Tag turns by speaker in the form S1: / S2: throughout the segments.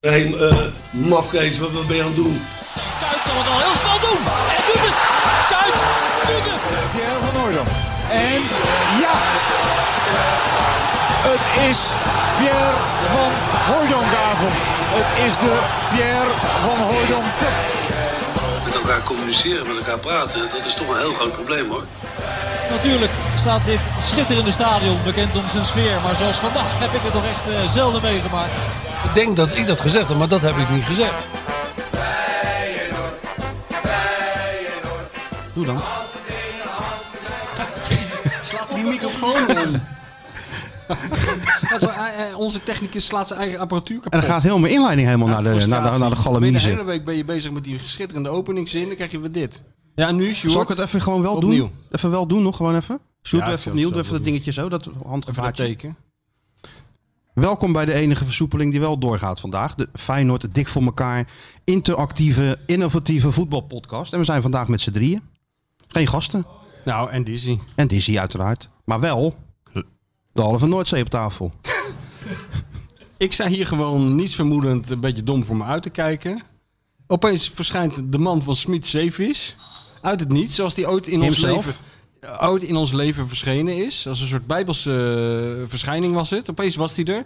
S1: Hé, eh mafkees, wat, wat ben je aan het doen?
S2: Kuit kan het al heel snel doen. En doet het. Kuit doet het.
S3: Pierre van Hooydonk. En ja, het is Pierre van Hooijdonkavond. Het is de Pierre van Hooijdonk Cup.
S1: Met elkaar communiceren, met elkaar praten, dat is toch een heel groot probleem hoor.
S2: Natuurlijk staat dit schitterende stadion bekend om zijn sfeer. Maar zoals vandaag heb ik het nog echt eh, zelden meegemaakt.
S1: Ik denk dat ik dat gezegd heb, maar dat heb ik niet gezegd.
S4: Doe dan.
S5: Slaat die microfoon om. Dat is wel- eh, eh, onze technicus slaat zijn eigen apparatuur kapot.
S4: En dan gaat heel mijn inleiding helemaal naar de, naar de, naar de
S5: Ben je De hele
S4: galamiezen.
S5: week ben je bezig met die schitterende openingszin. Dan krijg je weer dit. Ja, en nu, Sjoerd.
S4: Zal ik het even gewoon wel
S5: Opnieuw.
S4: doen? Even wel doen nog, gewoon even. Sjoerd,
S5: Ja,
S4: doe
S5: ik
S4: even
S5: zal-
S4: opnieuw.
S5: zal
S4: Doe even
S5: wel
S4: dat dingetje zo, dat
S5: Even dat
S4: handgevaartje.
S5: teken.
S4: Welkom bij de enige versoepeling die wel doorgaat vandaag. De Feyenoord Dik voor elkaar, interactieve, innovatieve voetbalpodcast. En we zijn vandaag met z'n drieën. Geen gasten.
S5: Nou, en Dizzy.
S4: En Dizzy uiteraard. Maar wel de halve Noordzee op tafel.
S5: Ik sta hier gewoon niets vermoedend een beetje dom voor me uit te kijken. Opeens verschijnt de man van Smit Zeevis. Uit het niets, zoals die ooit in ons
S4: Himself?
S5: leven... Ooit in ons leven verschenen is. Als een soort bijbelse eh, verschijning was het. Opeens was hij er.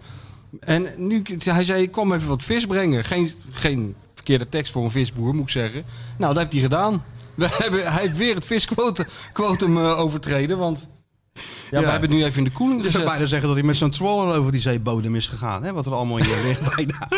S5: En nu, hij zei, ik kwam even wat vis brengen. Geen, geen verkeerde tekst voor een visboer, moet ik zeggen. Nou, dat heeft hij gedaan. We hebben, hij heeft weer het visquotum eh, overtreden, want... Ja,
S4: Ja.
S5: we hebben het nu even in de koeling
S4: Je zou
S5: gezet.
S4: bijna zeggen dat hij met zo'n trawler over die zeebodem is gegaan. Hè? Wat er allemaal hier ligt bijna.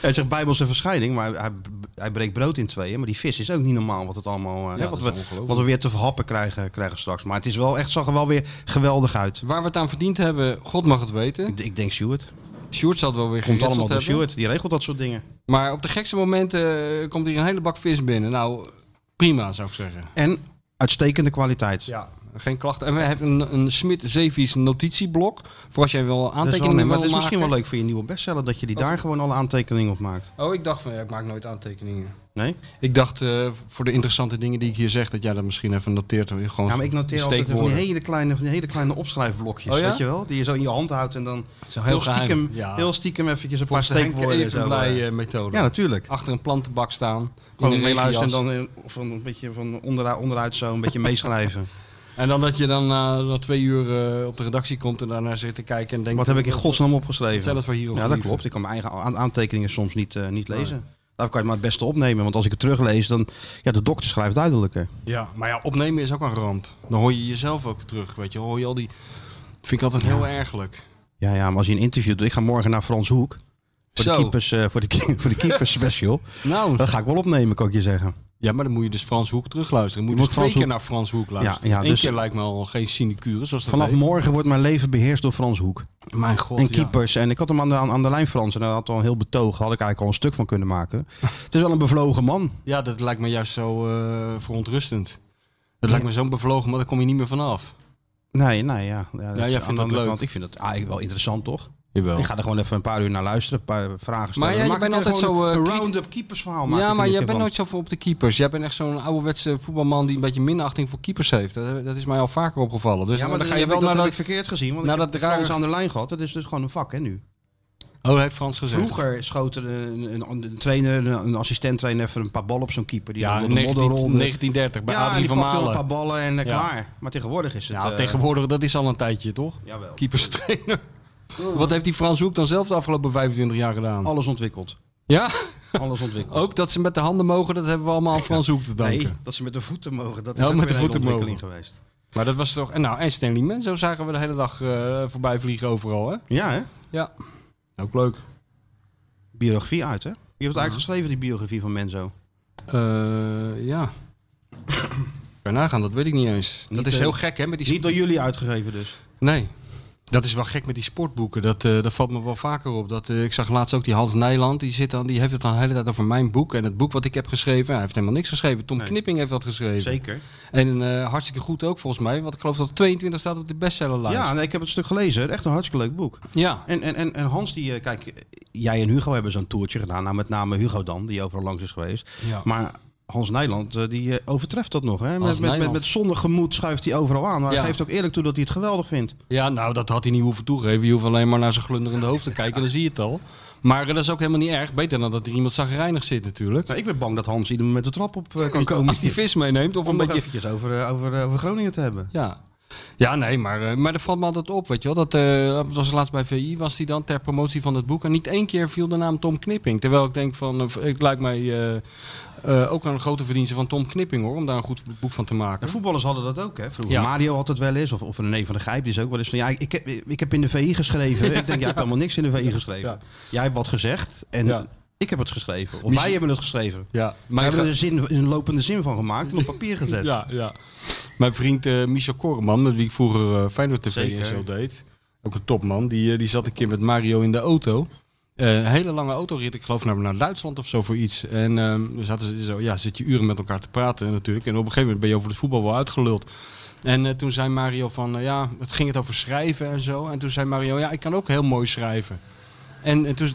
S4: Hij zegt bijbelse verschijning, maar hij, hij breekt brood in tweeën. Maar die vis is ook niet normaal wat, het allemaal, eh, hè,
S5: dat
S4: wat,
S5: is
S4: we,
S5: ongelooflijk.
S4: wat we weer te verhappen krijgen, krijgen straks. Maar het is wel echt, zag er wel weer geweldig uit.
S5: Waar we het aan verdiend hebben, God mag het weten.
S4: Ik, ik denk Stuart.
S5: Sjoerd zal het wel weer
S4: Komt
S5: geregeld
S4: allemaal door
S5: hebben.
S4: Stuart. Die regelt dat soort dingen.
S5: Maar op de gekste momenten eh, komt hier een hele bak vis binnen. Nou, prima zou ik zeggen.
S4: En uitstekende kwaliteit.
S5: Ja. Geen klachten. En we hebben een, een Smit Zeevies notitieblok. Voor als jij wel
S4: Dat is wel-
S5: aantekeningen wil
S4: maar
S5: maken.
S4: het is misschien wel leuk voor je nieuwe bestseller dat je die daar gewoon alle aantekeningen op maakt.
S5: Oh, ik dacht van ja, ik maak nooit aantekeningen.
S4: Nee?
S5: Ik dacht eh, voor de interessante dingen die ik hier zeg, dat jij dat misschien even noteert. Gewoon
S4: Ja, maar ik noteer altijd van die
S5: steekwoorden.
S4: hele kleine, van die hele kleine opschrijfblokjes,
S5: Oh ja?
S4: weet je wel? Die je zo in je hand houdt en dan
S5: Zo heel
S4: heel,
S5: geheim,
S4: stiekem,
S5: ja.
S4: heel stiekem eventjes een paar
S5: Volgens de Henk
S4: steekwoorden en
S5: Even
S4: zo.
S5: blij
S4: eh.
S5: eh, methode.
S4: ja, natuurlijk.
S5: Achter een plantenbak staan. in
S4: Gewoon
S5: een
S4: mee luisteren en
S5: regenjas.
S4: dan in- of een beetje van ondera- onderuit zo een beetje meeschrijven.
S5: En dan dat je dan na, na twee uur eh, op de redactie komt en daarna zit te kijken en denkt...
S4: Wat heb ik in godsnaam
S5: Stel
S4: opgeschreven?
S5: dat we hier
S4: Ja, dat klopt. Ik kan mijn eigen a- aantekeningen soms niet, eh, niet lezen. Daarvoor kan je het maar het beste opnemen, want als ik het teruglees, dan... Ja, de dokter schrijft duidelijker.
S5: Ja, maar ja, opnemen is ook een ramp. Dan hoor je jezelf ook terug, weet je. Hoor je al die... Vind ik altijd heel ergelijk.
S4: Ja, ja, maar als je een interview doet... Ik ga morgen naar Frans Hoek voor de
S5: Zo.
S4: keepers, eh, voor de, ke- voor de keepers special.
S5: Nou,
S4: Dat ga ik wel opnemen, kan ik je zeggen.
S5: ja, maar dan moet je dus Frans Hoek terugluisteren. Moet je
S4: Je
S5: dus
S4: moet
S5: twee
S4: Frans
S5: keer naar Frans Hoek luisteren.
S4: Ja, ja,
S5: Eén
S4: dus-
S5: keer lijkt me al geen sinecure, zoals dat
S4: Vanaf
S5: heet.
S4: morgen wordt mijn leven beheerst door Frans Hoek.
S5: Mijn god,
S4: en
S5: ja.
S4: keepers. En ik had hem aan de, aan, aan de lijn Frans. En hij had al een heel betoog. Daar had ik eigenlijk al een stuk van kunnen maken. het is wel een bevlogen man.
S5: Ja, dat lijkt me juist zo eh, verontrustend. Dat lijkt me zo'n bevlogen, maar daar kom je niet meer vanaf.
S4: Nee, nee, ja. ja,
S5: jij vindt
S4: is aan de
S5: dat
S4: andere
S5: leuk.
S4: kant. Ik vind dat eigenlijk wel interessant, toch?
S5: Jawel.
S4: Ik ga er gewoon even een paar uur naar luisteren. Een paar vragen stellen.
S5: Maar ja,
S4: Dan
S5: je
S4: maak ik
S5: bent
S4: er
S5: altijd
S4: gewoon
S5: zo, eh,
S4: Een
S5: kritisch.
S4: round-up keepersverhaal
S5: Ja,
S4: maken
S5: maar
S4: ik
S5: jij
S4: ervan.
S5: bent nooit zo voor op de keepers. Jij bent echt zo'n ouderwetse voetbalman die een beetje minachting voor keepers heeft. Dat, dat is mij al vaker opgevallen. Dus
S4: Ja, maar
S5: dan ga
S4: dat-
S5: je wel
S4: dat
S5: naar
S4: heb ik
S5: dat...
S4: verkeerd gezien. Want
S5: naar
S4: ik heb
S5: dat
S4: Frans
S5: rare-
S4: aan de lijn gehad. Dat is dus gewoon een vak, hè, nu.
S5: Oh, dat heeft Frans gezegd.
S4: Vroeger schoot er een, een, een trainer, een, een assistent-trainer even een paar ballen op zo'n keeper. Die
S5: Ja,
S4: dan
S5: in
S4: door de modder
S5: 19,
S4: rolde.
S5: 1930 bij
S4: Ja, en
S5: Adrie
S4: die
S5: van
S4: pakte wel een paar
S5: Malen.
S4: ballen en eh,
S5: Ja.
S4: klaar. Maar tegenwoordig is het...
S5: Ja,
S4: eh,
S5: tegenwoordig, dat is al een tijdje, toch?
S4: Jawel.
S5: Keeperstrainer.
S4: Hmm.
S5: Wat heeft die Frans Hoek dan zelf de afgelopen 25 jaar gedaan?
S4: Alles ontwikkeld.
S5: Ja,
S4: Alles ontwikkeld.
S5: ook dat ze met de handen mogen, dat hebben we allemaal aan Frans Hoek te danken.
S4: Nee, dat ze met de voeten mogen. Dat is
S5: Ja,
S4: ook
S5: met
S4: weer
S5: de
S4: een hele
S5: voeten
S4: ontwikkeling geweest.
S5: Maar dat was toch... En, nou, en Stanley Menzo zagen we de hele dag eh, voorbij vliegen overal, hè?
S4: Ja, hè?
S5: Ja. Ook leuk.
S4: Biografie uit, hè? Je hebt het eigenlijk geschreven, die biografie van Menzo.
S5: Eh, ja. Kan je nagaan, dat weet ik niet eens.
S4: Niet,
S5: dat is
S4: eh,
S5: heel gek, hè? Met die
S4: Niet door jullie uitgegeven dus.
S5: Nee. Dat is wel gek met die sportboeken. Dat, eh, dat valt me wel vaker op. Dat, eh, ik zag laatst ook die Hans Nijland. Die, zit aan, die heeft het dan de hele tijd over mijn boek. En het boek wat ik heb geschreven. Hij heeft helemaal niks geschreven. Tom
S4: Nee.
S5: Knipping heeft dat geschreven.
S4: Zeker.
S5: En eh, hartstikke goed ook volgens mij. Want ik geloof dat 22 staat op de bestsellerlijst.
S4: Ja, nee, ik heb het stuk gelezen. Echt een hartstikke leuk boek.
S5: Ah, ja.
S4: En, en, en, en Hans, die, eh, kijk, eh, jij en Hugo hebben zo'n toertje gedaan. Nou, met name Hugo dan, die overal langs is geweest.
S5: Ja.
S4: Maar Hans Nijland eh, die eh, overtreft dat nog. Hè? Met, met, met,
S5: Nijland.
S4: met zonnig gemoed schuift hij overal aan. Maar hij
S5: Ja.
S4: geeft ook eerlijk toe dat hij het geweldig vindt.
S5: Ja, nou, dat had hij niet hoeven toegeven. Je hoeft alleen maar naar zijn glunderende hoofd te kijken en dan zie je het al. Maar eh, dat is ook helemaal niet erg. Beter dan dat er iemand zagrijnig zit natuurlijk.
S4: Nou, ik ben bang dat Hans ieder moment de trap op eh, kan komen.
S5: Als die vis meeneemt of
S4: Om
S5: een
S4: nog
S5: beetje...
S4: eventjes over, eh, over, eh, over Groningen te hebben.
S5: Ja. Ja, nee, maar, eh, maar dat valt me altijd op, weet je wel. Dat eh, dat was laatst bij VI, was hij dan ter promotie van het boek. En niet één keer viel de naam Tom Knipping. Terwijl ik denk van, eh, het lijkt mij eh, eh, ook een grote verdienste van Tom Knipping, hoor. Om daar een goed boek van te maken.
S4: En voetballers hadden dat ook, hè? Vroeger.
S5: Hm? Ja.
S4: Mario had dat wel eens, of, of René van de Gijp, die is ook wel eens van... Ja, ik heb, ik heb in de VI geschreven. ik denk, jij hebt helemaal niks in de VI geschreven.
S5: Ja.
S4: Jij hebt wat gezegd en
S5: Ja.
S4: ik heb het geschreven. Of wij
S5: Misschien-
S4: hebben het geschreven.
S5: Ja,
S4: We
S5: maar
S4: hebben er een, zin, een lopende zin van gemaakt en op papier gezet.
S5: Ja, ja. Mijn vriend eh, Michel Koreman, met wie ik vroeger eh Feyenoord TV
S4: Zeker.
S5: en zo deed. Ook een topman. Die, eh, die zat een keer met Mario in de auto. Eh, een hele lange autorit, ik geloof naar, naar Duitsland of zo voor iets. En ehm we zaten ze zo, ja, zit je uren met elkaar te praten natuurlijk. En op een gegeven moment ben je over het voetbal wel uitgeluld. En eh, toen zei Mario van, eh, ja, het ging het over schrijven en zo. En toen zei Mario, ja, ik kan ook heel mooi schrijven. En, en toen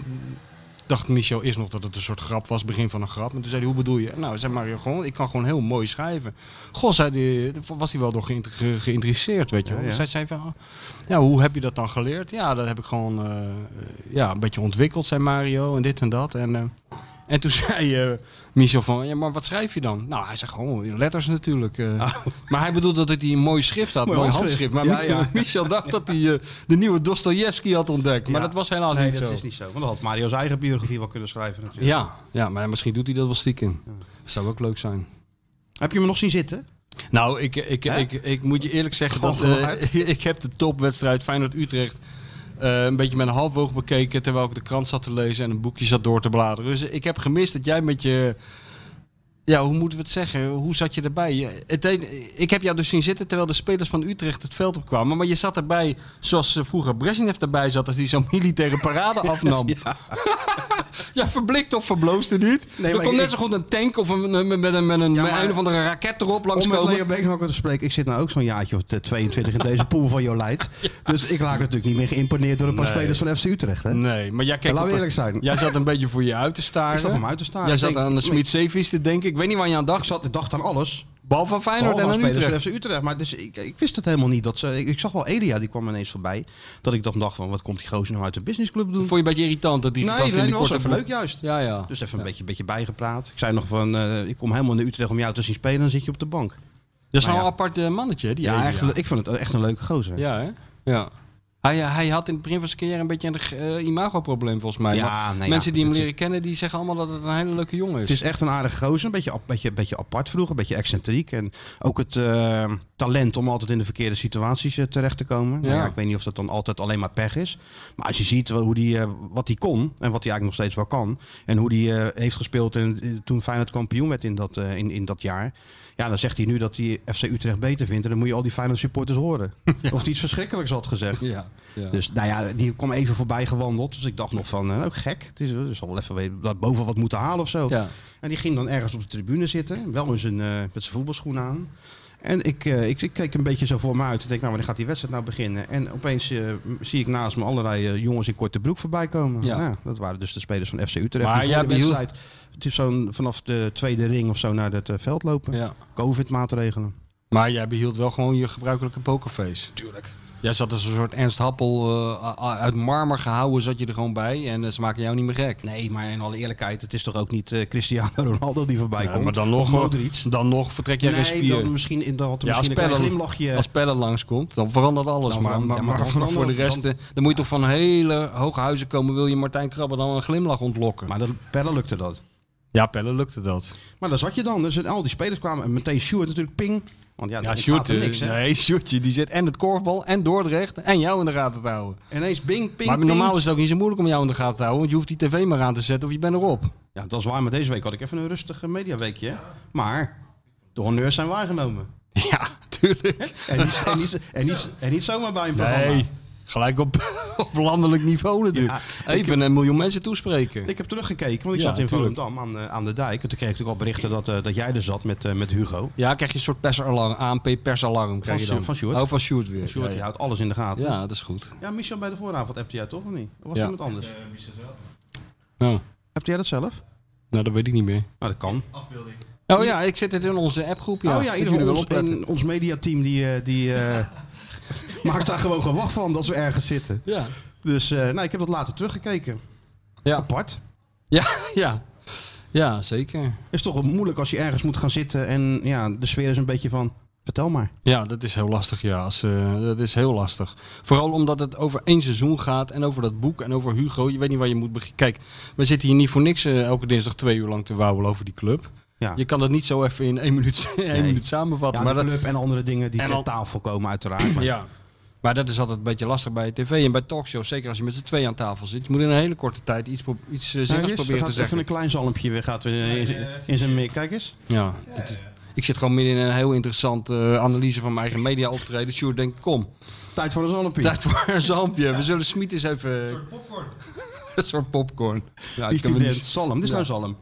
S5: dacht Michel eerst nog dat het een soort grap was, begin van een grap. En toen zei hij, hoe bedoel je? Nou, zei Mario gewoon, ik kan gewoon heel mooi schrijven. Goh, zei die, was hij wel door geïnter- ge- geïnteresseerd, weet je wel.
S4: Ja, ja.
S5: Zij zei van, oh, ja, hoe heb je dat dan geleerd? Ja, dat heb ik gewoon eh, ja, een beetje ontwikkeld, zei Mario, en dit en dat. En, eh, en toen zei eh, Michel van, ja, maar wat schrijf je dan? Nou, hij zei gewoon letters natuurlijk. eh. Maar hij bedoelde dat hij een mooi schrift had, een
S4: Oh. Mooi
S5: mooi
S4: handschrift.
S5: handschrift. Maar
S4: Ja, ja.
S5: Michel dacht dat hij eh, de nieuwe Dostoevsky had ontdekt. Maar
S4: Ja.
S5: dat was helaas
S4: Nee,
S5: niet
S4: dat
S5: zo.
S4: is niet zo. Want dan had Mario zijn eigen biografie wel kunnen schrijven natuurlijk.
S5: Ja, ja, maar misschien doet hij dat wel stiekem. Zou ook leuk zijn.
S4: Heb je me nog zien zitten?
S5: Nou, ik, ik,
S4: Hè?
S5: ik, ik, moet je eerlijk zeggen
S4: Gewoon
S5: dat eh,
S4: geluid.
S5: ik heb de topwedstrijd Feyenoord-Utrecht eh, een beetje met een half oog bekeken terwijl ik de krant zat te lezen en een boekje zat door te bladeren. Dus ik heb gemist dat jij met je... Ja, hoe moeten we het zeggen? Hoe zat je erbij? Je- Het, een- ik heb jou dus zien zitten terwijl de spelers van Utrecht het veld opkwamen. Maar je zat erbij zoals eh, vroeger Brezhnev erbij zat als die zo'n militaire parade afnam. Ja, verblikt of verbloosde niet.
S4: Nee,
S5: er
S4: maar
S5: kon
S4: ik-
S5: net zo goed een tank of een, een- met een, met een,
S4: Ja,
S5: met
S4: maar-
S5: een of andere raket erop
S4: Om met
S5: langskomen.
S4: Leo Beenhakker te spreken. Ik zit nou ook zo'n jaartje of 22 in deze pool van Jolijt. Dus ik raak natuurlijk niet meer geïmponeerd door een paar
S5: Nee.
S4: spelers van FC Utrecht. Hè?
S5: Nee, maar jij
S4: En
S5: keek
S4: laten we
S5: op-
S4: eerlijk zijn.
S5: Jij zat een beetje voor je uit te staren.
S4: Ik zat voor me uit te staren.
S5: Jij
S4: Ik
S5: zat
S4: denk-
S5: aan de
S4: nee.
S5: Smit Zeevis te denken. Ik weet niet waar je aan
S4: Ik
S5: dacht.
S4: zat, ik dacht aan alles.
S5: Bal van Feyenoord en
S4: Behalve aan
S5: aan
S4: spelers van
S5: Utrecht.
S4: FC Utrecht. Maar dus ik, ik wist het helemaal niet. Dat ze, ik, ik zag wel Elia, die kwam ineens voorbij. Dat ik dan dacht van, wat komt die gozer nou uit de businessclub doen?
S5: Vond je een beetje irritant dat die
S4: nee,
S5: gast in
S4: nee,
S5: die
S4: dat was
S5: korte
S4: even
S5: broek-
S4: leuk juist.
S5: Ja, ja.
S4: Dus even een beetje, beetje bijgepraat. Ik zei nog van, eh, ik kom helemaal naar Utrecht om jou te zien spelen. Dan zit je op de bank.
S5: Dat is
S4: Nou
S5: wel
S4: ja.
S5: een apart eh, mannetje, hè, die
S4: Ja,
S5: Elia.
S4: echt, ik vond het echt een leuke gozer.
S5: Ja, hè? Ja. Hij, eh, hij had in het begin van zijn carrière een beetje een eh, imagoprobleem volgens mij.
S4: Ja,
S5: Maar
S4: nee, ja,
S5: mensen die hem
S4: dat-
S5: leren kennen, die zeggen allemaal dat het een hele leuke jongen is.
S4: Het is echt een aardige gozer. Een beetje, ap- beetje, beetje apart vroeger, een beetje excentriek. En ook het eh, talent om altijd in de verkeerde situaties eh, terecht te komen. Nou
S5: Ja.
S4: ja, ik weet niet of dat dan altijd alleen maar pech is. Maar als je ziet wel hoe die, eh, wat hij kon en wat hij eigenlijk nog steeds wel kan. En hoe die eh, heeft gespeeld en, eh, toen Feyenoord kampioen werd in dat, eh, in, in dat jaar. Ja, dan zegt hij nu dat hij FC Utrecht beter vindt. En dan moet je al die Feyenoord supporters horen. Of hij iets verschrikkelijks had gezegd.
S5: Ja, ja.
S4: Dus nou ja, die kwam even voorbij gewandeld. Dus ik dacht nog van, eh, ook gek. Het is, er zal wel even weer wat- boven wat moeten halen of zo.
S5: Ja.
S4: En die ging dan ergens op de tribune zitten. Wel in zijn, eh, met zijn voetbalschoenen aan. En ik, eh, ik, ik keek een beetje zo voor me uit. Ik denk, nou, wanneer gaat die wedstrijd nou beginnen? En opeens eh, m- zie ik naast me allerlei eh, jongens in korte broek voorbij komen. Ja.
S5: Ja.
S4: dat waren dus de spelers van FC Utrecht.
S5: Maar
S4: die voor
S5: jij
S4: de
S5: behield-
S4: wedstrijd het is zo'n, vanaf de tweede ring of zo naar het eh, veld lopen.
S5: ja.
S4: Covid-maatregelen.
S5: Maar jij behield wel gewoon je gebruikelijke pokerface. Tuurlijk. Jij zat als een soort Ernst Happel eh, a- a- uit marmer gehouden, zat je er gewoon bij. En eh, ze maken jou niet meer gek.
S4: Nee, maar in alle eerlijkheid, het is toch ook niet eh, Cristiano Ronaldo die voorbij
S5: Ja,
S4: komt.
S5: maar dan
S4: Of
S5: nog, eh,
S4: Modric.
S5: dan nog vertrek jij een
S4: nee,
S5: spier.
S4: dan misschien, in- dan had er
S5: Ja, als
S4: misschien een klein
S5: Pelle-
S4: glimlachje.
S5: Als Pelle langskomt, dan verandert alles.
S4: Dan
S5: maar
S4: verandert-
S5: maar,
S4: ja,
S5: maar
S4: maar dan
S5: voor de
S4: verandert-
S5: rest, eh, dan moet je toch van hele hoge huizen komen, wil je Martijn Krabbe dan een glimlach ontlokken.
S4: Maar dat, Pelle lukte dat.
S5: ja, Pelle lukte dat.
S4: Maar daar zat je dan. Dus al die spelers kwamen. En meteen Sjoerd natuurlijk, ping. Want ja,
S5: Ja,
S4: dat
S5: Sjoerd,
S4: gaat er
S5: eh,
S4: niks. Hè?
S5: nee, Sjoerdje, die zit en het korfbal en Dordrecht en jou in de gaten te houden.
S4: Ineens bing, ping,
S5: maar
S4: ping.
S5: normaal is het ook niet zo moeilijk om jou in de gaten te houden, want je hoeft die tv maar aan te zetten of je bent erop.
S4: Ja, dat is waar. Maar deze week had ik even een rustig eh, mediaweekje. hè. Maar de honneurs zijn waargenomen.
S5: Ja, tuurlijk.
S4: En niet, en niet, en niet, en niet zomaar bij een programma.
S5: Nee, gelijk op, op landelijk niveau natuurlijk.
S4: Ja,
S5: Even een miljoen mensen toespreken.
S4: Ik heb teruggekeken, want ik
S5: Ja,
S4: zat in
S5: tuurlijk.
S4: Volendam aan, eh, aan de dijk. En toen kreeg ik natuurlijk al berichten dat, eh, dat jij er zat met, eh, met Hugo.
S5: Ja, krijg je een soort persalarm, ANP-persalarm. krijg je
S4: Sjo-
S5: dan.
S4: van Sjoerd.
S5: Oh, van Sjoerd weer.
S4: Sjoerd, die
S5: ja,
S4: houdt alles in de gaten.
S5: ja.
S4: Ja,
S5: ja, dat is goed.
S4: Michel bij de vooravond appte jij toch of niet? Of was
S5: Ja.
S4: iemand anders?
S5: Nou,
S4: Hebt jij dat zelf?
S5: nou, dat weet ik niet meer.
S4: Nou, dat kan.
S5: Ja, Oh ja, ik zet het in onze appgroep. Ja.
S4: oh ja, in
S5: Zitten
S4: ieder geval
S5: jullie
S4: ons,
S5: opletten.
S4: en ons mediateam die, eh, die eh, maakt daar gewoon gewag van dat we ergens zitten.
S5: Ja.
S4: Dus eh, nou, ik heb dat later teruggekeken.
S5: Ja.
S4: Apart.
S5: Ja, ja. ja, zeker.
S4: Is toch wel moeilijk als je ergens moet gaan zitten en ja, de sfeer is een beetje van, vertel maar.
S5: Ja, dat is heel lastig. Ja, als, eh, dat is heel lastig. Vooral omdat het over één seizoen gaat en over dat boek en over Hugo. Je weet niet waar je moet beginnen. Kijk, we zitten hier niet voor niks eh, elke dinsdag twee uur lang te wauwelen over die club.
S4: Ja.
S5: Je kan dat niet zo even in één minuut, één
S4: Nee.
S5: minuut samenvatten.
S4: Ja,
S5: maar
S4: de
S5: dat,
S4: club en andere dingen die
S5: En
S4: ter
S5: al-
S4: tafel komen uiteraard. Maar
S5: ja. maar dat is altijd een beetje lastig bij tv en bij talkshows. Zeker als je met z'n twee aan tafel zit. Je moet in een hele korte tijd iets, pro- iets eh,
S4: Kijk
S5: zinnigs
S4: eens,
S5: proberen
S4: er gaat
S5: te
S4: even
S5: zeggen.
S4: een klein zalmpje weer gaat weer in, in zijn mik. Kijk eens.
S5: Ja, dit is- ik zit gewoon midden in een heel interessante eh, analyse van mijn eigen media optreden. Sjoerd denkt, kom,
S4: Tijd voor een zalmpje.
S5: tijd voor een zampje. We zullen Smiet eens even... Een soort popcorn. een soort popcorn. Ja,
S4: die
S5: dat kunnen we
S4: student.
S5: niet-
S4: Zalm, dit is
S5: Ja.
S4: nou zalm.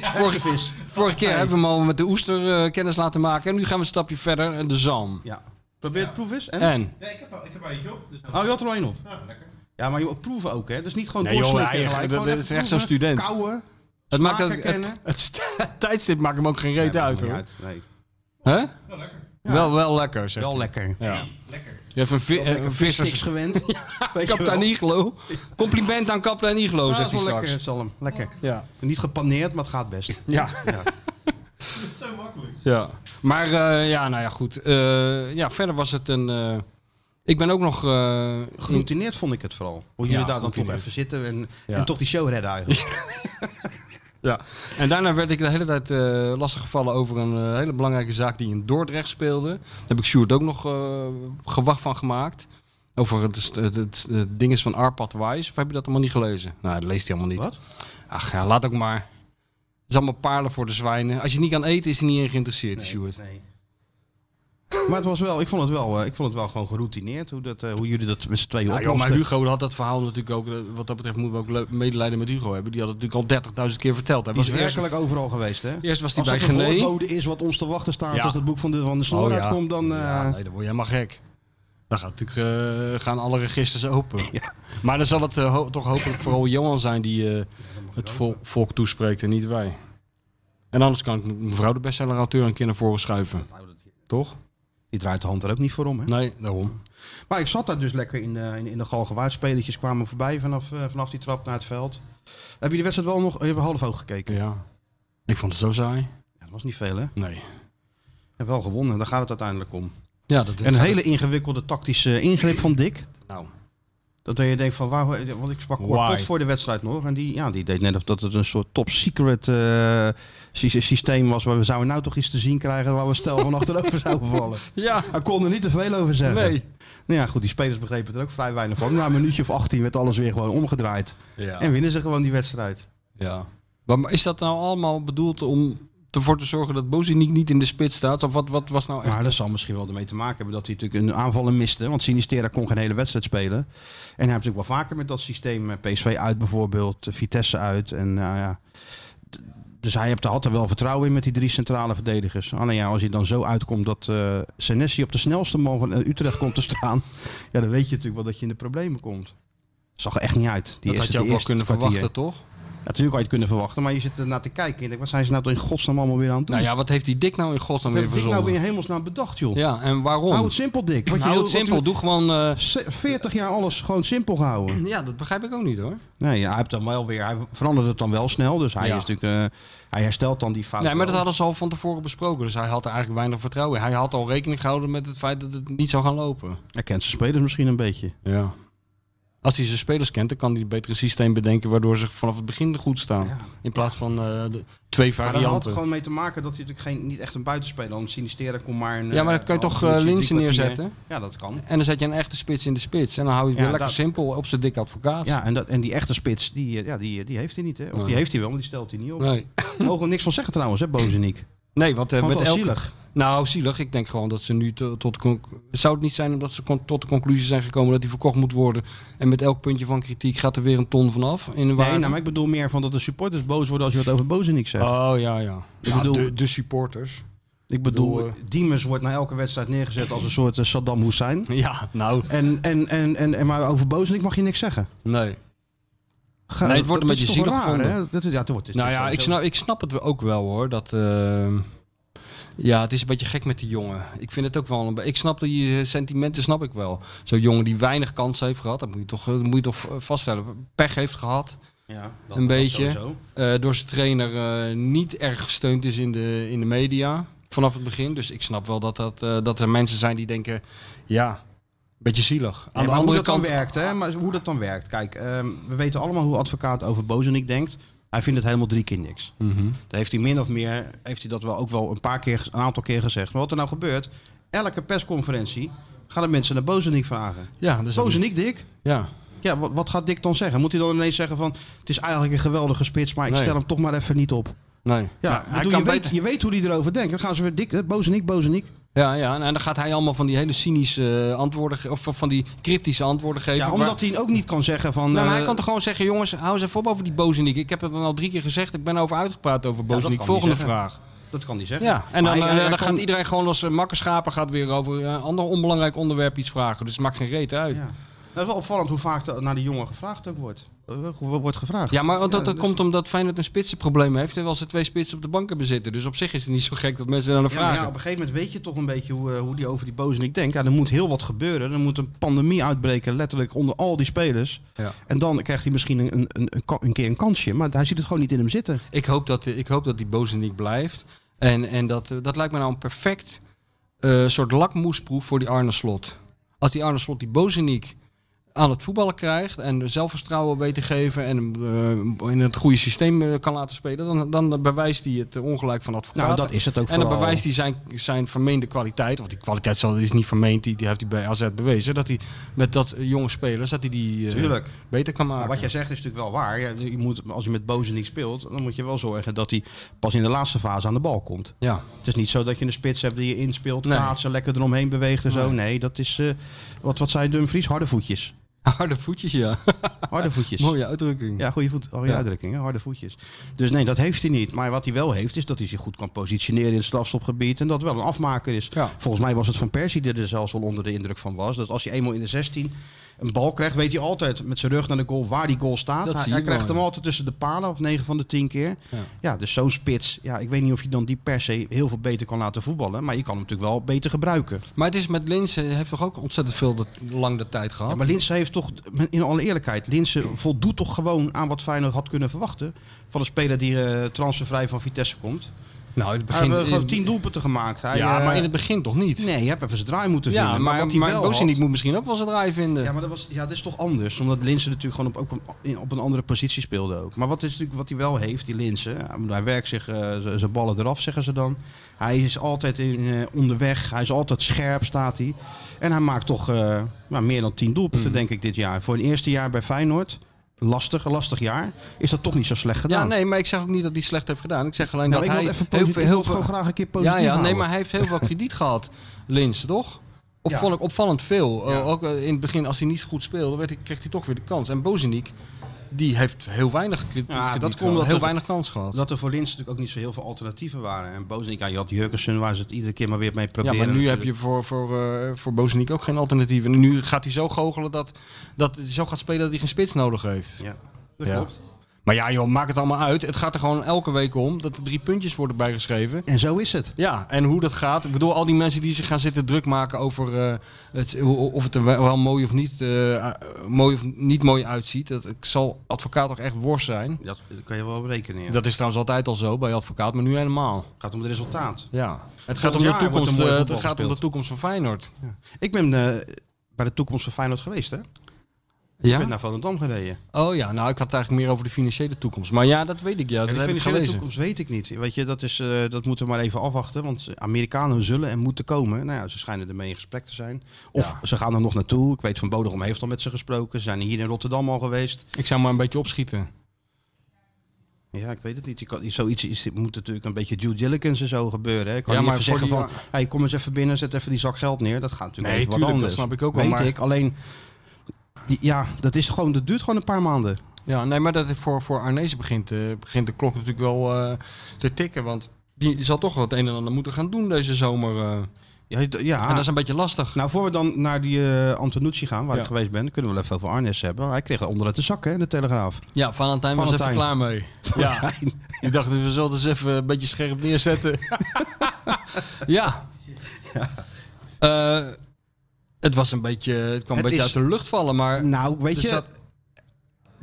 S5: Vorige, vorige keer hebben we hem al met de oester eh, kennis laten maken. En nu gaan we een stapje verder. eh, De zalm.
S4: Ja. Probeer het proef eens. En?
S5: En?
S6: Ja, ik heb, al- ik heb al eentje op. Dus dan-
S4: Oh, je had er al één op.
S6: Ah, lekker.
S4: Ja, maar je proeven ook, hè? Dus niet gewoon
S5: Nee,
S4: nee,
S5: joh,
S4: doorslikken
S5: hij-
S4: gelijk.
S5: dat-
S4: Gewoon
S5: dat
S4: even
S5: is echt zo'n
S4: proeven,
S5: student.
S4: Kouwen.
S5: Het maakt ook,
S4: smaken
S5: het,
S4: kennen.
S5: het st- het tijdstip maakt hem ook geen reet uit, hoor.
S4: Nee.
S5: Hè?
S6: Wel lekker.
S5: Wel, wel lekker, zegt hij.
S4: Wel lekker.
S5: Ja.
S6: Lekker.
S5: Je hebt een, vi- eh, een
S4: Vissers
S5: vissers...
S4: gewend. Oh, Weet je wel.
S5: Kaptein Iglo. Compliment aan Kaptein Iglo,
S4: Ja, dat
S5: zegt
S4: is
S5: hij
S4: wel
S5: straks.
S4: lekker, zalm. Lekker.
S5: Ja.
S4: Niet gepaneerd, maar het gaat best.
S5: Ja.
S6: Dat is zo makkelijk.
S5: Ja, maar eh, ja, nou ja, goed. Eh, ja, verder was het een. eh, ik ben ook nog. eh, in-
S4: Geroutineerd vond ik het vooral. Hoe jullie
S5: Ja,
S4: daar dan toch
S5: geroutineerd.
S4: even zitten en,
S5: Ja.
S4: en toch die show redden eigenlijk.
S5: ja. En daarna werd ik de hele tijd lastig lastiggevallen over een eh, hele belangrijke zaak die in Dordrecht speelde. Daar heb ik Sjoerd ook nog eh, gewacht van gemaakt. Over het, het, het, het ding is van Arpad Wise. Of heb je dat allemaal niet gelezen? Nou, dat leest hij allemaal niet.
S4: Wat?
S5: Ach ja, laat ook maar. Het is allemaal paarden voor de zwijnen. Als je het niet kan eten, is hij niet in geïnteresseerd, Sjoerd.
S4: Nee. Maar het was wel, ik vond het wel, eh, ik vond het wel gewoon geroutineerd hoe, dat, eh, hoe jullie dat met z'n tweeën
S5: Ja, Nou, joh, maar
S4: oplosten.
S5: Hugo had dat verhaal natuurlijk ook. eh, Wat dat betreft moeten we ook leuk- medelijden met Hugo hebben. Die had het natuurlijk al 30.000 keer verteld. Hij
S4: Die is
S5: was eerst,
S4: werkelijk overal geweest, hè?
S5: eerst was hij
S4: Als
S5: bij
S4: dat een
S5: Gené.
S4: voorbode is wat ons te wachten staat,
S5: Ja.
S4: als het boek van de, van de snor
S5: Oh, ja.
S4: uitkomt, dan... eh,
S5: Ja, nee, dan word je helemaal gek. Dan gaat natuurlijk, eh, gaan alle registers open. Maar dan zal het eh, ho- toch hopelijk vooral Johan zijn die eh, het vol- volk toespreekt en niet wij. En anders kan ik mevrouw de bestseller-auteur een keer naar voren schuiven. Toch?
S4: Die draait de hand er ook niet voor om, hè?
S5: Nee, daarom.
S4: Maar ik zat daar dus lekker in, eh, in, in de Galgenwaard. Spelertjes kwamen voorbij vanaf, eh, vanaf die trap naar het veld. Hebben jullie de wedstrijd wel nog even half oog gekeken?
S5: Ja. Ik vond het zo saai.
S4: Ja, dat was niet veel, hè?
S5: Nee.
S4: En wel gewonnen, daar gaat het uiteindelijk om.
S5: Ja, dat
S4: En een hele ingewikkelde tactische ingreep van Dick.
S5: Nou,
S4: Dat je denkt van, waar, want ik sprak
S5: Why?
S4: kort tot voor de wedstrijd nog. En die, ja, die deed net of dat het een soort top secret eh, sy- systeem was. Waar we zouden nou toch iets te zien krijgen waar we stel van achterover zouden vallen.
S5: Ja.
S4: Hij kon er niet te veel over zeggen.
S5: Nee.
S4: Nou ja, goed, die spelers begrepen er ook vrij weinig van. Na een minuutje of 18 werd alles weer gewoon omgedraaid.
S5: Ja.
S4: En winnen ze gewoon die wedstrijd.
S5: Ja. Maar maar is dat nou allemaal bedoeld om ervoor te zorgen dat Boziniek niet in de spits staat? Of wat, wat was nou echt...
S4: Maar dat zal misschien wel ermee te maken hebben dat hij natuurlijk een aanvallen miste. Want Sinistera kon geen hele wedstrijd spelen. En hij heeft natuurlijk wel vaker met dat systeem eh, PSV uit bijvoorbeeld, eh, Vitesse uit. En nou ja. d- Dus hij hebt- had er wel vertrouwen in met die drie centrale verdedigers. Alleen ja, als hij dan zo uitkomt dat eh Senesi op de snelste man van eh, Utrecht komt te staan. Ja, dan weet je natuurlijk wel dat je in de problemen komt. Zag er echt niet uit. Die
S5: dat had
S4: eerste-
S5: je ook
S4: die
S5: wel
S4: eerste
S5: kunnen
S4: kwartier.
S5: verwachten, toch?
S4: Ja, natuurlijk had je het kunnen verwachten, maar je zit ernaar te kijken. En je denkt, wat zijn ze nou toch in godsnaam allemaal weer aan het doen?
S5: Nou ja, wat heeft die dik nou in godsnaam
S4: Wat
S5: weer
S4: heb ik nou
S5: verzonnen?
S4: in hemelsnaam bedacht, joh?
S5: Ja, en
S4: Hou
S5: waarom?
S4: nou het simpel, Dick. Wat je
S5: Hou
S4: heel-
S5: het
S4: wat
S5: simpel.
S4: je-
S5: Doe gewoon... eh,
S4: se- 40 jaar alles gewoon simpel gehouden.
S5: ja, dat begrijp ik ook niet, hoor.
S4: Nee, ja, hij, heeft dan wel weer, hij verandert het dan wel snel. Dus hij,
S5: Ja.
S4: is natuurlijk, eh, hij herstelt dan die fout.
S5: Nee, maar
S4: wel.
S5: dat hadden ze al van tevoren besproken. Dus hij had er eigenlijk weinig vertrouwen in. Hij had al rekening gehouden met het feit dat het niet zou gaan lopen.
S4: Hij kent zijn spelers misschien een beetje.
S5: Ja. Als hij zijn spelers kent, dan kan hij een betere systeem bedenken... waardoor ze vanaf het begin goed staan.
S4: Ja.
S5: In plaats van eh, de twee
S4: Maar dat had
S5: varianten.
S4: er gewoon mee te maken dat hij natuurlijk geen, niet echt een buitenspeler... want Sinistera kon maar een...
S5: Ja, maar
S4: eh,
S5: dat kan je
S4: een
S5: toch,
S4: half uurtje,
S5: eh, links
S4: drie kwartier.
S5: neerzetten?
S4: Ja, dat kan.
S5: En dan zet je een echte spits in de spits. En dan hou je het
S4: Ja,
S5: weer lekker
S4: dat-
S5: simpel op zijn dikke advocaat.
S4: Ja, en, dat, en die echte spits, die, eh, ja, die, die heeft hij niet. Hè? Of
S5: Nee.
S4: die heeft hij wel, maar die stelt hij niet op.
S5: Nee.
S4: We mogen er niks van zeggen trouwens, hè, Bozeniek.
S5: nee, want eh,
S4: Want
S5: met
S4: dat is
S5: elke...
S4: zielig.
S5: Nou, zielig. Ik denk gewoon dat ze nu to- tot... de conc- Zou het niet zijn omdat ze con- tot de conclusie zijn gekomen dat die verkocht moet worden. En met elk puntje van kritiek gaat er weer een ton vanaf. In de waarde?
S4: Nee, nou, maar ik bedoel meer van dat de supporters boos worden als je wat over Bozeniek zegt.
S5: Oh, ja, ja. Ja,
S4: bedoel-
S5: de, de supporters.
S4: ik bedoel,
S5: bedoel, eh,
S4: Diemers wordt na elke wedstrijd neergezet als een soort eh, Saddam Hussein.
S5: Ja, nou.
S4: En, en, en, en, en maar over Bozeniek mag je niks zeggen.
S5: Nee.
S4: Ga-
S5: Nee, het wordt
S4: dat
S5: een beetje
S4: is toch wel
S5: zielig
S4: raar,
S5: gevonden.
S4: hè? Dat, is- ja, het wordt, het is
S5: nou ja,
S4: wel
S5: ik
S4: dus zo.
S5: snap, ik snap het ook wel hoor. Dat, eh, ja, het is een beetje gek met die jongen. Ik vind het ook wel. Een, be- ik snap die eh, sentimenten, snap ik wel. Zo'n jongen die weinig kansen heeft gehad, dat moet je toch, dat moet je toch eh, vaststellen. Pech heeft gehad.
S4: Ja, dat-
S5: een
S4: dat
S5: beetje.
S4: sowieso.
S5: eh, door zijn trainer eh, niet erg gesteund is in de, in de media vanaf het begin. Dus ik snap wel dat, dat, eh, dat er mensen zijn die denken, ja, een beetje zielig. Aan
S4: Ja,
S5: de
S4: maar
S5: andere
S4: hoe dat
S5: kant,
S4: dan werkt, hè? Maar hoe dat dan werkt. Kijk, ehm, we weten allemaal hoe advocaat over Bozenik denkt. Hij vindt het helemaal drie keer niks.
S5: Mhm.
S4: Daar heeft hij min of meer, heeft hij dat wel ook wel een paar keer, een aantal keer gezegd. Maar wat er nou gebeurt, elke persconferentie gaan de mensen naar Bozenik vragen.
S5: ja, dus
S4: Bozenik, Dick?
S5: ja,
S4: Ja, wat, wat gaat Dick dan zeggen? Moet hij dan ineens zeggen van, het is eigenlijk een geweldige spits, maar ik
S5: Nee.
S4: stel hem toch maar even niet op.
S5: nee.
S4: Ja,
S5: Maar
S4: bedoel, je, weet, je weet hoe hij erover denkt. Dan gaan ze weer Dick, eh, Bozenik, Bozenik.
S5: Ja, ja, en dan gaat hij allemaal van die hele cynische eh, antwoorden, ge- of van die cryptische antwoorden geven.
S4: Ja,
S5: maar-
S4: omdat hij ook niet kan zeggen van...
S5: Nou, maar hij
S4: eh,
S5: kan toch gewoon zeggen, jongens, hou eens even op over die Bozeniek. Ik heb het dan al drie keer gezegd, ik ben over uitgepraat over
S4: dat
S5: Bozeniek.
S4: kan hij
S5: Volgende
S4: zeggen.
S5: vraag.
S4: Dat kan hij zeggen.
S5: Ja, en
S4: Maar
S5: dan,
S4: hij-
S5: eh,
S4: hij- hij
S5: dan
S4: kan-
S5: gaat iedereen gewoon als uh, makkerschapen gaat weer over eh, een ander onbelangrijk onderwerp iets vragen. Dus het maakt geen reet uit. Ja,
S4: Ja. Dat is wel opvallend hoe vaak de- naar die jongen gevraagd ook wordt. Eh, Hoe wordt gevraagd.
S5: maar dat, dat
S4: dus-
S5: komt omdat Feyenoord een spitsenprobleem heeft. Terwijl ze twee spitsen op de banken bezitten. Dus op zich is het niet zo gek dat mensen daar naar
S4: Ja, maar ja,
S5: vragen.
S4: op een gegeven moment weet je toch een beetje hoe, eh, hoe die over die Bozenik denkt. Ja, er moet heel wat gebeuren. Er moet een pandemie uitbreken, letterlijk onder al die spelers.
S5: Ja.
S4: En dan krijgt hij misschien een, een, een, ka- een keer een kansje. Maar hij ziet het gewoon niet in hem zitten.
S5: Ik hoop dat, ik hoop dat die Bozeniek blijft. En, en dat, eh, dat lijkt me nou een perfect eh, soort lakmoesproef voor die Arne Slot. Als die Arne Slot die Bozeniek aan het voetballen krijgt en zelfvertrouwen weet te geven en hem, eh, in het goede systeem eh, kan laten spelen, dan, dan bewijst hij het eh, ongelijk van advocaat.
S4: Nou, dat is het ook
S5: en dan
S4: vooral.
S5: bewijst hij zijn, zijn vermeende kwaliteit, want die kwaliteit zal- is niet vermeend, die, die heeft hij bij AZ bewezen, dat hij met dat eh, jonge spelers, dat hij die eh,
S4: Tuurlijk.
S5: beter kan maken.
S4: Maar wat jij zegt is natuurlijk wel waar. Ja, Je moet, als je met Bozenik speelt, dan moet je wel zorgen dat hij pas in de laatste fase aan de bal komt.
S5: ja.
S4: Het is niet zo dat je een spits hebt die je inspeelt,
S5: Nee.
S4: plaatsen, lekker eromheen beweegt en zo. Nee, dat is, eh, wat, wat zei Dumfries? Harde voetjes.
S5: Harde voetjes, ja.
S4: Harde voetjes.
S5: Mooie uitdrukking.
S4: Ja, goede voet, goede
S5: Ja.
S4: uitdrukking, hè? harde voetjes. Dus nee, dat heeft hij niet. Maar wat hij wel heeft, is dat hij zich goed kan positioneren in het strafstopgebied. En dat wel een afmaker is.
S5: Ja.
S4: Volgens mij was het van Persie die er zelfs wel onder de indruk van was. Dat als hij eenmaal in de 16 een bal krijgt, weet hij altijd met zijn rug naar de goal waar die goal staat.
S5: Dat
S4: hij
S5: zie
S4: hij
S5: je
S4: krijgt
S5: wel,
S4: hem
S5: ja.
S4: altijd tussen de palen, of 9 van de 10 keer.
S5: Ja.
S4: Ja, dus zo'n spits. Ja, ik weet niet of je dan die per se heel veel beter kan laten voetballen. Maar je kan hem natuurlijk wel beter gebruiken.
S5: Maar het is met Linsen, hij heeft toch ook ontzettend veel de, lang de tijd gehad?
S4: Ja, maar Linse heeft toch, in alle eerlijkheid, Linse voldoet toch gewoon aan wat Feyenoord had kunnen verwachten. Van een speler die eh, transfervrij van Vitesse komt.
S5: nou, in het
S4: Hij
S5: begin...
S4: heeft Ah, eh, gewoon tien doelpunten gemaakt. Hij,
S5: Ja,
S4: eh,
S5: maar in het begin toch niet?
S4: Nee, je hebt even zijn draai moeten
S5: ja,
S4: vinden.
S5: maar,
S4: wat
S5: maar,
S4: hij
S5: maar
S4: wel
S5: Bozeniek
S4: had-
S5: moet misschien ook wel zijn draai vinden.
S4: Ja, maar dat, was, ja, dat is toch anders. Omdat Linse natuurlijk gewoon op, ook een- in- op een andere positie speelde ook. Maar wat, is natuurlijk, wat hij wel heeft, die Linse. hij- Hij werkt zich eh, z- zijn ballen eraf, zeggen ze dan. Hij is altijd in, eh, onderweg. Hij is altijd scherp, staat hij. En hij maakt toch eh, nou, meer dan tien doelpunten,
S5: Mm.
S4: denk ik, dit jaar. Voor een eerste jaar bij Feyenoord, lastig, lastig jaar, is dat toch niet zo slecht gedaan.
S5: Ja, nee, maar ik zeg ook niet dat hij slecht heeft gedaan. Ik zeg alleen
S4: Nou,
S5: dat
S4: ik wil
S5: hij
S4: het even positief, ik wil het gewoon graag een keer positief
S5: Ja, ja nee,
S4: houden.
S5: maar hij heeft heel veel krediet gehad, Linsen, toch? Opvallend, opvallend veel.
S4: Ja.
S5: Uh, ook eh, in het begin, als hij niet goed speelde, werd, hij- kreeg hij toch weer de kans. En Bozeniek, die heeft heel weinig krediet,
S4: Ja, dat
S5: krediet
S4: komt
S5: gehad.
S4: omdat
S5: Heel
S4: er-
S5: weinig kans gehad.
S4: Dat er voor Linse natuurlijk ook niet zo heel veel alternatieven waren. En Bozeniek, ja, je had Jurgensen waar ze het iedere keer maar weer mee
S5: Ja,
S4: proberen.
S5: maar nu heb
S4: natuurlijk.
S5: je voor, voor, eh voor Bozeniek ook geen alternatief. En nu gaat hij zo goochelen dat, dat hij zo gaat spelen dat hij geen spits nodig heeft.
S4: Ja, dat
S5: Ja.
S4: klopt.
S5: Maar ja joh, maak het allemaal uit. Het gaat er gewoon elke week om dat er drie puntjes worden bijgeschreven.
S4: En zo is het.
S5: Ja, en hoe dat gaat. Ik bedoel, al die mensen die zich gaan zitten druk maken over eh, het, hoe- of het er wel wel mooi of niet, eh, eh, mooi of niet mooi uitziet. Dat ik zal advocaat toch echt worst zijn.
S4: Dat kan je wel berekenen. Ja.
S5: Dat is trouwens altijd al zo bij advocaat, maar nu helemaal.
S4: Het gaat om het resultaat.
S5: Ja. Het gaat om de
S4: jaar wordt er
S5: toekomst,
S4: mooi
S5: eh, het
S4: voetbal
S5: gaat om de
S4: gespeeld.
S5: toekomst van Feyenoord.
S4: Ik ben eh, bij de toekomst van Feyenoord geweest, hè? Ik ben
S5: Ja?
S4: naar Volendam gereden.
S5: Oh ja, nou ik had het eigenlijk meer over de financiële toekomst. Maar ja, dat weet ik ja. Dat
S4: en de
S5: heb ik
S4: financiële
S5: gelezen.
S4: toekomst weet ik niet. Weet je, dat, is, eh, dat moeten we maar even afwachten. Want Amerikanen zullen en moeten komen. Nou ja, ze schijnen ermee in gesprek te zijn. Of
S5: Ja.
S4: ze gaan er nog naartoe. Ik weet van Bodegom heeft al met ze gesproken. Ze zijn hier in Rotterdam al geweest.
S5: Ik zou maar een beetje opschieten.
S4: Ja, ik weet het niet. Je kan, zoiets is, moet natuurlijk een beetje due diligence en zo gebeuren. Hè. Ik kan
S5: Ja,
S4: niet
S5: maar
S4: even
S5: voor
S4: zeggen van,
S5: die-
S4: hey, kom eens even binnen, zet even die zak geld neer. Dat gaat natuurlijk
S5: Nee,
S4: even wat
S5: tuurlijk, dat
S4: anders.
S5: snap ik ook wel,
S4: Weet
S5: maar-
S4: ik, alleen... Ja, dat, is gewoon, dat duurt gewoon een paar maanden.
S5: Ja, nee, maar dat het voor, voor Arnezen begint, eh, begint de klok natuurlijk wel eh, te tikken. Want die zal toch wat een en ander moeten gaan doen deze zomer. eh.
S4: Ja, d- ja.
S5: En dat is een beetje lastig.
S4: Nou, voor we dan naar die eh, Antonucci gaan, waar
S5: Ja.
S4: ik geweest ben, kunnen we wel even over Arnes hebben. Hij kreeg het onder uit de zak, hè, in de Telegraaf.
S5: ja, Valentijn, was even
S4: Valentijn.
S5: klaar mee. Ja, die dacht, we zullen het eens even een beetje scherp neerzetten. ja. Eh, het was een beetje, het kwam een
S4: Het
S5: beetje
S4: is-
S5: uit de lucht vallen, maar
S4: Nou, weet
S5: er
S4: je,
S5: zat-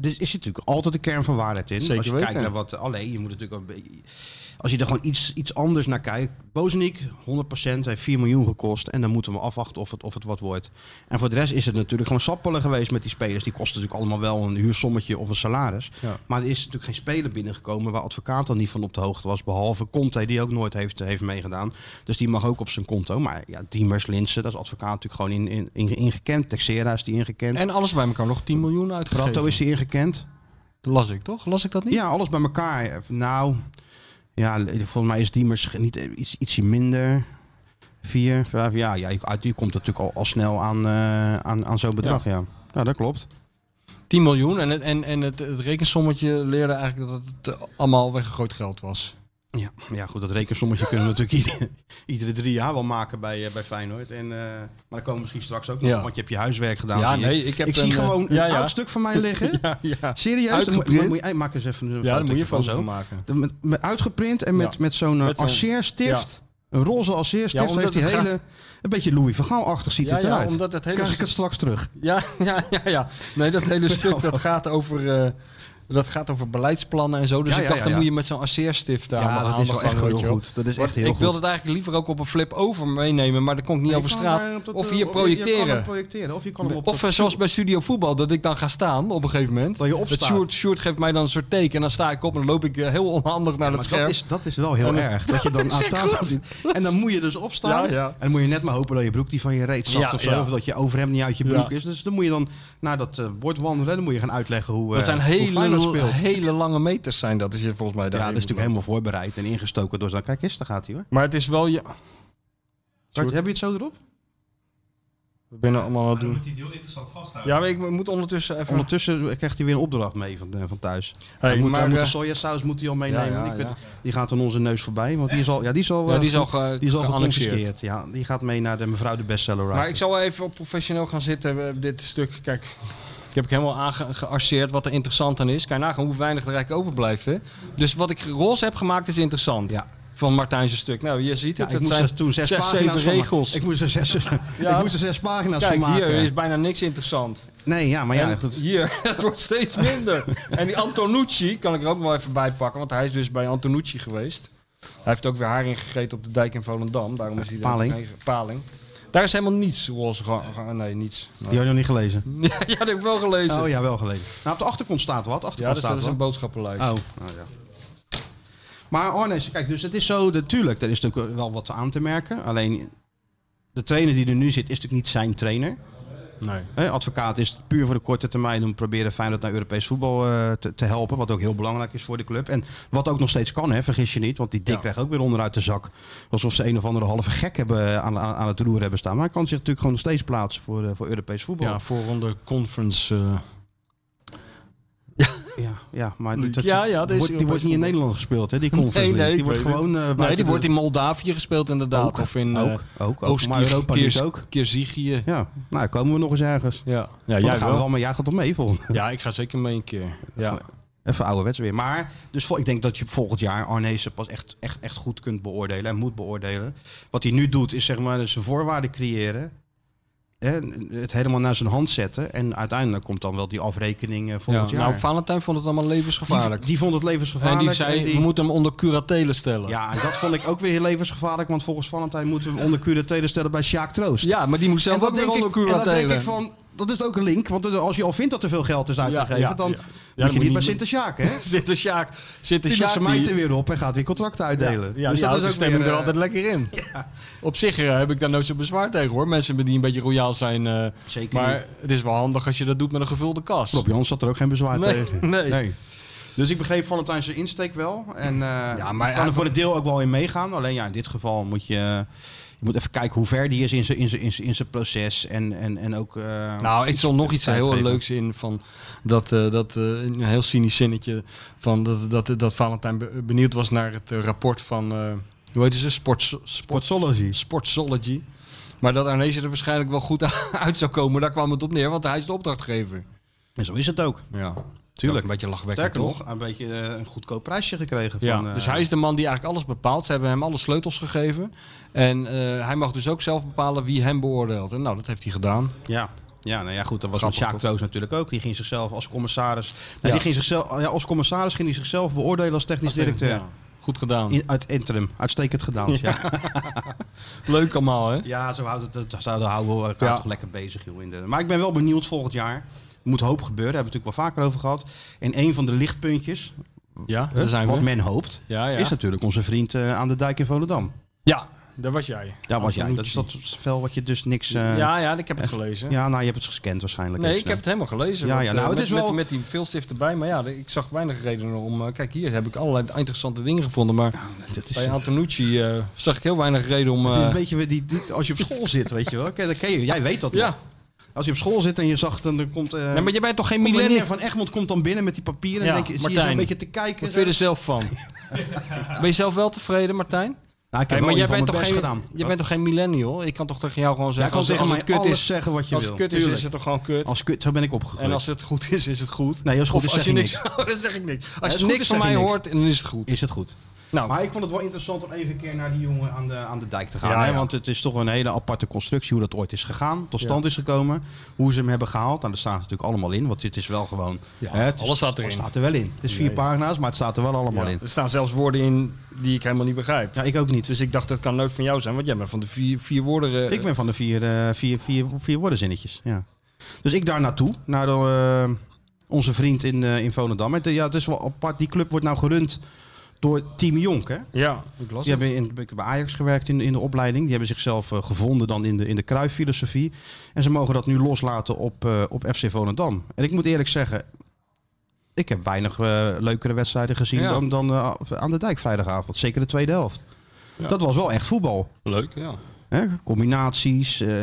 S4: er is natuurlijk altijd een kern van waarheid in.
S5: Zeker
S4: als je
S5: weten.
S4: kijkt naar wat... Alleen, je moet natuurlijk ook een beetje... Als je er gewoon iets, iets anders naar kijkt. Bozenik, 100%, heeft 4 miljoen gekost. En dan moeten we afwachten of het, of het wat wordt. En voor de rest is het natuurlijk gewoon sappelen geweest met die spelers. Die kosten natuurlijk allemaal wel een huursommetje of een salaris.
S5: Ja.
S4: Maar er is natuurlijk geen speler binnengekomen waar advocaat dan niet van op de hoogte was. Behalve Conte, die ook nooit heeft, heeft meegedaan. Dus die mag ook op zijn konto. Maar ja, Diemers, Linsen, dat is advocaat natuurlijk gewoon in, in, in, ingekend. Texera is die ingekend.
S5: en alles bij elkaar nog 10 miljoen uitgegeven.
S4: Pratto is die ingekend.
S5: Las ik toch? Las ik dat niet?
S4: Ja, alles bij elkaar. Nou, ja, volgens mij is Diemers ge- niet, eh, iets, ietsje minder. Vier, vijf, ja, ja je, uit, je komt natuurlijk al, al snel aan, eh, aan, aan zo'n bedrag, ja. ja. dat klopt.
S5: 10 miljoen en het, en, en het, het rekensommetje leerde eigenlijk dat het eh, allemaal weggegooid geld was.
S4: Ja, ja goed, dat rekensommetje kunnen we natuurlijk ieder- iedere drie jaar wel maken bij, eh, bij Feyenoord. En, eh, maar daar komen we misschien straks ook nog
S5: Ja.
S4: op, want je hebt je huiswerk gedaan.
S5: Ja,
S4: zie je.
S5: nee, ik heb
S4: zie
S5: een, eh,
S4: gewoon
S5: ja,
S4: een
S5: ja.
S4: oud stuk van mij liggen.
S5: Ja, ja.
S4: Serieus? Dan moet-
S5: Uitgeprint.
S4: moet je- maak eens even een
S5: ja daar moet
S4: fotootje
S5: je
S4: van
S5: van zo
S4: zo.
S5: maken.
S4: De- Met, met uitgeprint en met,
S5: Ja.
S4: met zo'n
S5: Met
S4: eh,
S5: zo'n-
S4: arceerstift. Een roze
S5: Ja,
S4: arceerstift
S5: omdat
S4: heeft die
S5: het
S4: hele...
S5: gaat-
S4: Een beetje Louis van Gaal-achtig ziet
S5: Ja,
S4: het
S5: ja,
S4: eruit.
S5: omdat het hele
S4: Krijg ik
S5: stuk-
S4: het straks terug.
S5: Ja, ja, ja, ja. Nee, dat hele stuk dat gaat over. eh, dat gaat over beleidsplannen en zo. Dus
S4: Ja,
S5: ik
S4: ja,
S5: dacht,
S4: ja,
S5: dan
S4: ja.
S5: moet je met zo'n arceerstift aan.
S4: Ja, dat is wel echt heel goed. Dat is echt heel
S5: ik
S4: goed.
S5: wilde het eigenlijk liever ook op een flip over meenemen, maar dat kon ik niet over straat. Of hier
S4: Je kan
S5: projecteren.
S4: hem projecteren. Of je kan hem op...
S5: Of eh, zoals bij Studio Voetbal, dat ik dan ga staan op een gegeven moment.
S4: Dat je opstaat.
S5: Het Sjoerd, Sjoerd geeft mij dan een soort teken en dan sta ik op en dan loop ik eh, heel onhandig naar
S4: Maar
S5: het scherm.
S4: dat, is, dat is wel heel
S5: En dan-
S4: erg. Dat je dan aan tafel zit. En dan moet je dus opstaan.
S5: Ja, ja.
S4: En dan moet je net maar hopen dat je broek die van je reet zakt
S5: Ja,
S4: of zo.
S5: ja.
S4: Of dat je overhemd niet uit je
S5: Ja.
S4: broek is. Dus dan moet je dan naar dat eh, bord wandelen. En dan moet je gaan uitleggen hoe, eh
S5: dat zijn
S4: hoe Feyenoord
S5: hele,
S4: speelt.
S5: hele lange meters zijn dat, is je volgens mij daar.
S4: Ja, dat is natuurlijk helemaal voorbereid en ingestoken door zo'n... Kijk eens, daar gaat hij hoor.
S5: Maar het is wel... Ja,
S4: Bart, heb je het zo erop?
S5: we zijn allemaal aan het
S6: Dan
S5: doen.
S6: moet hij het heel interessant vasthouden.
S5: Ja, maar ik moet ondertussen even...
S4: Ondertussen krijgt hij weer een opdracht mee van, eh, van thuis.
S5: Hey,
S4: hij moet,
S5: maar,
S4: hij moet
S5: eh,
S4: de sojasaus moet hij al meenemen.
S5: ja,
S4: die, kun-
S5: ja.
S4: die gaat aan onze neus voorbij. Want die is al, ja, die is al,
S5: Ja,
S4: eh,
S5: die is al, ge-
S4: die is al
S5: geannexeerd.
S4: geconfiskeerd. Ja, die gaat mee naar de mevrouw de bestseller
S5: Maar ik
S4: writer.
S5: zal wel even op professioneel gaan zitten. We hebben Dit stuk, kijk, ik heb ik helemaal aange- gearseerd wat er interessant aan is. Kijk nagaan hoe weinig er eigenlijk overblijft. Hè? Dus wat ik roze heb gemaakt is interessant.
S4: Ja.
S5: Van Martijn's stuk. Nou, je ziet
S4: Ja,
S5: het.
S4: ik
S5: het
S4: moest
S5: zijn
S4: er toen zes,
S5: zes,
S4: pagina's
S5: zeven
S4: van ma-
S5: regels.
S4: Ik moest er zes,
S5: Ja.
S4: ik moest er zes pagina's
S5: Kijk,
S4: van maken.
S5: hier is bijna niks interessant.
S4: Nee, ja, maar ja,
S5: En
S4: goed.
S5: Hier, het wordt steeds minder. en die Antonucci kan ik er ook wel even bij pakken, want hij is dus bij Antonucci geweest. Hij heeft ook weer haring gegeten op de dijk in Volendam. Daarom is hij daar
S4: Paling.
S5: ook heen ge- Paling. Daar is helemaal niets roze. ge- ge- Nee, niets.
S4: Die had Oh, je nog niet gelezen.
S5: Ja, dat heb ik wel gelezen.
S4: Oh ja, wel gelezen. Nou, op de achterkant staat wat.
S5: Ja,
S4: Achterkant
S5: dus dat
S4: staat
S5: is
S4: wat.
S5: een boodschappenlijst.
S4: Oh, nou ja. Maar Arnes, kijk, dus het is zo natuurlijk, er is natuurlijk wel wat aan te merken. Alleen de trainer die er nu zit, is natuurlijk niet zijn trainer.
S5: Nee.
S4: Hè, advocaat is puur voor de korte termijn om proberen Feyenoord naar Europees voetbal eh, te, te helpen. Wat ook heel belangrijk is voor de club. En wat ook nog steeds kan, hè, vergis je niet. Want die dik
S5: Ja.
S4: krijgt ook weer onderuit de zak. Alsof ze een of andere halve gek hebben eh, aan, aan, aan het roer hebben staan. Maar hij kan zich natuurlijk gewoon nog steeds plaatsen voor, eh, voor Europees voetbal.
S5: Ja,
S4: Ja,
S5: voorronde conference. eh.
S4: ja, maar die, dat-
S5: Ja, ja, dat is
S4: wordt, die wordt
S5: Europees
S4: niet in
S5: voetbal.
S4: Nederland gespeeld, hè, die conference. League.
S5: nee,
S4: die
S5: ik
S4: wordt
S5: weet
S4: gewoon eh,
S5: nee,
S4: buiten
S5: die
S4: de-
S5: wordt in Moldavië gespeeld inderdaad.
S4: Ook,
S5: of in eh,
S4: ook, ook, ook. Maar Europa League
S5: Oost-Kirgië.
S4: ook.
S5: Kirgië.
S4: Ja, nou daar komen we nog eens ergens.
S5: Ja, ja
S4: Ja,
S5: jij
S4: gaan we
S5: wel.
S4: allemaal, jij gaat op mee volgende.
S5: Ja, ik ga zeker mee een keer. Ja.
S4: Even ouderwets weer. Maar dus vol- ik denk dat je volgend jaar Arnezen pas echt, echt, echt goed kunt beoordelen en moet beoordelen. Wat hij nu doet is zeg maar zijn voorwaarden creëren. En het helemaal naar zijn hand zetten. En uiteindelijk komt dan wel die afrekening eh, volgend
S5: Ja,
S4: jaar.
S5: Nou, Valentijn vond het allemaal
S4: die,
S5: levensgevaarlijk.
S4: die vond het levensgevaarlijk.
S5: en die zei,
S4: en die-
S5: we moeten hem onder curatele stellen.
S4: Ja, en dat vond ik ook weer heel levensgevaarlijk. Want volgens Valentijn moeten we hem onder curatele stellen bij Sjaak Troost.
S5: Ja, maar die moest zelf
S4: dat
S5: ook weer
S4: denk
S5: onder
S4: ik- en dat
S5: curatele.
S4: denk ik van, dat is ook een link. Want als je al vindt dat er veel geld is uitgegeven,
S5: ja,
S4: dan
S5: ja. Ja, dan
S4: moet
S5: moet
S4: je niet
S5: je
S4: bij
S5: niet-
S4: Sinter Sjaak, hè?
S5: Zit de Sjaak... Zit de
S4: Die
S5: Sjaak
S4: lost
S5: die-
S4: mij er weer op en gaat weer contracten uitdelen.
S5: Ja,
S4: dus
S5: die
S4: dat is
S5: houdt
S4: ook
S5: de stemming
S4: weer,
S5: er
S4: eh,
S5: altijd lekker in. Op zich eh, heb ik daar nooit zo bezwaar tegen hoor. Mensen die een beetje royaal zijn. eh,
S4: Zeker
S5: Maar
S4: niet.
S5: het is wel handig als je dat doet met een gevulde kas.
S4: Rob Jans had er ook geen bezwaar
S5: Nee,
S4: tegen.
S5: nee.
S4: Dus ik begreep Valentijn zijn insteek wel. En ja,
S5: maar
S4: maar kan
S5: hij-
S4: er voor een deel ook wel in meegaan. Alleen ja, in dit geval moet je, je moet even kijken hoe ver die is in zijn, in zijn, in zijn, in zijn proces. En, en, en ook... eh,
S5: Nou, ik zal nog iets
S4: tijd
S5: heel
S4: geven.
S5: leuks in van dat, eh, dat eh, een heel cynisch zinnetje van dat, dat, dat Valentijn be- benieuwd was naar het eh, rapport van eh, hoe heet ze? Sports, sports,
S4: Portsology.
S5: sportsology. Maar dat Arnezen er waarschijnlijk wel goed uit zou komen, daar kwam het op neer, want hij is de opdrachtgever.
S4: En zo is het ook.
S5: Ja,
S4: Tuurlijk.
S5: Ook Een beetje lachwekkend,
S4: Sterker
S5: toch?
S4: nog, een beetje eh, een goedkoop prijsje gekregen.
S5: Ja,
S4: van, eh,
S5: dus hij is de man die eigenlijk alles bepaalt. Ze hebben hem alle sleutels gegeven. En eh, hij mag dus ook zelf bepalen wie hem beoordeelt. En nou, dat heeft hij gedaan.
S4: Ja. Ja, nou ja, goed, dat was
S5: Grappig,
S4: met
S5: toch?
S4: Sjaak Troost natuurlijk ook. Die ging zichzelf als commissaris... Nee,
S5: Ja.
S4: die ging zichzelf, ja, als commissaris ging hij zichzelf beoordelen als technisch directeur.
S5: Ja, Goed gedaan.
S4: In, uit interim. Uitstekend gedaan. Ja,
S5: Leuk allemaal, hè?
S4: ja zo houdt het, dat zouden houden we elkaar
S5: Ja.
S4: toch lekker bezig. Joh, in de, maar ik ben wel benieuwd volgend jaar. Er moet hoop gebeuren, daar hebben we het natuurlijk wel vaker over gehad. En een van de lichtpuntjes,
S5: Ja,
S4: hè,
S5: daar zijn
S4: wat
S5: we.
S4: men hoopt,
S5: Ja, ja.
S4: is natuurlijk onze vriend eh, aan de dijk in Volendam.
S7: Ja, daar was jij.
S4: Daar was jij. Dat is dat
S7: Antonucci.
S4: spel wat je dus niks... eh, ja.
S7: ja, ja, ik heb het gelezen.
S4: nou, je hebt het gescand waarschijnlijk.
S5: Nee,
S4: even
S5: ik heb
S4: snel.
S5: het helemaal gelezen.
S4: Ja,
S5: want,
S4: ja,
S5: eh,
S4: nou, het
S5: met,
S4: is wel-
S5: met, met die veelstift erbij. Maar ja, ik zag weinig redenen om... eh, kijk, hier heb ik allerlei interessante dingen gevonden. Maar
S4: eh, Dat is,
S5: bij Antonucci eh, zag ik heel weinig reden om...
S4: het is
S5: eh,
S4: een beetje weer die, die- als je op school zit, weet je wel. Ken, dat ken je, jij weet dat
S5: ja,
S4: nog. Als je op school zit en je zag, dan er komt... eh
S5: nee, maar jij bent toch geen
S4: komt
S5: millennium?
S4: meneer van Egmond komt dan binnen met die papieren.
S7: Ja,
S4: en denk je, zie je
S7: Martijn.
S4: zo'n beetje te kijken.
S5: Wat vind je er zelf van? ben je zelf wel tevreden, Martijn?
S4: Nou, ik heb
S5: Hey, maar
S4: wel
S5: jij
S4: in ieder
S5: bent,
S4: geval
S5: toch
S4: mijn
S5: geen,
S4: best gedaan.
S5: jij bent toch geen millennial? Ik kan toch tegen jou gewoon
S4: Jij
S5: zeggen...
S4: kan
S5: als,
S4: tegen
S5: als
S4: mij
S5: het kut
S4: alles
S5: is,
S4: zeggen wat je
S5: als
S4: wil.
S5: het kut is,
S4: Tuurlijk.
S5: is het toch gewoon kut?
S4: Als het kut, zo ben ik opgegroeid.
S5: en als het goed is, is het goed.
S4: Nee, als het
S5: Of
S4: goed
S5: als
S4: is, zeg
S5: je
S4: je
S5: niks...
S4: niks.
S5: dan zeg ik niks.
S4: Als
S5: Als
S4: het
S5: je
S4: goed
S5: niks
S4: is,
S5: van
S4: zeg
S5: mij
S4: je niks.
S5: hoort, dan is het goed.
S4: Is het goed.
S5: Nou,
S4: Maar ik vond het wel interessant om even een keer naar die jongen aan de, aan de dijk te gaan.
S5: Ja,
S4: hè?
S5: ja.
S4: Want het is toch een hele aparte constructie hoe dat ooit is gegaan. Tot stand is gekomen. Hoe ze hem hebben gehaald. Nou, dat staat natuurlijk allemaal in. Want dit is wel gewoon...
S5: Ja,
S4: hè, het is-
S5: alles staat erin.
S4: staat er wel in. Het is vier pagina's, maar het staat er wel allemaal
S7: Ja,
S4: in.
S7: Er staan zelfs woorden in die ik helemaal niet begrijp.
S4: Ja, ik ook niet.
S7: Dus ik dacht, dat kan nooit van jou zijn, want jij bent van de vier, vier woorden. eh,
S4: Ik ben van de vier, eh vier, vier, vier woordenzinnetjes. Ja. Dus ik daar naartoe, naar de, eh, onze vriend in, eh in Volendam. Het, eh, ja, het is wel apart. Die club wordt nou gerund door Team Jonk. Hè?
S7: Ja, ik las
S4: Die hebben in, bij Ajax gewerkt in, in de opleiding. Die hebben zichzelf eh, gevonden dan in de, in de kruiffilosofie. En ze mogen dat nu loslaten op, eh, op FC Volendam. En ik moet eerlijk zeggen, ik heb weinig eh, leukere wedstrijden gezien
S5: Ja.
S4: dan, dan eh, aan de dijk vrijdagavond. Zeker de tweede helft.
S5: Ja.
S4: Dat was wel echt voetbal.
S5: leuk, ja.
S4: Hè? Combinaties, eh,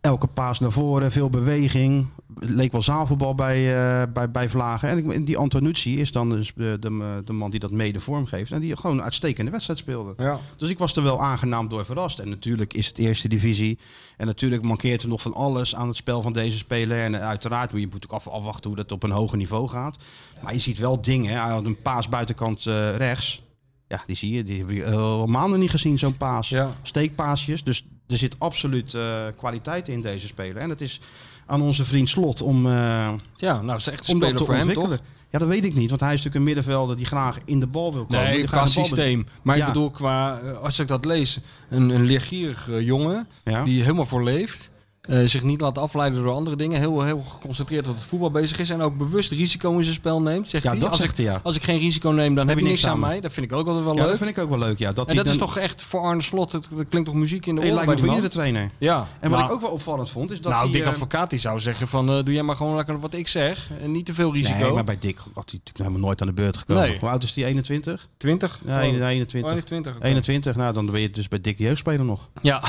S4: elke paas naar voren, veel beweging. Het leek wel zaalvoetbal bij, eh, bij, bij Vlagen. En ik- en die Antonucci is dan dus de, de, de man die dat mede vormgeeft. En die gewoon een uitstekende wedstrijd speelde.
S5: ja.
S4: Dus ik was er wel aangenaam door verrast. En natuurlijk is het eerste divisie. En natuurlijk mankeert er nog van alles aan het spel van deze speler. En eh, uiteraard moet je moet ook af, afwachten hoe dat op een hoger niveau gaat. Maar je ziet wel dingen. hè. Hij had een paas buitenkant eh, rechts. Ja, die zie je. Die heb je eh, al maanden niet gezien, zo'n paas.
S5: Ja.
S4: Steekpaasjes. Dus er zit absoluut eh, kwaliteit in deze speler. En het is aan onze vriend Slot om, eh
S5: Ja, nou, is echt
S4: om dat
S5: spelen
S4: te
S5: voor hem, toch?
S4: ontwikkelen. ja, dat weet ik niet. Want hij is natuurlijk een middenvelder die graag in de bal wil komen.
S5: Nee,
S4: Die
S5: qua
S4: graag de bal
S5: systeem. Maar
S4: Ja.
S5: ik bedoel, qua, eh, als ik dat lees, een, een leergierig eh, jongen
S4: Ja.
S5: die helemaal voor leeft. eh, zich niet laat afleiden door andere dingen. Heel, heel geconcentreerd op het voetbal bezig is. En ook bewust risico in zijn spel neemt. Zegt
S4: Ja,
S5: hij.
S4: dat
S5: als
S4: zegt
S5: ik,
S4: hij, ja.
S5: Als ik geen risico neem, dan heb je niks, aan mij. Dat vind ik ook altijd wel
S4: bedenkt. Ja,
S5: leuk.
S4: dat vind ik ook wel leuk. Ja, dat
S5: en
S4: hij
S5: dat is
S4: dan-
S5: toch echt voor Arne Slot. Dat, dat klinkt toch muziek in de
S4: Hey,
S5: oren
S4: lijkt
S5: bij
S4: me
S5: die man?
S4: voor iedere trainer.
S5: Ja.
S4: En wat
S5: nou,
S4: ik ook wel opvallend vond, is dat
S5: nou,
S4: hij...
S5: Dick
S4: eh,
S5: Advocaat die zou zeggen van... eh, doe jij maar gewoon lekker wat ik zeg. En niet te veel risico.
S4: Nee, maar bij Dick had hij natuurlijk helemaal nooit aan de beurt gekomen.
S5: Nee.
S4: Hoe oud is die? 21?
S5: 20?
S4: Ja,
S5: Oh,
S4: 21.
S5: oh, 20. oké.
S4: 21, nou dan ben je dus bij Dick jeugdspeler nog.
S5: Ja.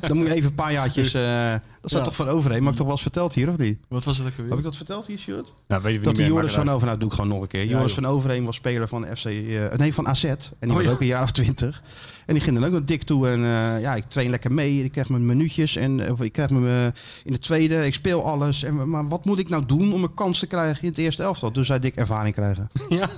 S4: Dan moet je even een paar jaartjes... eh, dat staat
S5: Ja.
S4: toch van overheen, maar ik toch wel eens verteld hier, of niet?
S5: Wat was het ook
S4: Heb
S5: weer?
S4: ik dat verteld hier, Sjoerd?
S7: Nou, weet je wie
S4: Dat
S7: niet
S4: die
S7: meer,
S4: Joris
S7: maar
S4: van Overeen, nou doe ik gewoon nog een keer. Joris van Overeen was speler van FC, eh, nee van AZ. En die was
S5: Oh, ja.
S4: ook een jaar of twintig. En die ging dan ook naar Dick toe. En eh, ja, ik train lekker mee. Ik krijg mijn minuutjes. En eh, of ik krijg mijn eh, in de tweede. Ik speel alles. En, maar wat moet ik nou doen om een kans te krijgen in het eerste elftal? Dus zei Dick ervaring krijgen.
S5: Ja.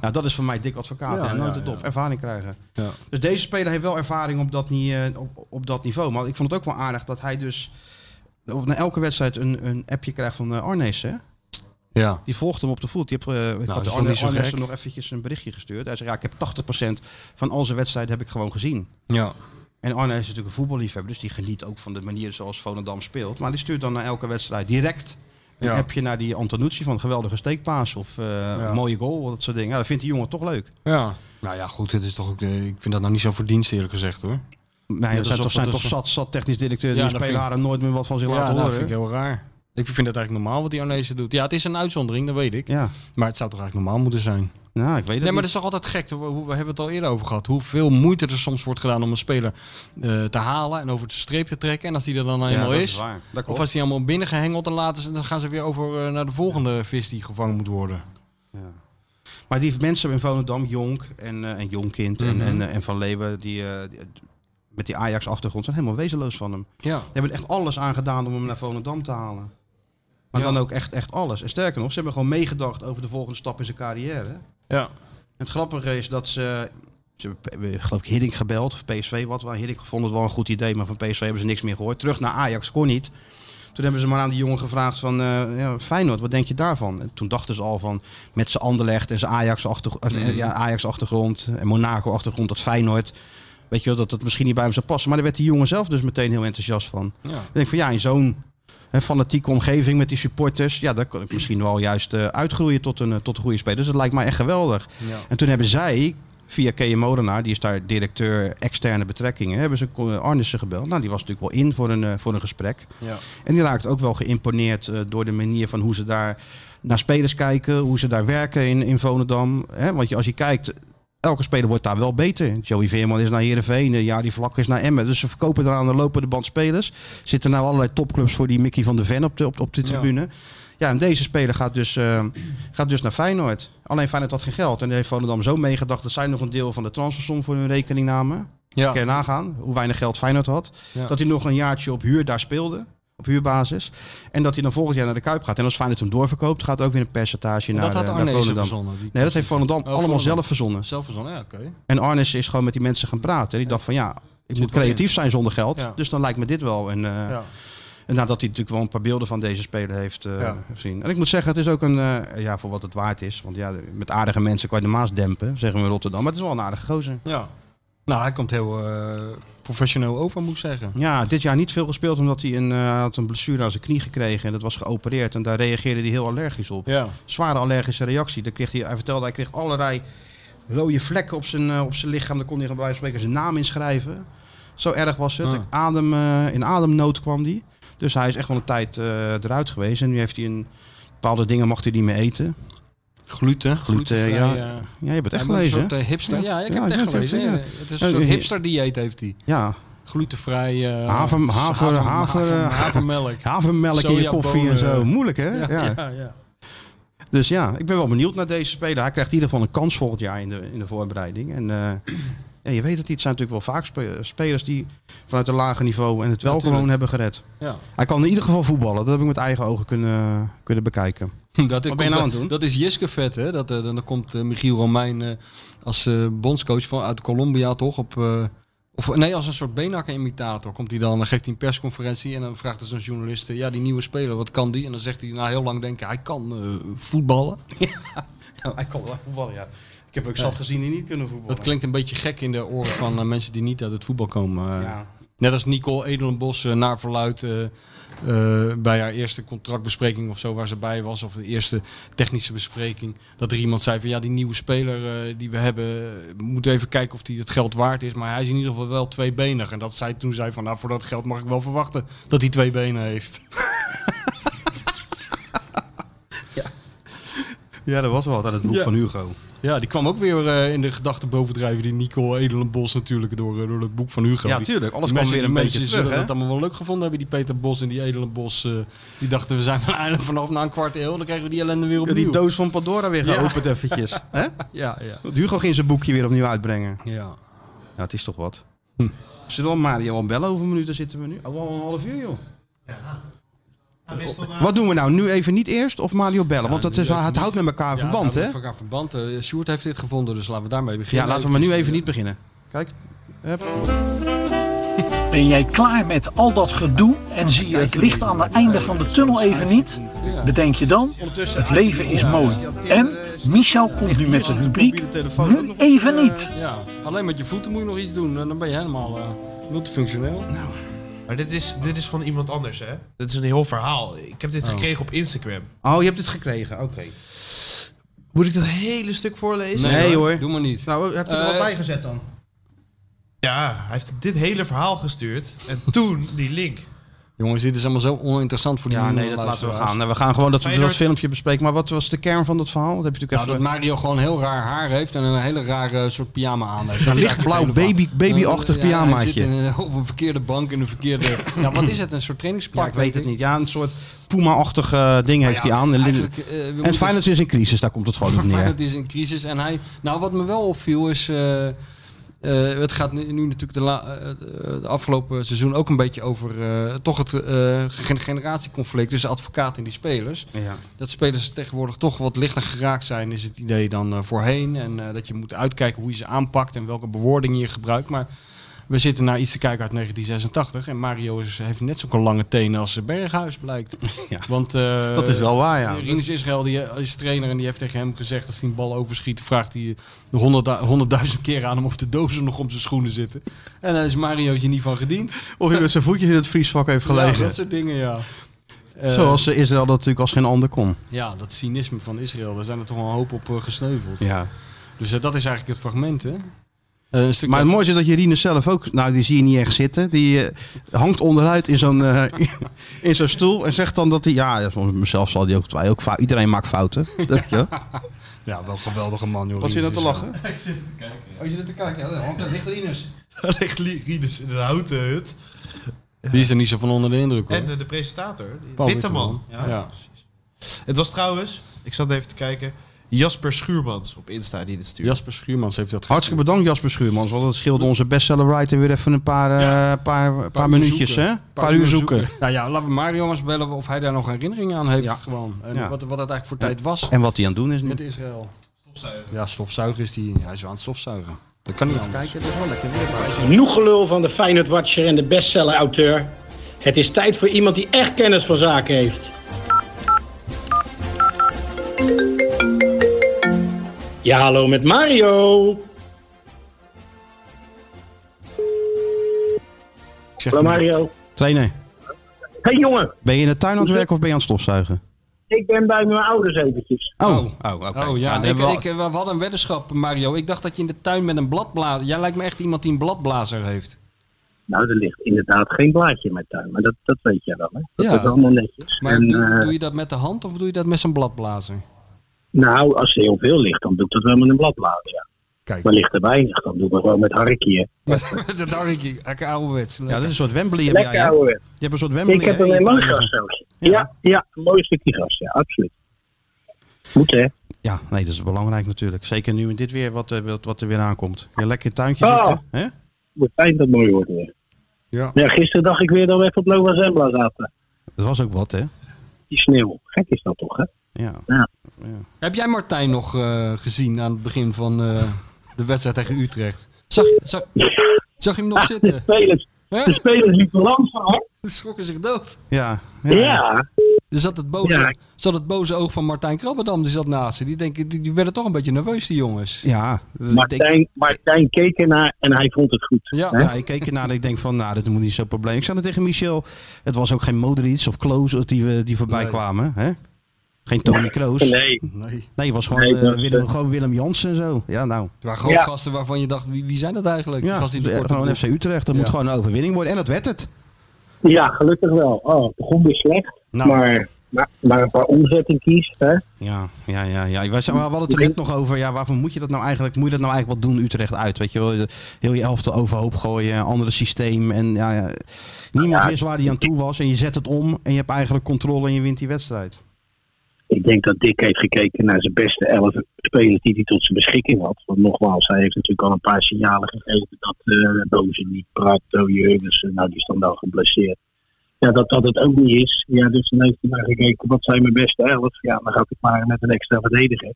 S4: Nou, dat is voor mij Dick advocaat.
S5: Ja,
S4: hè. nooit
S5: ja,
S4: het op.
S5: ja.
S4: Ervaring krijgen.
S5: Ja.
S4: Dus deze speler heeft wel ervaring op dat, ni- eh, op, op dat niveau. Maar ik vond het ook wel aardig dat hij dus... Of na elke wedstrijd een, een appje krijgt van eh Arnees, hè?
S5: Ja.
S4: Die volgt hem op de voet. Die heeft, eh, ik
S5: dat
S4: had
S5: is
S4: de
S5: toch
S4: Arne,
S5: niet zo
S4: Arnessen
S5: gek?
S4: nog eventjes een berichtje gestuurd. Hij zei, ja, ik heb 80% van al zijn wedstrijden heb ik gewoon gezien.
S5: Ja.
S4: En Arne is natuurlijk een voetballiefhebber, dus die geniet ook van de manier zoals Volendam speelt. Maar die stuurt dan naar elke wedstrijd direct een
S5: Ja.
S4: appje naar die Antonucci van geweldige steekpaas of eh, een mooie goal, dat soort dingen. Ja, dat vindt die jongen toch leuk.
S5: Ja. Nou ja, goed, het is toch ook, eh, ik vind dat nou niet zo verdienst eerlijk gezegd hoor.
S4: Nee, dat
S5: alsof
S4: zijn toch,
S5: dat
S4: zijn
S5: is
S4: toch
S5: een-
S4: zat, zat technisch directeur
S5: Ja,
S4: die
S5: dat
S4: spelen
S5: vind
S4: haar nooit meer wat van zich
S5: Ja,
S4: laten
S5: dat
S4: horen.
S5: vind ik heel raar. Ik vind het eigenlijk normaal wat die Arnezen doet. Ja, het is een uitzondering, dat weet ik.
S4: Ja,
S5: Maar het zou toch eigenlijk normaal moeten zijn.
S4: nou, ik weet het
S5: nee, maar
S4: niet.
S5: dat is toch altijd gek. We, we hebben het al eerder over gehad. Hoeveel moeite er soms wordt gedaan om een speler eh, te halen en over de streep te trekken. En als die er dan
S4: ja,
S5: eenmaal
S4: dat
S5: is,
S4: is waar. Dat
S5: of
S4: klopt.
S5: als die allemaal binnen gehengeld en laten ze, dan gaan ze weer over eh, naar de volgende vis die gevangen moet worden.
S4: Ja. Maar die mensen in Volendam, Jonk en, eh en Jongkind en- en, eh, en Van Leeuwen, die, eh, die- met die Ajax-achtergrond, zijn helemaal wezenloos van hem.
S5: Ja.
S4: Die hebben er echt alles aan gedaan om hem naar Volendam te halen. Maar
S5: Ja.
S4: dan ook echt, echt alles. En sterker nog, ze hebben gewoon meegedacht over de volgende stap in zijn carrière.
S7: Ja.
S4: Het grappige is dat ze... Ze hebben, eh, geloof ik, Hiddink gebeld, of PSV wat. wel. Hiddink vond het wel een goed idee, maar van PSV hebben ze niks meer gehoord. Terug naar Ajax kon niet. Toen hebben ze maar aan die jongen gevraagd van... eh, ja, Feyenoord, wat denk je daarvan? En toen dachten ze al van, met zijn Anderlecht en zijn Ajax-achtergrond... ja, Ajax-achtergrond en Monaco-achtergrond, dat Feyenoord... Weet je wel, dat dat misschien niet bij hem zou passen. Maar daar werd die jongen zelf dus meteen heel enthousiast van.
S5: Ja.
S4: Ik denk van ja, in zo'n hè, fanatieke omgeving met die supporters, ja, daar kan ik misschien wel juist eh, uitgroeien tot een, eh, tot een goede speler. Dus dat lijkt mij echt geweldig. En toen hebben zij, via Keje Molenaar, die is daar directeur externe betrekkingen, hebben ze eh, Arnissen gebeld. Nou, die was natuurlijk wel in voor een, eh, voor een gesprek.
S5: Ja.
S4: En die raakt ook wel geïmponeerd eh, door de manier van hoe ze daar naar spelers kijken, hoe ze daar werken in, in Volendam. Hè? Want je, als je kijkt, elke speler wordt daar wel beter. Joey Veerman is naar Heerenveen, eh, ja, die vlak is naar Emmen. Dus ze verkopen daar aan de lopende band spelers. Zitten nou allerlei topclubs voor die Mickey van de Ven op de, op, op de tribune. Ja. en deze speler gaat dus, eh, gaat dus naar Feyenoord. Alleen Feyenoord had geen geld. En daar heeft Volendam zo meegedacht dat zij nog een deel van de transfersom voor hun rekening namen.
S5: Ja.
S4: Kan je nagaan hoe weinig geld Feyenoord had.
S5: Ja.
S4: Dat hij nog een jaartje op huur daar speelde. Op huurbasis. En dat hij dan volgend jaar naar de Kuip gaat. En als Feyenoord hem doorverkoopt, gaat ook weer een percentage naar,
S5: dat had
S4: eh, naar
S5: Arnezen
S4: Volendam.
S5: verzonnen. Die Oh,
S4: Nee, dat heeft Volendam allemaal
S5: Volendam.
S4: zelf verzonnen.
S5: zelf verzonnen, ja, oké.
S4: En Arnes is gewoon met die mensen gaan praten. Die dacht van ja, ik moet
S5: wel
S4: creatief zijn zonder geld.
S5: Ja.
S4: Dus dan lijkt me dit wel. En, eh, en nadat hij natuurlijk wel een paar beelden van deze speler heeft eh,
S7: Ja.
S4: gezien. En ik moet zeggen, het is ook een, eh, ja, voor wat het waard is. Want ja, met aardige mensen kan je de Maas dempen, zeggen we in Rotterdam. Maar het is wel een aardige gozer.
S5: Ja. Nou, hij komt heel eh, professioneel over, moet ik zeggen.
S4: Ja, dit jaar niet veel gespeeld omdat hij een, eh, had een blessure aan zijn knie gekregen. En dat was geopereerd en daar reageerde hij heel allergisch op.
S7: Ja.
S4: Zware allergische reactie. Daar kreeg hij, hij vertelde, hij kreeg allerlei rode vlekken op zijn, eh, op zijn lichaam. Daar kon hij bij wijze van spreken zijn naam inschrijven. Zo erg was het.
S5: Ah.
S4: Adem, eh, in ademnood kwam hij. Dus hij is echt wel een tijd eh, eruit geweest. En nu heeft hij een... Bepaalde dingen mag hij niet meer eten.
S5: Gluten.
S4: Gluten,
S5: glutenvrij,
S4: ja.
S5: eh,
S4: Ja, je hebt het echt
S5: hij moet
S4: gelezen.
S5: Een soort eh, hipster. Ja, ik heb
S4: Ja, ik
S5: het echt
S4: weet het,
S5: gelezen.
S4: ja.
S5: ja. Het is een
S4: Ja,
S5: soort
S4: die-
S5: hipster dieet heeft hij.
S4: Ja,
S5: Glutenvrij. eh,
S4: Haver- haver-
S5: haver-
S4: haver-
S5: haver- havermelk.
S4: havermelk in je koffie en zo.
S5: Sojabonen.
S4: Moeilijk hè? ja.
S5: ja, ja.
S4: Dus ja, ik ben wel benieuwd naar deze speler. Hij krijgt in ieder geval een kans volgend jaar in de, in de voorbereiding. En eh, ja, je weet het niet, het zijn natuurlijk wel vaak spe- spelers die vanuit een lager niveau en het wel gewoon hebben gered.
S5: Ja.
S4: Hij kan in ieder geval voetballen, dat heb ik met eigen ogen kunnen, kunnen bekijken.
S5: Dat, eh,
S4: Wat ben je nou aan het doen?
S5: dat is Jiske vet, hè? Dat, eh, dan dan komt eh, Michiel Romein eh, als eh, bondscoach van, uit Colombia, toch? Op, eh, of, nee, als een soort beenhakker-imitator komt hij dan. Dan geeft hij een persconferentie en dan vraagt er zo'n journalist... eh, ja, die nieuwe speler, wat kan die? En dan zegt hij na heel lang denken, hij kan eh, voetballen.
S4: hij kan wel voetballen, ja. Ik heb ook zat gezien die niet kunnen voetballen.
S5: Dat klinkt een beetje gek in de oren van eh, mensen die niet uit het voetbal komen. eh.
S4: Ja.
S5: Net als Nicole Edelenbos eh, naar verluid eh, eh, bij haar eerste contractbespreking of zo waar ze bij was. Of de eerste technische bespreking. Dat er iemand zei van ja die nieuwe speler eh, die we hebben eh, moet even kijken of die het geld waard is. Maar hij is in ieder geval wel tweebenig. En dat zij toen zei van nou voor dat geld mag ik wel verwachten dat hij twee benen heeft.
S4: ja, dat was wel uit het boek
S5: Ja.
S4: van Hugo.
S5: Ja die kwam ook weer eh, in de gedachten bovendrijven die Nicole Edelenbos natuurlijk door, eh, door het boek van Hugo.
S4: Ja,
S5: Die-
S4: tuurlijk. Alles
S5: Die
S4: kwam
S5: mensen-
S4: weer
S5: die
S4: een
S5: mensen
S4: beetje terug,
S5: zullen
S4: hè?
S5: dat allemaal wel leuk gevonden hebben, die Peter Bos en die Edelenbos. eh, die dachten, we zijn van eindelijk vanaf na een kwart eeuw, dan krijgen we die ellende weer
S4: Ja,
S5: opnieuw.
S4: die doos van Pandora weer
S5: Ja.
S4: geopend eventjes. hè?
S5: ja, ja.
S4: Want Hugo ging zijn boekje weer opnieuw uitbrengen.
S5: ja.
S4: Ja, het is toch wat. Zullen we Mario al bellen? Hoeveel minuten zitten we nu? Al wel een half uur, joh.
S6: Hij wist al na-
S4: Wat doen we nou? Nu even niet eerst of Mario bellen? Want dat is,
S5: nu even
S4: het houdt met elkaar verband, hè?
S5: Met elkaar verband. eh, Sjoerd heeft dit gevonden, dus laten we daarmee beginnen.
S4: Ja, laten we maar nu
S5: Eventjes,
S4: even
S5: eh,
S4: niet beginnen. Kijk. Hup.
S8: Ben jij klaar met al dat gedoe en zie je het licht aan het einde van de tunnel even niet? Bedenk je dan, het leven is mooi. En Michel komt nu met de rubriek Nu even niet.
S5: Ja, alleen met je voeten moet je nog iets doen en dan ben je helemaal eh, multifunctioneel.
S6: Maar dit is, dit is van iemand anders, hè? Dit is een heel verhaal. Ik heb dit gekregen op Instagram.
S4: Oh, je hebt het gekregen. Oké.
S6: Moet ik dat hele stuk voorlezen?
S4: Nee, hoor.
S5: Doe maar niet.
S4: Nou, heb je er
S5: Eh,
S4: wat bij gezet dan?
S6: Ja, hij heeft dit hele verhaal gestuurd. En toen die link.
S5: Jongens, dit is allemaal zo oninteressant voor die
S4: Ja, nee,
S5: miljoenen
S4: dat laten we
S5: luisteraars.
S4: gaan. Nou, we gaan gewoon dat, we dat
S6: Feyenoord-
S4: filmpje bespreken. Maar wat was de kern van dat verhaal? Dat heb je natuurlijk
S5: Nou, dat
S4: even...
S5: Mario gewoon heel raar haar heeft en een hele rare soort pyjama aan heeft.
S4: Een lichtblauw baby, babyachtig
S5: Ja, Hij zit
S4: pyjamaatje.
S5: in een, op een verkeerde bank in een verkeerde... ja, wat is het? Een soort trainingspak?
S4: Ja, ik weet het niet. Ja, een soort Puma-achtig eh, ding heeft hij aan. En, Lille-
S5: En
S4: en Feyenoord is in crisis, daar komt het gewoon op neer.
S5: Feyenoord is in crisis. En hij, nou, wat me wel opviel is. eh, eh, het gaat nu, nu natuurlijk de, la- eh, de afgelopen seizoen ook een beetje over eh, toch het eh, gen- generatieconflict tussen advocaat en die spelers.
S4: Ja.
S5: Dat spelers tegenwoordig toch wat lichter geraakt zijn, is het idee dan eh, voorheen. En eh, dat je moet uitkijken hoe je ze aanpakt en welke bewoording je gebruikt. Maar we zitten naar iets te kijken uit 1986. En Mario is, heeft net zulke lange tenen als eh, Berghuis blijkt.
S4: Ja.
S5: Want, eh,
S4: Dat is wel waar, ja.
S5: Rinus Israël die eh, is trainer en die heeft tegen hem gezegd... als hij een bal overschiet, vraagt hij honderdda- honderdduizend keer aan hem... of de dozen nog om zijn schoenen zitten. En daar is Mariootje niet van gediend.
S4: Of hij met zijn voetjes in het vriesvak heeft
S5: Ja,
S4: gelegen.
S5: dat soort dingen, ja. Eh,
S4: Zoals eh, Israël dat natuurlijk als geen ander kon.
S5: Ja, dat cynisme van Israël, daar zijn er toch wel een hoop op eh, gesneuveld.
S4: Ja.
S5: Dus eh, dat is eigenlijk het fragment, hè? Eh, een stuk
S4: Maar het mooie is dat Jerine zelf ook, nou die zie je niet echt zitten, die eh, hangt onderuit in zo'n eh, in zo'n stoel en zegt dan dat hij, ja, voor mezelf zal die ook, wij ook fout, iedereen maakt fouten. Dat, ja.
S5: Ja, wel een geweldige man, joh.
S4: Wat zit je nou
S5: Rinus
S4: te
S5: Israël.
S4: lachen?
S6: Ik zit te kijken.
S4: Oh, je zit te kijken, ja, hangt, dat ligt dus. Rinus.
S6: Daar ligt Li- Rinus in een houten hut.
S5: Die is er niet zo van onder de indruk, hoor.
S6: En eh, de presentator, die-
S5: Paul
S6: Witteman.
S5: Ja. ja.
S6: Het was trouwens, ik zat even te kijken, Jasper Schuurmans op Insta die dit stuurde.
S7: Jasper Schuurmans heeft dat
S4: Hartstikke bedankt Jasper Schuurmans, want dat scheelt onze bestseller writer weer even een paar, eh, paar, paar,
S5: uur
S4: minuutjes,
S5: zoeken.
S4: hè? Een paar uur zoeken.
S5: Nou ja, laten we Mario maar eens bellen of hij daar nog herinneringen aan heeft.
S4: Ja.
S5: Gewoon. En
S4: Ja.
S5: wat, wat het eigenlijk voor
S4: Ja.
S5: tijd was
S4: En wat hij aan het doen is nu.
S5: met Israël. Stofzuigen. Ja, stofzuigen is die. Hij is wel aan het stofzuigen. Dat kan niet anders.
S4: Kijk, het is wel lekker weer.
S9: Genoeg gelul van de Feyenoord Watcher en de bestseller auteur. Het is tijd voor iemand die echt kennis van zaken heeft. Ja, hallo met Mario.
S5: Ik zeg
S9: Hallo
S5: maar-
S9: Mario.
S4: Trainer,
S9: Hey jongen,
S4: ben je in de tuin aan het werken of ben je aan het stofzuigen?
S9: ik ben bij mijn ouders eventjes.
S4: Oh, oh, oké.
S5: Oh ja,
S4: dan
S5: ik,
S4: hebben we al-
S5: ik, we hadden een weddenschap, Mario. Ik dacht dat je in de tuin met een bladblazer... Jij lijkt me echt iemand die een bladblazer heeft.
S9: Nou, er ligt inderdaad geen blaadje in mijn tuin, maar dat, dat weet jij wel hè. Dat
S5: Ja.
S9: is allemaal netjes.
S5: Maar
S9: en,
S5: doe,
S9: eh,
S5: doe je dat met de hand of doe je dat met zo'n bladblazer?
S9: nou, als er heel veel ligt, dan doe ik dat wel met een bladblazer. Ja.
S5: Kijk.
S9: Maar ligt er weinig, dan doe ik het gewoon met harkje.
S5: dat dacht ik, lekker ouderwets.
S4: ja, dat is een soort Wembley heb jij,
S9: Lekker
S4: hè? Je
S9: ouwe.
S4: hebt een soort Wembley
S9: Ik heb
S4: hè, in
S9: een
S4: je tuin
S9: mooi
S4: liggen.
S9: grasveldje. Ja, ja, een mooi stukje gras, ja, absoluut. Moet hè?
S4: Ja, nee, dat is belangrijk natuurlijk. Zeker nu in dit weer wat, eh, wat, wat er weer aankomt. Je lekker in het tuintje
S9: Oh.
S4: zitten. Hè?
S9: Wordt fijn dat het mooi wordt weer.
S5: Ja.
S9: gisteren dacht ik weer dat we even op Nova Zembla zaten.
S4: Dat was ook wat, hè?
S9: Die sneeuw. Gek is dat toch, hè?
S4: Ja.
S5: Heb jij Martijn nog eh, gezien aan het begin van eh, de wedstrijd tegen Utrecht? Zag, zag, zag je hem nog
S9: De
S5: zitten?
S9: spelers,
S5: Hè?
S9: de spelers liepen langzaam, hè?
S5: Ze schrokken zich dood.
S4: Ja.
S9: Ja.
S5: Er zat het boze,
S9: Ja.
S5: zat het boze oog van Martijn Krabbendam, die zat naast ze. Die, denken, die, die werden toch een beetje nerveus, die jongens.
S4: Ja. Dus ik, denk-
S9: Martijn, Martijn keek ernaar en hij vond het goed.
S5: Ja,
S4: ja, Nou, ik keek ernaar en ik denk van, nou, dit moet niet zo'n probleem. Ik zei het tegen Michel, het was ook geen Modric of Kloos die, we- die voorbij
S5: Nee.
S4: kwamen, hè? Geen Tony Kroos. Nee,
S9: Nee,
S4: het was gewoon,
S9: Nee,
S4: eh,
S9: dat is,
S4: Willem,
S9: eh,
S4: gewoon Willem Jansen en zo. Ja, nou.
S5: Het waren gewoon
S9: Ja.
S5: gasten waarvan je dacht, wie, wie zijn dat eigenlijk? Die
S4: Ja, eh,
S5: gasten die de korte
S4: gewoon
S5: broek-
S4: FC Utrecht. Dat
S5: Ja.
S4: moet gewoon een overwinning worden. En dat werd het.
S9: ja, gelukkig wel. Oh, het begon weer slecht,
S4: Nou.
S9: maar, maar, maar een paar omzetting kiest, hè?
S4: Ja, ja, ja. ja. Wij zijn, we hadden het er net nog over. Ja, waarvoor moet je dat nou eigenlijk? Moet je dat nou eigenlijk wat doen, Utrecht uit? Weet je wel, heel je elfte overhoop gooien, andere systeem. En ja, ja, niemand
S9: Ja.
S4: wist waar die aan toe was. En je zet het om en je hebt eigenlijk controle en je wint die wedstrijd.
S9: Ik denk dat Dick heeft gekeken naar zijn beste elf spelers die hij tot zijn beschikking had. Want nogmaals, hij heeft natuurlijk al een paar signalen gegeven dat eh Bozen niet praat, Jurgensen, nou die is dan wel geblesseerd. Ja, dat dat het ook niet is. Ja, dus dan heeft hij naar gekeken, wat zijn mijn beste elf? Ja, dan gaat ik maar met een extra verdediger.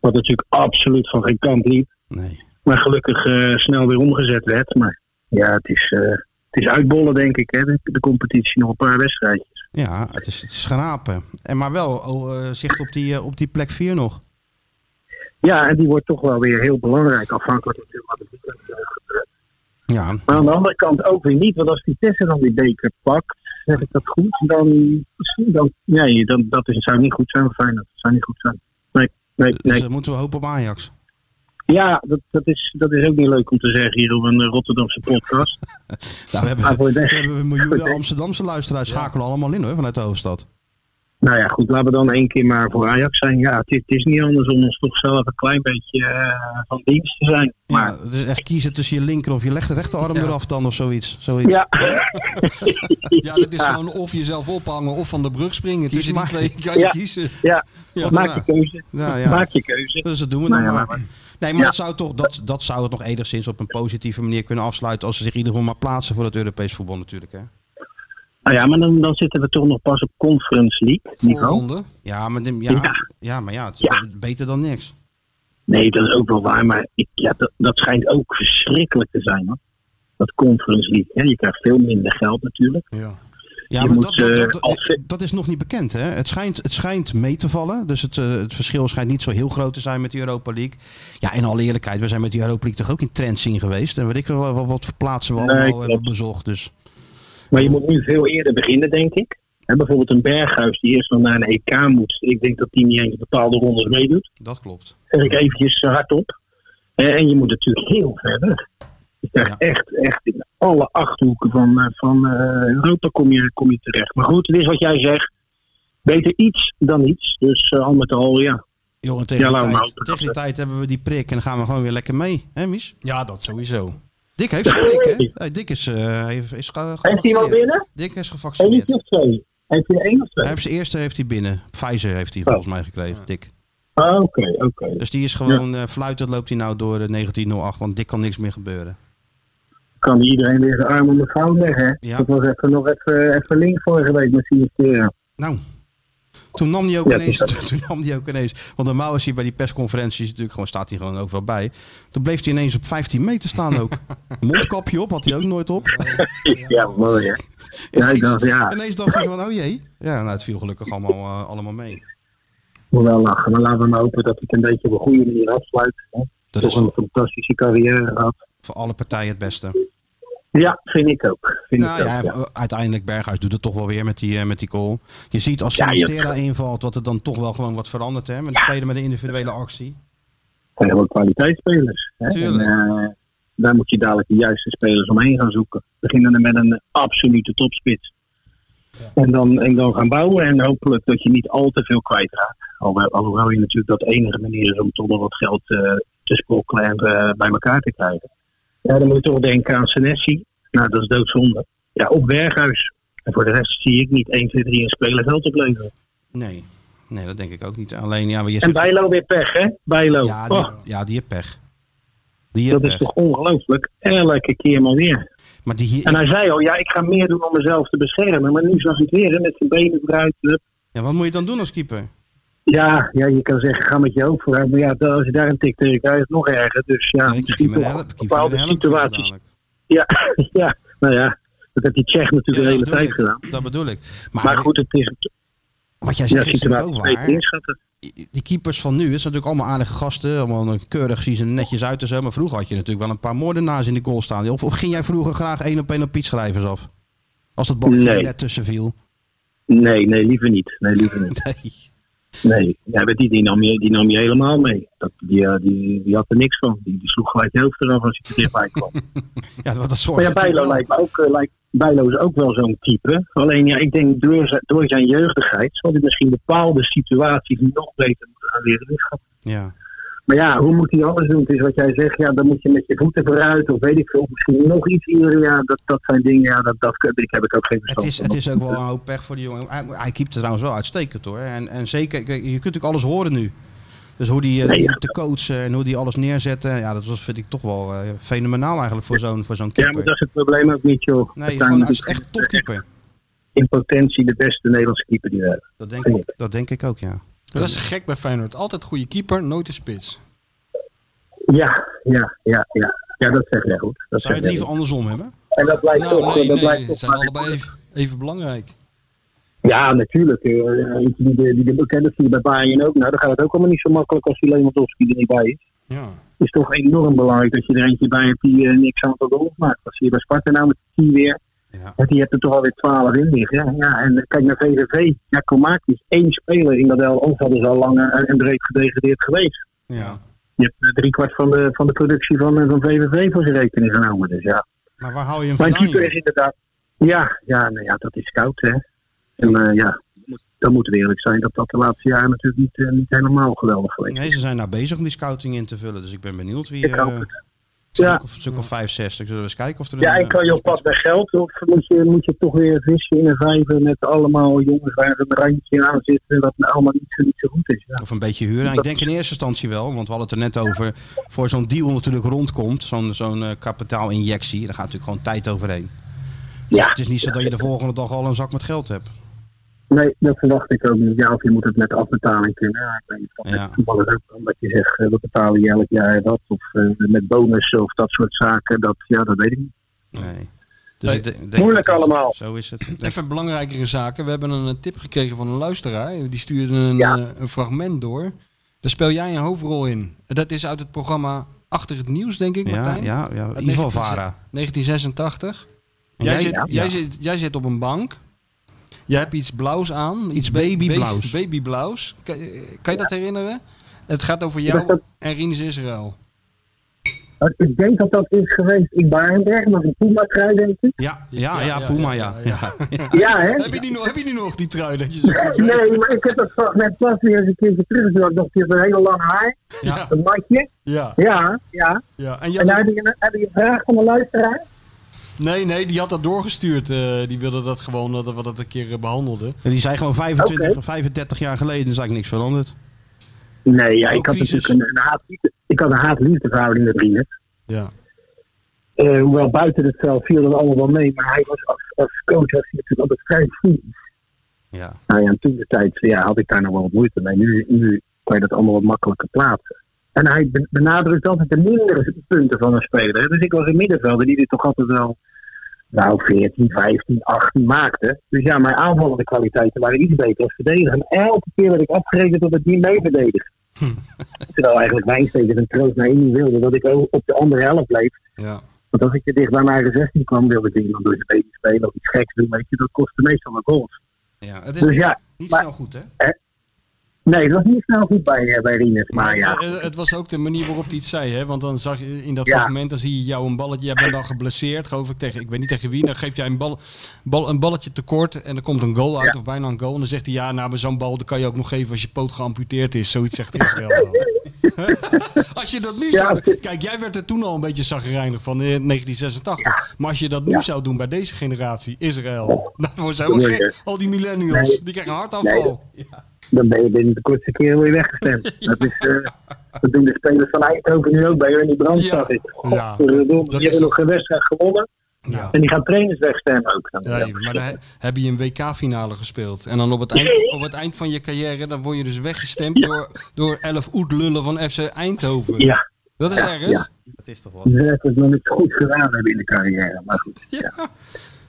S9: Wat natuurlijk absoluut van geen kant liep.
S4: Nee.
S9: Maar gelukkig eh, snel weer omgezet werd. Maar ja, het is, eh, het is uitbollen denk ik, hè, de, de competitie. Nog een paar wedstrijdjes.
S4: Ja, het is, het is schrapen. En maar wel oh, eh, zicht op die, eh, op die plek 4 nog.
S9: Ja, en die wordt toch wel weer heel belangrijk, afhankelijk natuurlijk wat het weekend eh, gebeurt.
S4: Ja,
S9: Maar aan de andere kant ook weer niet, want als Vitesse dan die beker pakt, zeg ik dat goed, dan, dan nee, dan, dat is, zou niet goed zijn voor Feyenoord. Dat zou niet goed zijn. Nee, nee,
S4: dus
S9: nee.
S4: dan moeten we hopen op Ajax.
S9: Ja, dat, dat, is, dat is ook niet leuk om te zeggen hier op een eh, Rotterdamse podcast.
S4: Nou, we,
S9: Maar
S4: hebben,
S9: voor
S4: we
S9: de-
S4: hebben miljoenen Amsterdamse luisteraars schakelen allemaal in hoor, vanuit de hoofdstad.
S9: Nou ja, goed, laten we dan één keer maar voor Ajax zijn. Ja, het is, het is niet anders om ons toch zelf een klein beetje eh, van dienst te zijn. Maar
S4: Ja, dus echt kiezen tussen je linker of je leg- rechterarm eraf dan of zoiets. zoiets.
S9: ja,
S5: Ja, dat is gewoon of jezelf ophangen of van de brug springen. Tussen die
S4: maar.
S5: twee kan je
S9: Ja.
S5: kiezen.
S4: Wat
S9: maak
S4: dan
S9: je keuze.
S4: Nou, ja.
S9: Maak je keuze.
S4: Dus dat doen we
S9: Nou
S4: dan
S9: ja,
S4: maar.
S9: maar-
S4: Nee, maar
S9: Ja.
S4: dat, zou toch, dat, dat zou het nog enigszins op een positieve manier kunnen afsluiten. als ze zich in ieder geval maar plaatsen voor het Europees voetbal, natuurlijk. Hè?
S9: Nou ja, maar dan, dan zitten we toch nog pas op Conference League, Nico.
S5: Voorronde.
S4: Ja, maar, de- ja,
S9: Ja.
S4: ja, maar ja, het is
S9: Ja.
S4: beter dan niks.
S9: Nee, dat is ook wel waar, maar ik, ja, dat, dat schijnt ook verschrikkelijk te zijn, hoor. Dat Conference League, hè. je krijgt veel minder geld natuurlijk.
S4: Ja,
S9: Je
S4: maar
S9: moet,
S4: dat, dat,
S9: eh,
S4: dat,
S9: als-
S4: dat is nog niet bekend. Hè? Het, schijnt, het schijnt mee te vallen. Dus het, eh, het verschil schijnt niet zo heel groot te zijn met de Europa League. Ja, in alle eerlijkheid, we zijn met die Europa League toch ook in trends zien geweest. En weet ik wel wat, wat, voor plaatsen we
S9: Nee,
S4: allemaal
S9: klopt.
S4: hebben bezocht. Dus
S9: Maar je moet nu veel eerder beginnen, denk ik. Hè, bijvoorbeeld een Berghuis die eerst nog naar een EK moet. Ik denk dat die niet eens bepaalde rondes meedoet.
S4: dat klopt.
S9: Zeg ik eventjes eh, hardop. Eh, En je moet natuurlijk heel verder. Je krijgt echt, echt in alle achthoeken van, eh, van eh, Europa kom je, kom je terecht. Maar goed, het is wat jij zegt. Beter iets dan niets. Dus eh, al met al, ja.
S4: Joh, en tegen,
S9: Ja, laten we
S4: die
S9: maar
S4: tijd,
S9: hopen dat
S4: tegen die
S9: we-
S4: tijd hebben we die prik en dan gaan we gewoon weer lekker mee. Hè, Mies?
S7: Ja, dat sowieso.
S4: Dick heeft zijn prik, hè? Hey, Dick is, eh heeft, is ge-
S9: Heeft iemand
S4: gevaccineerd.
S9: binnen?
S4: Dick is gevaccineerd.
S9: Eentje of twee? Heb je één of
S4: Hij
S9: twee?
S4: heeft zijn eerste heeft hij binnen. Pfizer heeft hij volgens mij gekregen, Dick.
S9: Ah, Oké, oké.
S4: Dus die is gewoon eh fluitend loopt hij nou door de 1908, want Dick kan niks meer gebeuren.
S9: Kan iedereen weer zijn arm om de vrouw leggen. hè?
S4: Ja.
S9: Dat was even, nog even, even link vorige week met Sinistera.
S4: Nou, toen nam hij ook
S9: Ja,
S4: ineens,
S9: dat is
S4: toen nam hij ook ineens, want normaal is hij bij die persconferenties natuurlijk gewoon, staat hij gewoon overal bij. Toen bleef hij ineens op 15 meter staan ook. Mondkapje op, had hij ook nooit op.
S9: Ja, mooi hè. Ja, ik dacht, ja,
S4: Ineens dacht hij van, oh jee. Ja, nou het viel gelukkig allemaal, eh, allemaal mee.
S9: moet wel lachen. Maar laten we maar hopen dat hij het een beetje op een goede manier afsluit. Hè.
S4: Dat is
S9: Toch een
S4: voor,
S9: fantastische carrière gehad.
S4: voor alle partijen het beste.
S9: Ja, vind ik ook. Vind
S4: Nou
S9: ik ook,
S4: ja,
S9: ja.
S4: uiteindelijk Berghuis doet het toch wel weer met die, eh, met die goal. Je ziet als
S9: Ja, je-
S4: Sinistera invalt, dat er dan toch wel gewoon wat verandert hè. Met de spelen met een individuele actie.
S9: Het zijn gewoon kwaliteitsspelers. Hè.
S4: Tuurlijk.
S9: En, eh, daar moet je dadelijk de juiste spelers omheen gaan zoeken. Beginnen met een absolute topspits. En, dan, en dan gaan bouwen en hopelijk dat je niet al te veel kwijtraakt. Alhoewel, alhoewel je natuurlijk dat enige manier is om toch nog wat geld eh, te sprokkelen en eh, bij elkaar te krijgen. Ja, dan moet je toch denken aan Senesi. Nou, dat is doodzonde. Ja, op Berghuis. En voor de rest zie ik niet 1, 2, 3 een speler geld opleveren.
S4: Nee, nee dat denk ik ook niet. Alleen ja, maar je
S9: En
S4: zegt-
S9: Bijlo weer pech, hè? Bijlo.
S4: Ja, die,
S9: Oh,
S4: ja, die heeft pech. Die heeft
S9: dat is
S4: pech.
S9: toch ongelooflijk. Elke keer maar weer.
S4: Maar die hier,
S9: En hij zei al, ja, ik ga meer doen om mezelf te beschermen. Maar nu zag ik weer hè, met zijn benen vooruit. hup.
S4: ja, wat moet je dan doen als keeper?
S9: Ja, ja, je kan zeggen, ga met je hoofd vooruit. Maar ja, da- als je daar een tik tegen krijgt, is het nog erger. Dus ja,
S4: Ja, ik keep
S9: misschien
S4: je met
S9: toch
S4: een help.
S9: op
S4: keep je met
S9: bepaalde
S4: een help
S9: situaties.
S4: dadelijk.
S9: Ja, ja, nou ja, dat heeft die Tsjech
S4: Ja,
S9: natuurlijk
S4: dat
S9: de hele
S4: bedoel
S9: tijd
S4: ik.
S9: gedaan.
S4: Dat bedoel ik. Maar,
S9: Maar goed, het is
S4: wat jij
S9: ja,
S4: zegt is natuurlijk
S9: situatie
S4: ook
S9: steeds
S4: waar.
S9: inschatten.
S4: Die keepers van nu, het zijn natuurlijk allemaal aardige gasten. Allemaal keurig, zien ze netjes uit en zo. Maar vroeger had je natuurlijk wel een paar moordenaars in de goal staan. Of, of ging jij vroeger graag één op één op Piet Schrijvers af? Als dat balletje
S9: Nee.
S4: er net tussen viel.
S9: Nee, nee, liever niet. Nee, liever niet.
S4: Nee.
S9: Nee, ja, maar die, die, nam je, die nam je helemaal mee. Dat, die, eh, die, die had er niks van. Die, die sloeg gelijk de helft eraf als hij er dichtbij kwam.
S4: Ja, wat dat soort
S9: Maar ja, Bijlo lijkt me ook, eh, lijkt, Bijlo is ook wel zo'n type. Alleen ja, ik denk door zijn, door zijn jeugdigheid zal hij misschien bepaalde situaties nog beter moeten gaan leren inschatten.
S4: Ja.
S9: Maar ja, hoe moet hij alles doen? Het is wat jij zegt, ja, dan moet je met je voeten vooruit of weet ik veel. Misschien nog iets hier, ja, dat, dat zijn dingen, ja, dat, dat, ik heb ik ook geen
S4: Het
S9: verstand
S4: is,
S9: van.
S4: het is ook wel een hoop pech voor die jongen. Hij, hij keept er trouwens wel uitstekend hoor. En, en zeker, kijk, je kunt natuurlijk alles horen nu. Dus hoe die eh,
S9: Nee, ja.
S4: te coachen en hoe die alles neerzetten. Ja, dat was, vind ik toch wel eh, fenomenaal eigenlijk voor zo'n voor zo'n
S9: Ja,
S4: keeper.
S9: maar dat dus is het probleem ook niet, joh. We
S4: nee,
S9: zijn
S4: gewoon, hij is
S9: natuurlijk
S4: echt topkeeper.
S9: in potentie de beste Nederlandse keeper die we hebben.
S4: Dat denk ik, dat denk ik ook, ja.
S5: Dat is gek bij Feyenoord. Altijd goede keeper, nooit de spits.
S9: Ja, ja, ja, ja. Ja, dat zeg jij goed. Dat
S4: Zou je
S9: zeg
S4: het
S9: jij
S4: liever
S9: goed.
S4: andersom hebben?
S9: En dat blijft toch,
S5: Nou, nee,
S9: dat
S5: nee,
S9: blijft
S5: het
S9: toch
S5: zijn
S9: maar-
S5: allebei even, even belangrijk.
S9: Ja, natuurlijk. eh, eh, die, die, die, die, dat zie je bij Bayern ook. Nou, dan gaat het ook allemaal niet zo makkelijk als die Lewandowski er niet bij is.
S5: Ja.
S9: Het is toch enorm belangrijk dat je er eentje bij hebt die eh, niks aan het doel maakt. Dat zie je bij Sparta nou met die weer.
S4: Ja.
S9: Want die hebt er toch alweer 12 in liggen. Ja, ja. En eh, kijk naar VVV. Ja, dus Komaak is één speler in dat elftal. Anders hadden ze al lang eh, en breed gedegradeerd geweest.
S4: Ja.
S9: Je hebt eh, driekwart van de, van de productie van, eh, van VVV voor zijn rekening genomen. Dus ja.
S4: Maar waar hou je hem
S9: Mijn
S4: vandaan?
S9: keeper
S4: joh?
S9: is inderdaad. Ja, ja, nou ja, dat is koud, hè. En eh, ja, dan moeten we eerlijk zijn dat dat de laatste jaren natuurlijk niet, eh, niet helemaal geweldig geweest
S4: Nee, ze zijn nou bezig om die scouting in te vullen. Dus ik ben benieuwd wie...
S9: Ik
S4: eh,
S9: hoop het.
S4: een
S9: Ja.
S4: stuk of- een stuk of 65. Zullen we eens kijken of er
S9: Ja,
S4: een,
S9: en kan je
S4: eh,
S9: op pad naar geld? Of moet je, moet je toch weer vissen in een vijver met allemaal jongens waar een randje aan zitten dat nou allemaal niet zo, niet zo goed is? Ja.
S4: Of een beetje huren. Ik denk in eerste instantie wel, want we hadden het er net over. Voor zo'n deal natuurlijk rondkomt, zo'n zo'n eh, kapitaalinjectie, daar gaat natuurlijk gewoon tijd overheen.
S9: Ja.
S4: Het is niet zo dat je de volgende dag al een zak met geld hebt.
S9: Nee, dat verwacht ik ook niet. Ja, of je moet het met afbetaling kunnen. Ja, ik weet niet of dat
S4: Ja.
S9: met voetballers ook kan. Dat je zegt, eh, we betalen je elk jaar dat. Of eh, met bonus of dat soort zaken. Dat, ja, dat weet ik niet.
S4: Nee. Dus
S9: Nee,
S4: ik denk- denk
S9: moeilijk
S4: dat-
S9: allemaal.
S4: Zo is het. Ik denk-
S5: Even belangrijkere zaken. We hebben een eh, tip gekregen van een luisteraar. Die stuurde een,
S9: Ja.
S5: eh, een fragment door. Daar speel jij een hoofdrol in. Dat is uit het programma Achter het Nieuws, denk ik,
S4: Ja,
S5: Martijn.
S4: ja, ja. In
S5: Uit
S4: ieder geval
S5: 19-
S4: Vara.
S5: 1986.
S4: En
S5: Jij,
S4: jij-
S5: zit,
S4: ja.
S5: jij, zit, jij zit op een bank. Jij hebt iets blauws aan.
S4: Iets
S5: ba-
S4: babyblaus.
S5: ba- Babyblaus. Kan, eh, kan je dat herinneren? Het gaat over
S9: Dat
S5: jou
S9: dat-
S5: en Rinus Israël.
S9: Maar Ik denk dat dat is geweest in Barenberg. Maar een Puma-trui, denk ik.
S4: Ja,
S5: Ja,
S4: ja, ja,
S5: ja,
S4: Puma,
S5: ja,
S4: ja. Ja.
S9: Ja, hè?
S5: Heb je die nog, heb je die nog, die trui? Dat je zo goed weet?
S9: Nee, maar ik heb dat fragment pas weer eens een keertje teruggezocht. Dat je een hele lange haar.
S5: Ja.
S9: Een matje.
S5: Ja,
S9: Ja, ja.
S5: ja. En
S9: En
S5: jij,
S9: heb je, een- heb je een vraag van de luisteraar?
S5: nee, nee, die had dat doorgestuurd. eh, die wilde dat gewoon, dat we dat een keer eh, behandelden.
S4: En die zijn gewoon 25,
S9: Oké.
S4: 35 jaar geleden, is eigenlijk niks veranderd.
S9: Nee, ja, ik
S4: Ook
S9: had
S4: crisis.
S9: natuurlijk een, een haat, ik had een haat-liefde verhouding met Rinus.
S5: Ja.
S9: Eh, hoewel buiten het veld viel dat allemaal wel mee, maar hij was als, als coach was hij natuurlijk altijd vrij vriend.
S4: Ja.
S9: Nou ja, en toen de tijd ja, had ik daar nog wel wat moeite mee. Nu, nu kan je dat allemaal wat makkelijker plaatsen. En hij be- benadrukt altijd de mindere punten van een speler. hè. Dus ik was een middenvelder die dit toch altijd wel nou, 14, 15, 18 maakte. Dus ja, mijn aanvallende kwaliteiten waren iets beter als verdedigen. En elke keer werd ik afgerekend dat ik niet mee verdedigde. Terwijl eigenlijk Wijnstekers en Troost naar één niet wilde dat ik ook op de andere helft bleef.
S5: Ja.
S9: Want als ik te dicht bij mijn eigen 16 kwam, wilde ik iemand door zijn benen spelen of iets geks doen. Weet je, dat kostte meestal wel goals.
S4: ja. Het is
S9: Dus
S4: niet,
S9: ja,
S4: niet
S9: maar-
S4: snel goed, hè?
S9: nee, dat was niet snel goed bij, eh, bij Rinus. Maar ja,
S5: Eh, eh, Het was ook de manier waarop hij het zei, hè? Want dan zag je in dat
S9: Ja.
S5: fragment, dan zie je jou een balletje. Jij bent dan geblesseerd, geloof ik, tegen, ik weet niet tegen wie. Dan geeft jij een, bal, bal, een balletje tekort en er komt een goal uit, of bijna een goal. En dan zegt hij, ja, nou, maar zo'n bal, dat kan je ook nog geven als je poot geamputeerd is. Zoiets zegt Israël dan. als je dat nu zou... Kijk, jij werd er toen al een beetje zagrijnig van, eh, 1986. Maar als je dat nu
S9: Ja.
S5: zou doen bij deze generatie, Israël, dan wordt ze helemaal
S9: Nee,
S5: gek. Al die millennials,
S9: Nee.
S5: die krijgen een hartaanval.
S9: dan ben je binnen de kortste keer weer weggestemd. Dat, is, eh, dat doen de spelers van Eindhoven nu ook bij hun in die brandstad.
S5: Ja.
S9: Ja.
S5: Ja.
S9: Die
S5: Dat
S9: hebben
S5: is
S9: nog een wedstrijd gewonnen.
S5: Ja.
S9: En die gaan trainers wegstemmen ook. Dan.
S5: Nee, maar dan he- heb je een WK-finale gespeeld. En dan op het, eind, op het eind van je carrière, dan word je dus weggestemd door, door elf oetlullen van FC Eindhoven.
S9: Ja,
S5: Dat is erg.
S9: ja.
S4: Dat is toch wat.
S9: dat is nog niet goed gedaan hebben in de carrière. Maar goed,
S5: Ja.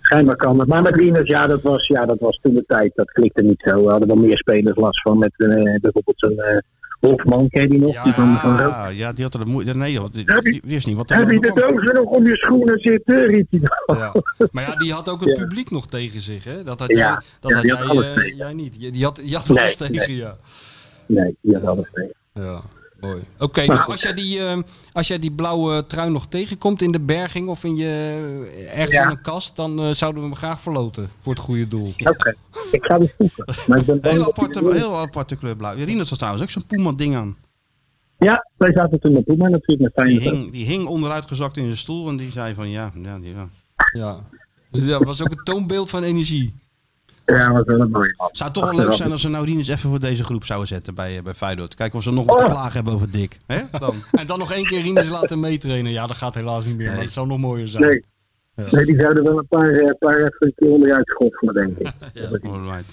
S9: schijnbaar kan het. Maar met Rinus, ja, dat was, ja, dat was toen de tijd. Dat klikte niet zo. We hadden wel meer spelers last van. Met eh, bijvoorbeeld een eh Hofman, ken je die nog?
S5: Ja,
S9: die van, van Rood.
S4: Ah, ja, die had er de moeite. Nee, want die,
S9: Heb je-
S4: die wist niet wat er
S9: Heb je
S4: overkwam.
S9: de doos nog om je schoenen zitten, riep hij dan.
S5: Ja. Maar ja, die had ook het
S9: Ja.
S5: publiek nog tegen zich. Hè? Dat had
S9: Ja.
S5: jij, dat
S9: Ja,
S5: had
S9: die had
S5: jij,
S9: alles
S5: eh,
S9: tegen.
S5: jij niet. Je- Die had, je had
S9: Nee,
S5: alles
S9: nee.
S5: tegen, ja.
S9: Nee, die had alles tegen.
S5: Ja, mooi. Oké, nou, als, jij die, eh, als jij die blauwe trui nog tegenkomt in de berging of in je, eh, ergens
S9: Ja.
S5: in een kast, dan eh, zouden we hem graag verloten voor het goede doel.
S9: Oké, ik ga die zoeken. Maar ik ben bang
S4: Heel
S9: dat die
S4: aparte,
S9: er niet
S4: heel aparte kleur blauw. Ja, Rinus had trouwens ook zo'n Puma-ding aan.
S9: is. Ja, wij zaten toen met Puma natuurlijk met
S4: Die
S9: Feyenoord.
S4: hing, die hing onderuitgezakt in zijn stoel en die zei van ja, ja, die- ja.
S5: Ja. Dus dat was ook een toonbeeld van energie.
S9: Ja, was wel een mooie man.
S4: Zou toch wel leuk zijn als ze nou Rinus even voor deze groep zouden zetten bij, eh, bij Feyenoord. Kijken of ze nog wat te
S9: Oh.
S4: klagen hebben over Dick. Hè? Dan.
S5: En dan nog één keer Rinus laten meetrainen. Ja, dat gaat helaas niet meer, maar het zou nog mooier zijn.
S9: Nee. Nee, die zouden wel een paar, eh, paar even onderuit schoffelen, denk ik.
S4: Alright.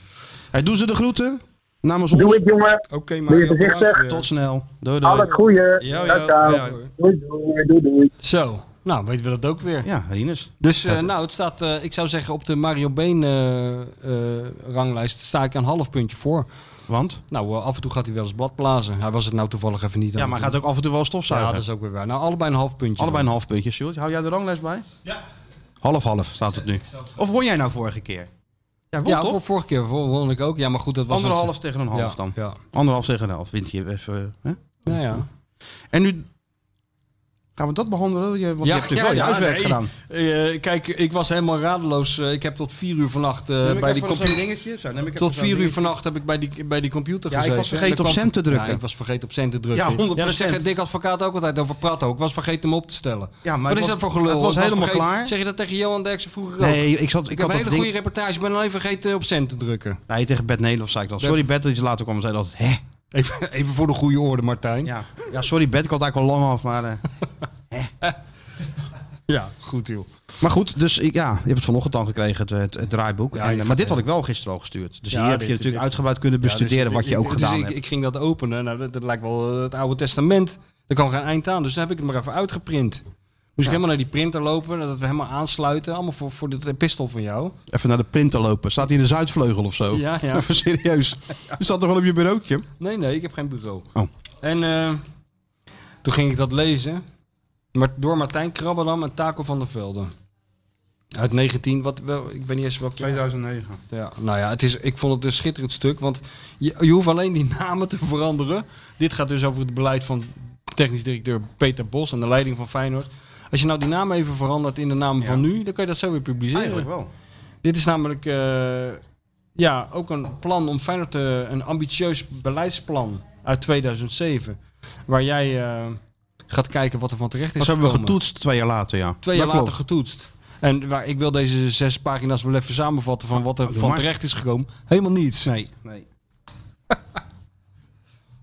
S4: Hey, doe ze de groeten namens ons.
S9: Doe ik, jongen.
S7: Oké,
S9: Doe je
S7: Mario.
S9: voorzichtig.
S4: Tot snel. Doei doei.
S9: Al het goede.
S4: Ja, ja,
S9: Ciao, ciao.
S4: ja.
S9: Doei, doei, doei, doei.
S5: Zo, nou weten we dat ook weer.
S4: Ja, Rinus.
S5: Dus eh, nou, het staat, eh, ik zou zeggen, op de Mario Been eh, eh, ranglijst sta ik een half puntje voor.
S4: Want?
S5: Nou, eh, af en toe gaat hij wel eens blad blazen. Hij was het nou toevallig even niet aan.
S4: Ja, maar hij gaat ook af en toe wel
S5: Ja,
S4: stofzuigen.
S5: dat is ook weer waar. Nou, allebei een half puntje.
S4: Allebei een half puntje, Sjoerd. Hou jij de ranglijst bij? Ja. Half-half staat het nu. Of won jij nou vorige keer? Ja, won
S5: Ja,
S4: toch?
S5: voor vorige keer voor- won ik ook. Ja, maar goed, dat was...
S4: Anderhalf tegen een half dan.
S5: Ja, ja.
S4: Anderhalf tegen een half. Wint hij even. eh, Hè?
S5: Nou ja.
S4: En nu gaan we dat behandelen. Je, want je hebt natuurlijk wel je huiswerk
S5: nee.
S4: gedaan.
S5: Eh, kijk, ik was helemaal radeloos. Eh, ik heb tot vier uur vannacht eh, bij die computer...
S4: dingetje. Zo, neem ik
S5: Tot vier uur vannacht heb ik bij die, bij die computer
S4: Ja, ik was
S5: gezeten.
S4: vergeten
S5: En dan
S4: op
S5: kwam-
S4: send te drukken.
S5: Ja, ik was vergeten op cent te drukken.
S4: Ja, 100%.
S5: dat zegt Dick Advocaat ook altijd over Pratto. Ik was vergeten hem op te stellen.
S4: Ja, maar
S5: Wat is
S4: het was-
S5: dat voor gelul?
S4: het was
S5: Ik
S4: helemaal
S5: vergeten-
S4: klaar.
S5: Zeg je dat tegen Johan Derksen vroeger ook?
S4: Nee, ik, zat, ik,
S5: Ik, heb een
S4: had dat
S5: hele
S4: ding...
S5: goede reportage, ben alleen vergeten op cent te drukken.
S4: Nee, tegen Bert Nederland zei ik dan. Sorry Bert, dat je later kwam en zei dat. Hè?
S5: Even, even voor de goede orde, Martijn.
S4: Ja. ja, sorry Bert, ik had eigenlijk al lang af. Maar, eh.
S5: Ja, goed joh.
S4: maar goed, dus ik, ja, je hebt het vanochtend dan gekregen, het, het, het draaiboek.
S5: Ja,
S4: En, eh,
S5: je
S4: maar
S5: gaat-
S4: dit had ik wel gisteren al gestuurd. Dus
S5: Ja,
S4: hier heb je
S5: dit-
S4: natuurlijk
S5: dit-
S4: uitgebreid kunnen bestuderen
S5: Ja, dus
S4: wat
S5: ik-
S4: je ook
S5: ik-
S4: gedaan
S5: dus ik,
S4: hebt.
S5: ik ging dat openen. Nou, dat, dat lijkt wel eh, het oude testament. Er kan geen eind aan. Dus daar heb ik het maar even uitgeprint. Moest ik helemaal naar die printer lopen. Dat we helemaal aansluiten. Allemaal voor, voor dit epistel van jou.
S4: Even naar de printer lopen. Staat hij in de Zuidvleugel of zo?
S5: Ja, ja.
S4: Even serieus. Die staat toch wel op je bureautje?
S5: Nee, nee, ik heb geen bureau.
S4: Oh.
S5: En eh, toen ging ik dat lezen. Maar door Martijn Krabbelam en Taco van der Velde. Uit 19, wat wel, ik ben niet eens welke.
S4: 2009.
S5: Ja, nou ja, het is, ik vond het een schitterend stuk. Want je, je hoeft alleen die namen te veranderen. Dit gaat dus over het beleid van technisch directeur Peter Bos en de leiding van Feyenoord. Als je nou die naam even verandert in de naam van nu, dan kan je dat zo weer publiceren.
S4: Eigenlijk wel.
S5: Dit is namelijk eh, ja, ook een plan om Feyenoord te, een ambitieus beleidsplan uit 2007. Waar jij eh, gaat kijken wat er van terecht is
S4: Dat hebben we
S5: gekomen.
S4: getoetst twee jaar later, ja.
S5: Twee jaar
S4: Dat
S5: later
S4: klopt.
S5: getoetst. En waar, ik wil deze zes pagina's wel even samenvatten van wat er
S4: doe
S5: van
S4: maar.
S5: terecht is gekomen. Helemaal niets.
S4: Nee, nee.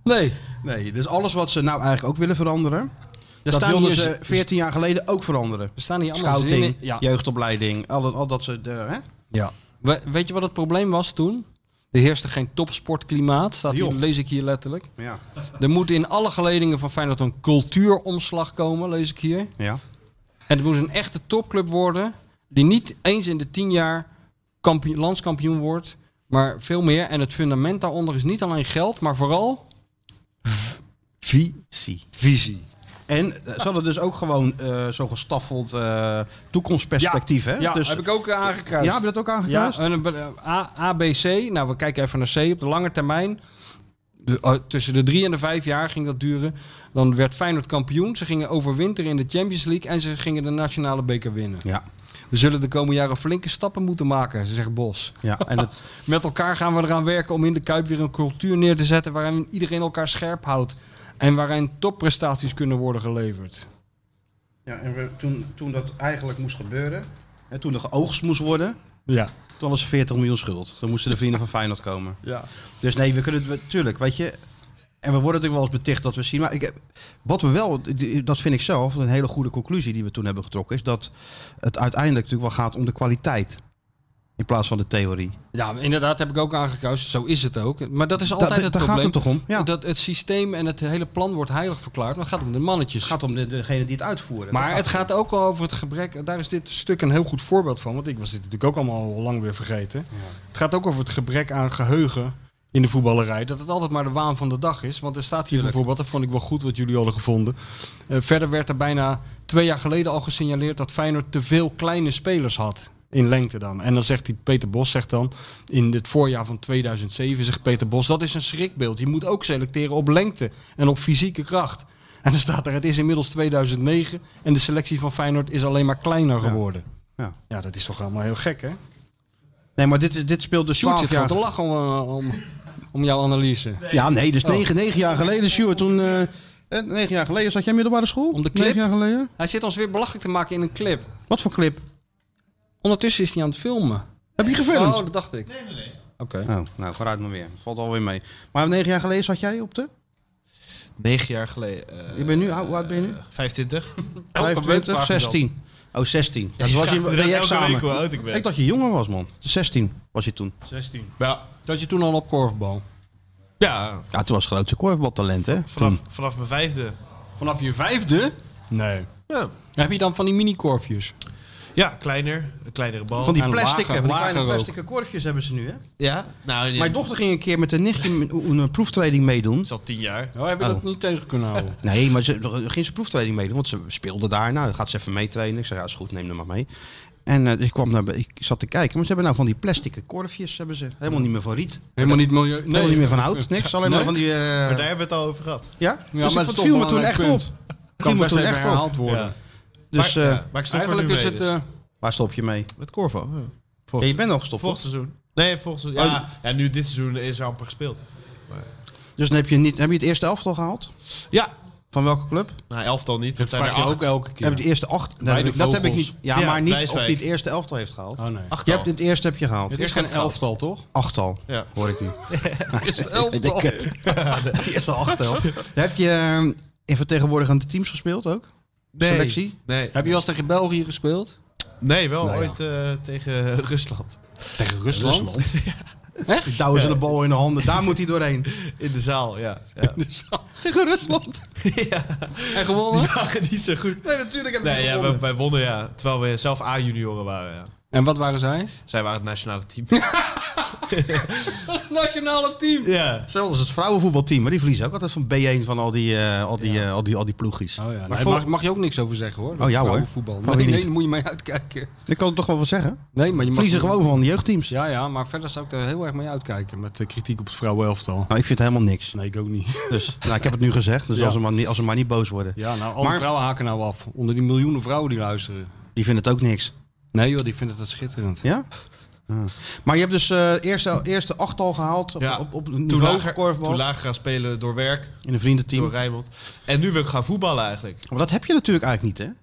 S5: Nee.
S4: Nee, dus alles wat ze nou eigenlijk ook willen veranderen,
S5: Er
S4: dat
S5: staan
S4: wilden
S5: hier,
S4: ze
S5: z-
S4: 14 jaar geleden ook veranderen.
S5: er staan hier allemaal
S4: Scouting,
S5: zinnen- Ja.
S4: jeugdopleiding, al dat, al dat soort eh, hè?
S5: ja. We- weet je wat het probleem was toen? Er heerste geen topsportklimaat. Staat hier,
S4: Joh.
S5: lees ik hier letterlijk.
S4: Ja.
S5: Er moet in alle geledingen van Feyenoord een cultuuromslag komen, lees ik hier.
S4: ja.
S5: En het moet een echte topclub worden die niet eens in de tien jaar kampioen, landskampioen wordt, maar veel meer. En het fundament daaronder is niet alleen geld, maar vooral
S4: Visie.
S5: visie.
S4: En eh, ze hadden dus ook gewoon eh, zo gestaffeld eh, toekomstperspectief, hè?
S5: Ja,
S4: dus,
S5: heb ik ook eh, aangekruist.
S4: ja, heb je dat ook
S5: Ja,
S4: aangekruist?
S5: en een be- eh, A, A, B, C. Nou, we kijken even naar C. Op de lange termijn, de- eh, tussen de drie en de vijf jaar ging dat duren. Dan werd Feyenoord kampioen. Ze gingen overwinteren in de Champions League en ze gingen de nationale beker winnen.
S4: Ja.
S5: We zullen de komende jaren flinke stappen moeten maken, ze zegt Bos.
S4: Ja, en het,
S5: Met elkaar gaan we eraan werken om in de Kuip weer een cultuur neer te zetten waarin iedereen elkaar scherp houdt. En waarin topprestaties kunnen worden geleverd.
S4: ja, en we, toen, toen dat eigenlijk moest gebeuren, hè, toen er geoogst moest worden,
S5: Ja.
S4: toen was er 40 miljoen schuld. Toen moesten de vrienden van Feyenoord komen.
S5: ja.
S4: Dus nee, we kunnen het we- tuurlijk, weet je. En we worden natuurlijk wel eens beticht dat we zien. Maar ik, wat we wel, dat vind ik zelf een hele goede conclusie die we toen hebben getrokken, is dat het uiteindelijk natuurlijk wel gaat om de kwaliteit. In plaats van de theorie.
S5: ja, inderdaad heb ik ook aangekruist. Zo is het ook. Maar dat is altijd
S4: Da- da-
S5: het
S4: daar gaat
S5: probleem.
S4: het toch om? Ja.
S5: Dat het systeem en het hele plan wordt heilig verklaard. Maar het gaat om de mannetjes.
S4: Het gaat om de, degene die het uitvoeren.
S5: maar
S4: Dat
S5: het gaat ook wel over het gebrek. Daar is dit stuk een heel goed voorbeeld van. Want ik was dit natuurlijk ook allemaal al lang weer vergeten. Het gaat ook over het gebrek aan geheugen in de voetballerij. Dat het altijd maar de waan van de dag is. Want er staat hier bijvoorbeeld, dat vond ik wel goed wat jullie hadden gevonden. Eh, verder werd er bijna twee jaar geleden al gesignaleerd dat Feyenoord te veel kleine spelers had. In lengte dan. En dan zegt die Peter Bos zegt dan, in het voorjaar van 2007 zegt Peter Bos, dat is een schrikbeeld. Je moet ook selecteren op lengte en op fysieke kracht. En dan staat er, het is inmiddels 2009 en de selectie van Feyenoord is alleen maar kleiner geworden.
S4: Ja.
S5: ja dat is toch allemaal heel gek hè?
S4: Nee, maar dit, dit speelt dus
S5: Sjoerd
S4: 12
S5: zit gewoon
S4: jaar.
S5: te lachen om, eh, om, om jouw analyse.
S4: Ja, nee, dus
S5: Oh.
S4: 9, 9 jaar geleden, Sjoerd. Toen, eh, eh, 9 jaar geleden zat jij middelbare school?
S5: Om de clip?
S4: 9 jaar geleden?
S5: Hij zit ons weer belachelijk te maken in een clip.
S4: Wat voor clip?
S5: Ondertussen is hij aan het filmen.
S4: Heb je gefilmd?
S5: Oh, dat dacht ik. Nee, nee, nee. Oké.
S4: Oh, nou, vooruit maar weer. Valt alweer mee. Maar 9 jaar geleden zat jij op de?
S3: Negen jaar geleden. eh,
S4: Je bent nu, hoe oud ben je nu?
S3: 25.
S4: 25, 16. Oh, 16. Ja, dat was je,
S3: Ja,
S4: bij je
S3: elke week
S4: examen.
S3: hoe oud ik ben.
S4: Ik dacht je jonger was, man. 16 was je toen.
S5: 16.
S3: ja,
S5: Dat je toen al op korfbal.
S3: ja
S4: Ja, toen was het grootste korfbaltalent, hè?
S3: vanaf,
S4: Toen.
S3: vanaf mijn vijfde.
S5: Vanaf je vijfde? Nee.
S3: Ja,
S5: Heb je dan van die mini-korfjes?
S3: ja kleiner. Een kleinere bal.
S4: Van die
S5: En
S4: plastic,
S5: lager,
S4: hebben, die
S5: lager
S4: kleine
S5: ook.
S4: plastic korfjes hebben ze nu, hè?
S3: Ja, nou, nee,
S4: Mijn dochter ging een keer met een nichtje een, een proeftraining meedoen.
S3: is al tien jaar.
S5: Nou, heb je dat niet tegen kunnen houden.
S4: Nee, maar ze er ging ze proeftraining meedoen, want ze speelde daar. Nou, dan gaat ze even meetrainen. Ik zei, ja, is goed, neem hem maar mee. En eh, dus ik, kwam naar, be- ik zat te kijken, maar ze hebben nou van die plastic korfjes, hebben ze. helemaal niet meer van riet,
S5: Helemaal niet milieu.
S4: helemaal niet meer van hout, niks. Alleen maar
S5: Nee.
S4: van die... eh,
S6: Maar daar hebben we het al over gehad.
S4: ja?
S5: maar
S4: dus
S5: het
S4: maar
S5: is
S4: het
S5: toch
S4: viel me
S5: wel
S4: toen
S5: een
S4: echt
S5: punt.
S4: op.
S5: kan
S4: Viel me
S5: best
S4: toen
S5: even
S4: echt op.
S5: herhaald worden.
S6: Ja.
S4: Dus
S6: maar,
S4: eh,
S6: ja, maar ik stop
S5: Eigenlijk
S6: er nu
S5: is
S6: mee,
S5: het...
S6: dus.
S5: eh,
S4: waar stop je mee?
S6: Met Corvo.
S4: eh?
S6: Ja.
S4: Ja,
S6: Volgend,
S4: je bent al gestopt,
S6: volgend
S4: toch?
S6: seizoen. Nee, volgend seizoen.
S4: Oh,
S6: Ja, ja, nu dit seizoen is er amper gespeeld.
S4: Dus dan heb je, niet, heb je het eerste elftal gehaald?
S6: Ja,
S4: Van welke club?
S6: nou elftal niet. Het
S5: Dat
S6: zijn er
S5: vraag je ook
S6: acht.
S5: elke keer.
S4: Heb je de eerste acht? Dat
S5: Bij
S4: heb,
S5: de
S4: ik, dat heb ik
S5: vogels.
S4: niet. Ja,
S6: Ja,
S4: maar niet of
S6: Blijswijk.
S4: hij het eerste elftal heeft gehaald.
S5: Oh nee.
S4: Je
S6: Achttal.
S4: hebt het eerste heb je gehaald.
S5: Het is geen elftal, toch?
S4: Achttal,
S6: Ja.
S4: hoor ik nu.
S5: Is het
S4: Ik denk het. Het eerste achttal. Heb je eh, in vertegenwoordigende teams gespeeld ook?
S6: Nee.
S4: Selectie?
S6: Nee,
S5: Heb je wel eens tegen België gespeeld?
S6: nee wel
S5: Nou ja.
S6: ooit eh, tegen Rusland.
S5: Tegen Rusland?
S4: Die douwen ze de bal in de handen. Daar moet hij doorheen.
S6: In de zaal, ja. ja.
S4: Tegen Rusland.
S5: En gewonnen?
S6: Waren niet zo goed.
S4: Nee, natuurlijk hebben
S6: Nee,
S4: ze
S6: ja,
S4: gewonnen.
S6: wij, wij wonnen, ja. Terwijl we zelf A-junioren waren, ja.
S5: En wat waren zij?
S6: Zij waren het nationale team.
S5: Nationale team.
S6: ja.
S4: Hetzelfde als het vrouwenvoetbalteam. Maar die verliezen ook altijd van B1 van al die, eh, al die, eh, al die, al die ploegjes.
S5: Oh ja,
S4: Maar
S5: nee,
S4: vol-
S5: mag, mag je ook niks over zeggen Oh, hoor. Dat
S4: ja, hoor.
S5: vrouwenvoetbal.
S4: Gewoon
S5: Nee,
S4: niet.
S5: nee, daar moet je mee uitkijken.
S4: Ik kan het toch wel wat zeggen.
S5: Nee, maar je mag
S4: Verliezen
S5: niet-
S4: gewoon van jeugdteams.
S5: Ja, ja, maar verder zou ik daar heel erg mee uitkijken met de kritiek op het vrouwenelftal.
S4: Nou, ik vind het helemaal niks.
S5: Nee, ik ook niet.
S4: Dus, nou, ik heb het nu gezegd. Dus
S5: Ja.
S4: als, ze maar niet, als ze maar niet boos worden.
S5: Ja, nou, alle
S4: Maar-
S5: vrouwen haken nou af. Onder die miljoenen vrouwen die luisteren.
S4: Die vinden het ook niks.
S5: Nee joh, die vinden dat schitterend.
S4: Ja? Ah. Maar je hebt dus eh eerste, eerste achttal gehaald op,
S6: Ja.
S4: op, op
S6: Toen
S4: niveau
S6: lager,
S4: van
S6: toen
S4: korfbal.
S6: lager gaan spelen door werk,
S4: in een vriendenteam.
S6: door Rijnmond. En nu wil ik gaan voetballen eigenlijk.
S4: Maar dat heb je natuurlijk eigenlijk niet, hè?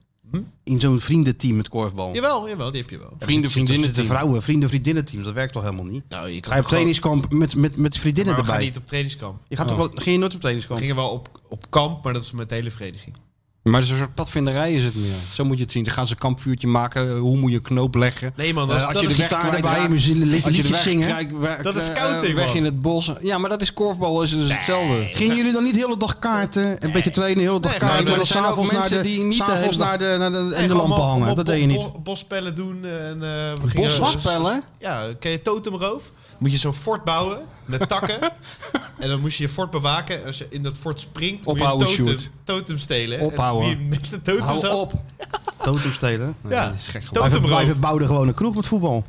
S4: In zo'n vriendenteam met korfbal.
S6: Jawel, jawel, die heb je wel.
S5: Vrienden, vriendinnen
S4: De vrouwen, vrienden, vriendinnenteam. Dat werkt toch helemaal niet? Ga
S6: Nou, je kan
S4: je op
S6: toch gewoon-
S4: trainingskamp met, met, met vriendinnen
S6: Maar we gaan
S4: erbij?
S6: niet op trainingskamp.
S4: Je gaat
S5: Oh.
S4: toch wel, ging je nooit op
S6: We
S4: trainingskamp?
S6: gingen wel op, op kamp, maar dat is met de hele vereniging.
S5: Maar het is een soort padvinderij is het meer. Zo moet je het zien. Dan gaan ze een kampvuurtje maken. eh, Hoe moet je een knoop leggen?
S6: Nee man,
S5: Eh,
S6: dat is, dat
S5: je
S6: is
S5: de weg
S4: Gitaar
S5: kwijtraakt.
S4: erbij, muziek,
S5: Als je de
S4: liedjes
S5: weg
S4: zingen.
S5: krijgt, werk,
S6: Dat is
S5: eh,
S6: scouting,
S5: Weg
S6: man.
S5: in het bos. Ja, maar dat is korfbal. Is dus hetzelfde.
S4: Gingen jullie dan niet de hele dag kaarten? Een beetje trainen, de hele dag
S6: Nee,
S4: kaarten.
S6: maar
S4: en
S6: er
S4: dan
S5: zijn ook
S4: s'avonds naar
S5: mensen die
S4: de,
S5: niet de
S4: s'avonds
S5: hele dag-
S4: naar de, naar de, en
S6: Nee,
S4: de
S6: gewoon
S4: lampen
S6: allemaal-
S4: hangen.
S6: allemaal
S4: Dat deed je
S6: bo-
S4: niet.
S6: bo- Bosspellen doen en eh we gingen...
S5: Bosspellen?
S6: Ja, ken je totemroof? Moet je zo'n fort bouwen met takken. en dan moest je je fort bewaken. En als je in dat fort springt,
S5: Ophouden,
S6: moet je een totem,
S5: Sjoerd.
S6: totem stelen.
S5: Ophouden.
S6: En wie het meeste totems
S5: Hou
S6: had...
S5: op.
S4: Totem stelen.
S6: Ja,
S5: dat is gek geworden.
S4: Blijven,
S6: totemroof.
S4: blijven bouwen gewoon een kroeg met voetbal.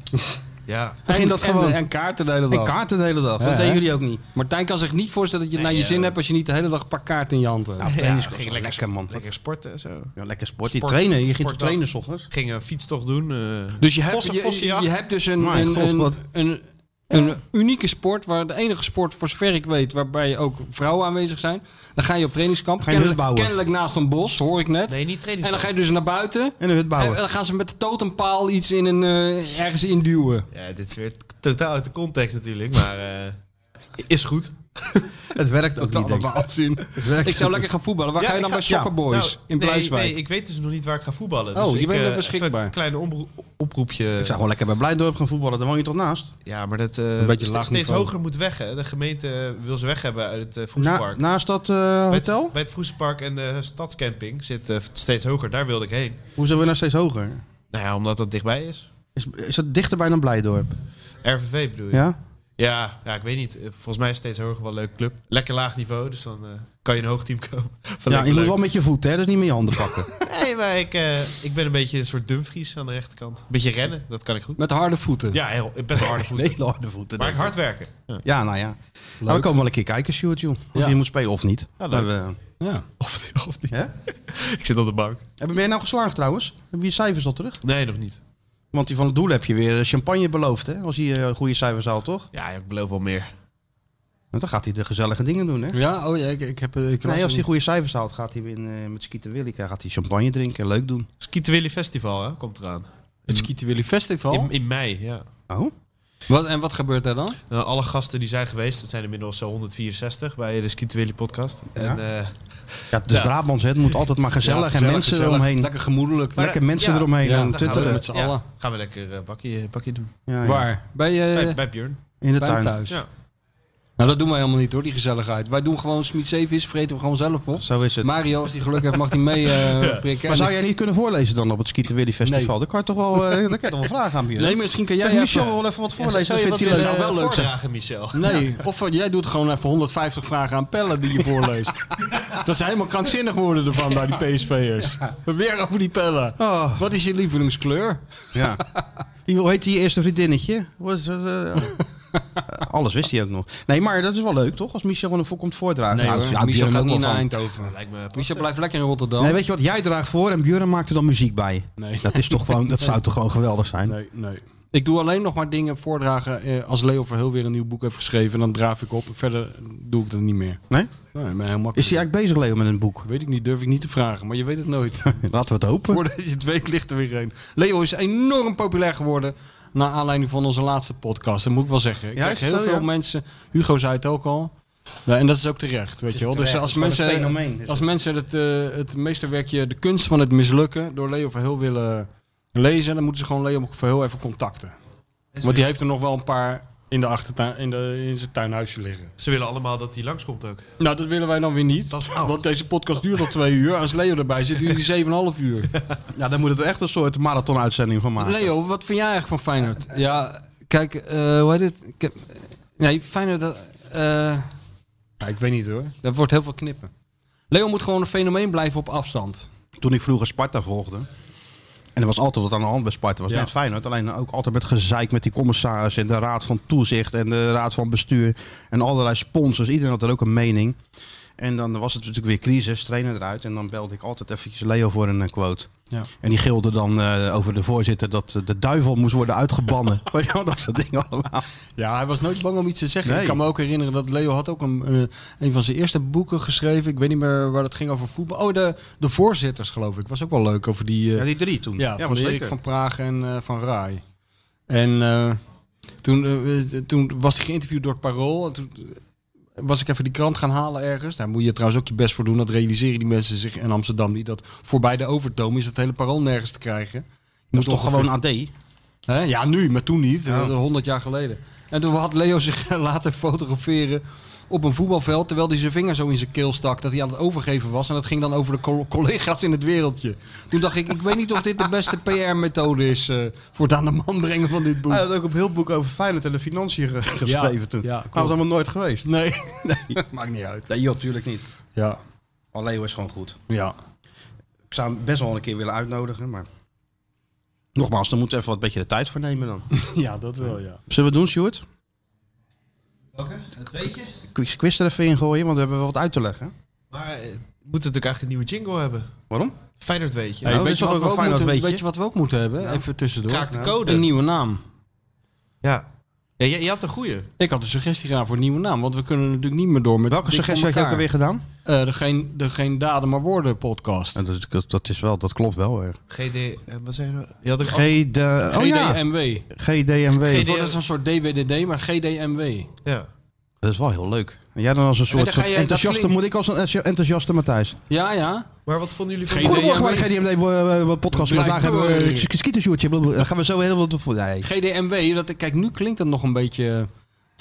S6: Ja.
S4: Begin dat
S5: En-
S4: gewoon.
S5: En, en kaarten de hele
S4: En
S5: dag.
S4: kaarten de hele dag.
S5: Ja,
S4: Dat deden
S5: hè?
S4: jullie ook niet.
S5: Martijn kan zich niet voorstellen dat je het naar je
S6: Nee,
S5: zin
S6: eh,
S5: hebt als je niet de hele dag een paar kaarten in je hand hebt.
S4: Nou,
S6: Ja,
S4: tennis
S6: we
S4: was
S6: gingen
S4: wel
S6: lekker,
S4: lekker, man.
S6: lekker sporten en zo.
S4: Ja, lekker sport. Die
S6: Sport-
S4: trainen. Je ging toch
S6: sportdag.
S4: trainen s ochtends?
S6: Gingen een fietstocht doen. eh
S5: dus je hebt,
S6: vossen-
S5: je- je,
S6: vossenjacht.
S5: je hebt dus een,
S4: Mijn
S5: een,
S4: god,
S5: een,
S4: wat-
S5: een, een unieke sport, waar de enige sport voor zover ik weet, waarbij ook vrouwen aanwezig zijn. Dan ga je op trainingskamp,
S4: Ga je een hut
S5: kennelijk,
S4: bouwen.
S5: kennelijk naast een bos, hoor ik net.
S6: Nee, niet training.
S5: en dan ga je dus naar buiten.
S4: En een hut
S5: En, en
S4: bouwen.
S5: dan gaan ze met de totempaal iets in een, eh, ergens induwen.
S6: Ja, dit is weer t- totaal uit de context natuurlijk, maar eh, is goed.
S4: Het werkt ook niet, denk ik.
S5: allemaal zin.
S4: Het werkt
S5: Ik zou
S4: ook
S5: lekker gaan voetballen. Waar
S6: Ja,
S5: ga je
S6: ik
S5: dan bij
S6: ga-
S5: Soccer Boys
S6: Nou,
S5: in
S6: nee,
S5: Blijswijk?
S6: Nee, ik weet dus nog niet waar ik ga voetballen.
S5: Oh,
S6: dus
S5: je
S6: ik,
S5: bent
S6: eh,
S5: wel
S6: even
S5: beschikbaar.
S6: Een kleine omroe- oproepje.
S4: Ik zou gewoon lekker bij Blijdorp gaan voetballen. Daar woon je toch naast?
S6: Ja, maar dat
S5: Een
S6: eh
S5: beetje
S6: st-
S5: laag
S6: steeds
S5: niveau.
S6: hoger moet weg. Hè. De gemeente wil ze weg hebben uit het eh
S4: Na-
S6: Vroesenpark.
S4: naast dat eh,
S6: bij het,
S4: hotel?
S6: bij het Vroesenpark en de stadscamping zit eh, steeds hoger. Daar wilde ik heen.
S4: Hoe zijn we nou steeds hoger?
S6: Nou ja, omdat dat dichtbij is.
S4: Is, is dat dichterbij dan Blijdorp?
S6: RVV bedoel je? Ja,
S4: Ja?
S6: ja, ik weet niet. Eh, Volgens mij is steeds hoger wel een leuk club. Lekker laag niveau, dus dan eh, kan je een hoog team kopen. Van
S4: Ja,
S6: lekker
S4: je moet
S6: leuk.
S4: wel met je voeten, hè? Dus niet met je handen pakken.
S6: Nee, maar ik, eh, ik ben een beetje een soort Dumfries aan de rechterkant. Een beetje rennen, dat kan ik goed.
S5: Met harde voeten.
S6: Ja, heel, best wel harde voeten.
S4: Hele harde voeten.
S6: maar ik
S4: denk
S6: hard werken. Ja.
S4: Ja, nou ja. Nou, we komen wel een keer kijken, Sjoerd, joh. Of
S5: Ja.
S4: je moet spelen of niet.
S6: Ja,
S4: Maar eh,
S6: leuk.
S4: we-
S5: Ja.
S6: Of, of niet.
S4: Hè?
S6: Ik zit op de bank.
S4: Hebben we je nou geslaagd trouwens? Hebben we je cijfers al terug?
S6: Nee, nog niet.
S4: Want die van het doel heb je weer eh, champagne beloofd, hè? Als hij eh, goede cijfers haalt, toch?
S6: Ja, ik beloof wel meer.
S4: Want dan gaat hij de gezellige dingen doen, hè?
S5: Ja, oh ja, ik, ik heb... Ik
S4: Nee,
S5: las
S4: als hij
S5: een-
S4: goede cijfers haalt, gaat hij weer in, eh, met Skeeter Willeke gaat hij champagne drinken. Leuk doen.
S6: Skieten Willy Festival, hè? Komt eraan.
S5: Het Skieten Willy Festival.
S6: In, in mei, ja.
S4: Oh?
S5: Wat, en wat gebeurt daar dan?
S6: Nou, alle gasten die zijn geweest, dat zijn inmiddels zo 164 bij de Skieten Willy podcast. En, eh,
S4: Ja, dus
S6: Ja.
S4: Brabants, hè? Het moet altijd maar gezellig, en mensen
S5: gezellig.
S4: eromheen.
S5: Lekker gemoedelijk.
S4: Maar Lekker mensen eromheen eh, aan
S6: dan gaan
S4: tuttelen.
S6: we-
S5: Met z'n
S6: ja,
S5: allen.
S6: Gaan we lekker eh, bakje, bakje doen.
S4: Ah, Ja, ja.
S5: Waar? Bij, eh,
S6: Bij,
S5: bij,
S6: bij Björn.
S4: In de
S5: hem
S4: tuin.
S5: thuis.
S6: Ja.
S5: Nou, dat doen wij helemaal niet hoor, die gezelligheid. Wij doen gewoon Smit is, vreten we gewoon zelf op.
S4: Zo is het. Maar,
S5: Mario, als die geluk heeft, mag hij mee eh, prikken. En
S4: zou
S5: ik-
S4: jij niet kunnen voorlezen dan op het Skeeter Willy Festival? Daar kan je toch wel, eh, daar kan je toch wel vragen aan bieden.
S5: Nee, misschien kan jij
S4: Kan Michel
S5: even-
S4: wel even wat
S6: Ja,
S4: voorlezen?
S6: zou
S4: dat
S6: je
S4: vindt
S6: wat
S4: hij leuk.
S6: willen
S5: zou wel leuk zijn.
S6: voordragen, Michel?
S5: Nee, of eh, jij doet gewoon even 150 vragen aan Pelle die je voorleest. Dat ze helemaal krankzinnig worden ervan, daar, die PSV'ers. Weer over die pellen.
S4: Oh.
S5: Wat is je lievelingskleur?
S4: Ja. Die, hoe heet die eerste vriendinnetje? Was, eh, eh, alles wist hij ook nog. Nee, maar dat is wel leuk, toch? Als Michel van een voorkomt voordragen.
S10: Nee,
S4: Nou,
S10: hoor,
S4: ja,
S10: Michel
S4: Björn
S10: gaat
S4: ook
S10: niet
S4: wel
S10: naar
S4: van.
S10: Eindhoven.
S6: Lijkt me
S10: Michel blijft lekker in Rotterdam.
S4: Nee, weet je wat? Jij draagt voor en Björn maakt er dan muziek bij.
S5: Nee.
S4: Dat, is toch gewoon, dat zou toch gewoon geweldig zijn?
S5: Nee, nee. Ik doe alleen nog maar dingen voordragen eh, als Leo Verheul weer een nieuw boek heeft geschreven. Dan draaf ik op. Verder doe ik dat niet meer.
S4: Nee?
S5: Nee, ik ben heel makkelijk.
S4: Is hij eigenlijk bezig, Leo, met een boek?
S5: Weet ik niet, durf ik niet te vragen. Maar je weet het nooit.
S4: Laten we het hopen.
S5: Voordat je het weet ligt er weer een. Leo is enorm populair geworden. Naar aanleiding van onze laatste podcast. Dat moet ik wel zeggen. Ik
S4: Ja,
S5: krijg
S4: is het
S5: heel
S4: zo,
S5: veel
S4: ja?
S5: mensen. Hugo zei het ook al. Ja, en dat is ook terecht, weet je wel. Dus
S4: terecht,
S5: als
S4: het is
S5: mensen,
S4: gewoon een fenomeen, is
S5: als
S4: het.
S5: mensen het, eh het meesterwerkje De Kunst van het Mislukken door Leo Verheul willen lezen, dan moeten ze gewoon Leo Verheul even contacten. Want die heeft er nog wel een paar in, de achtertuin, in, de, in zijn tuinhuisje liggen.
S6: Ze willen allemaal dat hij langskomt ook.
S5: Nou, dat willen wij dan weer niet.
S6: Dat is-
S5: Want deze podcast duurt al twee uur. Als Leo erbij zit, duurt die 7,5 uur.
S4: Ja, dan moet het echt een soort marathon-uitzending van maken.
S5: Leo, wat vind jij eigenlijk van Feyenoord? Ja, kijk, eh, hoe heet het? Ik heb, nee, Feyenoord... dat, eh, ja, ik weet niet hoor. Dat wordt heel veel knippen. Leo moet gewoon een fenomeen blijven op afstand.
S4: Toen ik vroeger Sparta volgde. En er was altijd wat aan de hand bij Sparta. was
S5: Ja.
S4: net Feyenoord. Alleen ook altijd met gezeik met die commissaris en de raad van toezicht en de raad van bestuur. En allerlei sponsors. Iedereen had er ook een mening. En dan was het natuurlijk weer crisis, trainer eruit. En dan belde ik altijd eventjes Leo voor een eh, quote.
S5: Ja.
S4: En die gilde dan eh, over de voorzitter dat eh, de duivel moest worden uitgebannen. Weet je wel, dat soort dingen allemaal.
S5: Ja, hij was nooit bang om iets te zeggen.
S4: Nee.
S5: Ik kan me ook herinneren dat Leo had ook een, eh, een van zijn eerste boeken geschreven. Ik weet niet meer waar dat ging over voetbal. Oh, de, de voorzitters geloof ik. Was ook wel leuk over die... eh,
S4: Ja, die drie toen.
S5: Ja, van
S4: was
S5: Erik
S4: zeker.
S5: van Praag en eh, van Rai. En eh, toen, eh, toen was hij geïnterviewd door het Parool. En toen eh, was ik even die krant gaan halen ergens. Daar moet je trouwens ook je best voor doen. Dat realiseren die mensen zich in Amsterdam niet. Dat voorbij de overtoom is het hele Parool nergens te krijgen. Je
S4: Dat is toch
S5: ongeveer-
S4: gewoon AD?
S5: Hè? Ja, nu, maar toen niet.
S4: Ja.
S5: Eh, 100 jaar geleden. En toen had Leo zich laten fotograferen op een voetbalveld. Terwijl hij zijn vinger zo in zijn keel stak. Dat hij aan het overgeven was. En dat ging dan over de co- collega's in het wereldje. Toen dacht ik, ik weet niet of dit de beste PR-methode is. eh, voor het aan de man brengen van dit boek.
S4: Hij had ook op heel boek over Feyenoord en de financiën ge- geschreven toen.
S5: ja,
S4: maar dat
S5: klopt.
S4: was allemaal nooit geweest.
S5: Nee, maakt niet uit.
S4: Nee, joh, tuurlijk niet.
S5: Ja,
S4: Maar Leo is gewoon goed.
S5: ja.
S4: Ik zou hem best wel een keer willen uitnodigen, maar... Nogmaals, dan moeten we even wat beetje de tijd voor nemen dan.
S5: ja dat wel, ja.
S4: Zullen we het doen, Stuart?
S6: Oké, dat weet je.
S4: Quiz, quiz er even in gooien, want we hebben wel wat uit te leggen.
S6: Maar eh, we moeten natuurlijk eigenlijk een nieuwe jingle hebben.
S4: Waarom?
S6: Feyenoord weet je.
S4: Hey,
S5: Hey,
S4: dit
S5: weet,
S4: Nou, is
S5: je
S4: wel
S5: wat we
S4: ook een
S5: ook
S4: Feyenoord
S5: moeten,
S4: weetje.
S5: weet je wat we ook moeten hebben? Even tussendoor.
S6: Kraak de code.
S5: Een nieuwe naam.
S6: Ja. ja je, je had een goeie.
S5: Ik had een suggestie gedaan voor een nieuwe naam. Want we kunnen natuurlijk niet meer door met
S4: Welke
S5: dit van
S4: suggestie had je ook
S5: elkaar.
S4: alweer gedaan?
S5: Eh, de, geen, de Geen Daden Maar Woorden podcast.
S4: Ja, dat, dat, dat is wel, dat klopt wel. hè.
S6: GD, eh, wat zei je nou? Je had een andere-
S4: GD, oh ja,
S5: GDMW.
S4: GDMW.
S5: Het wordt dus een soort DWDD, maar GDMW.
S6: Ja.
S4: Dat is wel heel leuk. En jij dan als een
S5: dan
S4: soort,
S5: ga
S4: soort
S5: je- dat
S4: enthousiaste,
S5: klinkt-
S4: moet ik als een enthousi- enthousiaste Matthijs.
S5: Ja, ja.
S6: Maar wat vonden jullie van...
S5: GD.
S4: Goedemorgen bij de GDMD eh, eh, podcast. Vandaag hebben we
S5: Blijkbaar.
S4: eh, sk- skietersjoertje. blablabla. Dan gaan we zo heel veel doen voor. Nee.
S5: GDMW, dat, kijk, nu klinkt dat nog een beetje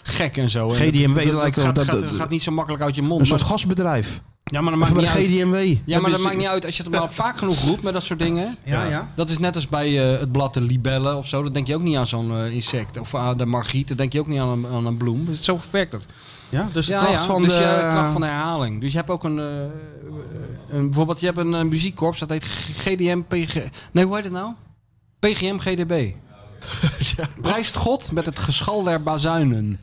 S5: gek en zo. En
S4: GDMW
S5: dat, dat,
S4: lijkt
S5: dat, gaat,
S4: wel-
S5: gaat,
S4: dat-
S5: gaat niet zo makkelijk uit je mond.
S4: Een soort
S5: maar-
S4: gasbedrijf.
S5: ja, maar dat
S4: Maar
S5: maakt
S4: bij
S5: niet
S4: de
S5: uit.
S4: GDMW.
S5: Ja, maar dat maakt niet uit. Als je het maar vaak genoeg roept met dat soort dingen.
S4: Ja, ja.
S5: Dat is net als bij eh, het blad de libellen of zo. Dan denk je ook niet aan zo'n eh, insect. Of aan de margriet. Dan denk je ook niet aan een, aan een bloem. Dus zo werkt dat.
S4: Ja, dus de
S5: Ja,
S4: kracht
S5: ja,
S4: van
S5: dus
S4: de...
S5: je kracht van de herhaling. Dus je hebt ook een, eh, een bijvoorbeeld je hebt een, eh, muziekkorps dat heet GDM PG. Nee, hoe heet het nou? PGM GDB. Prijst God met het geschal der bazuinen.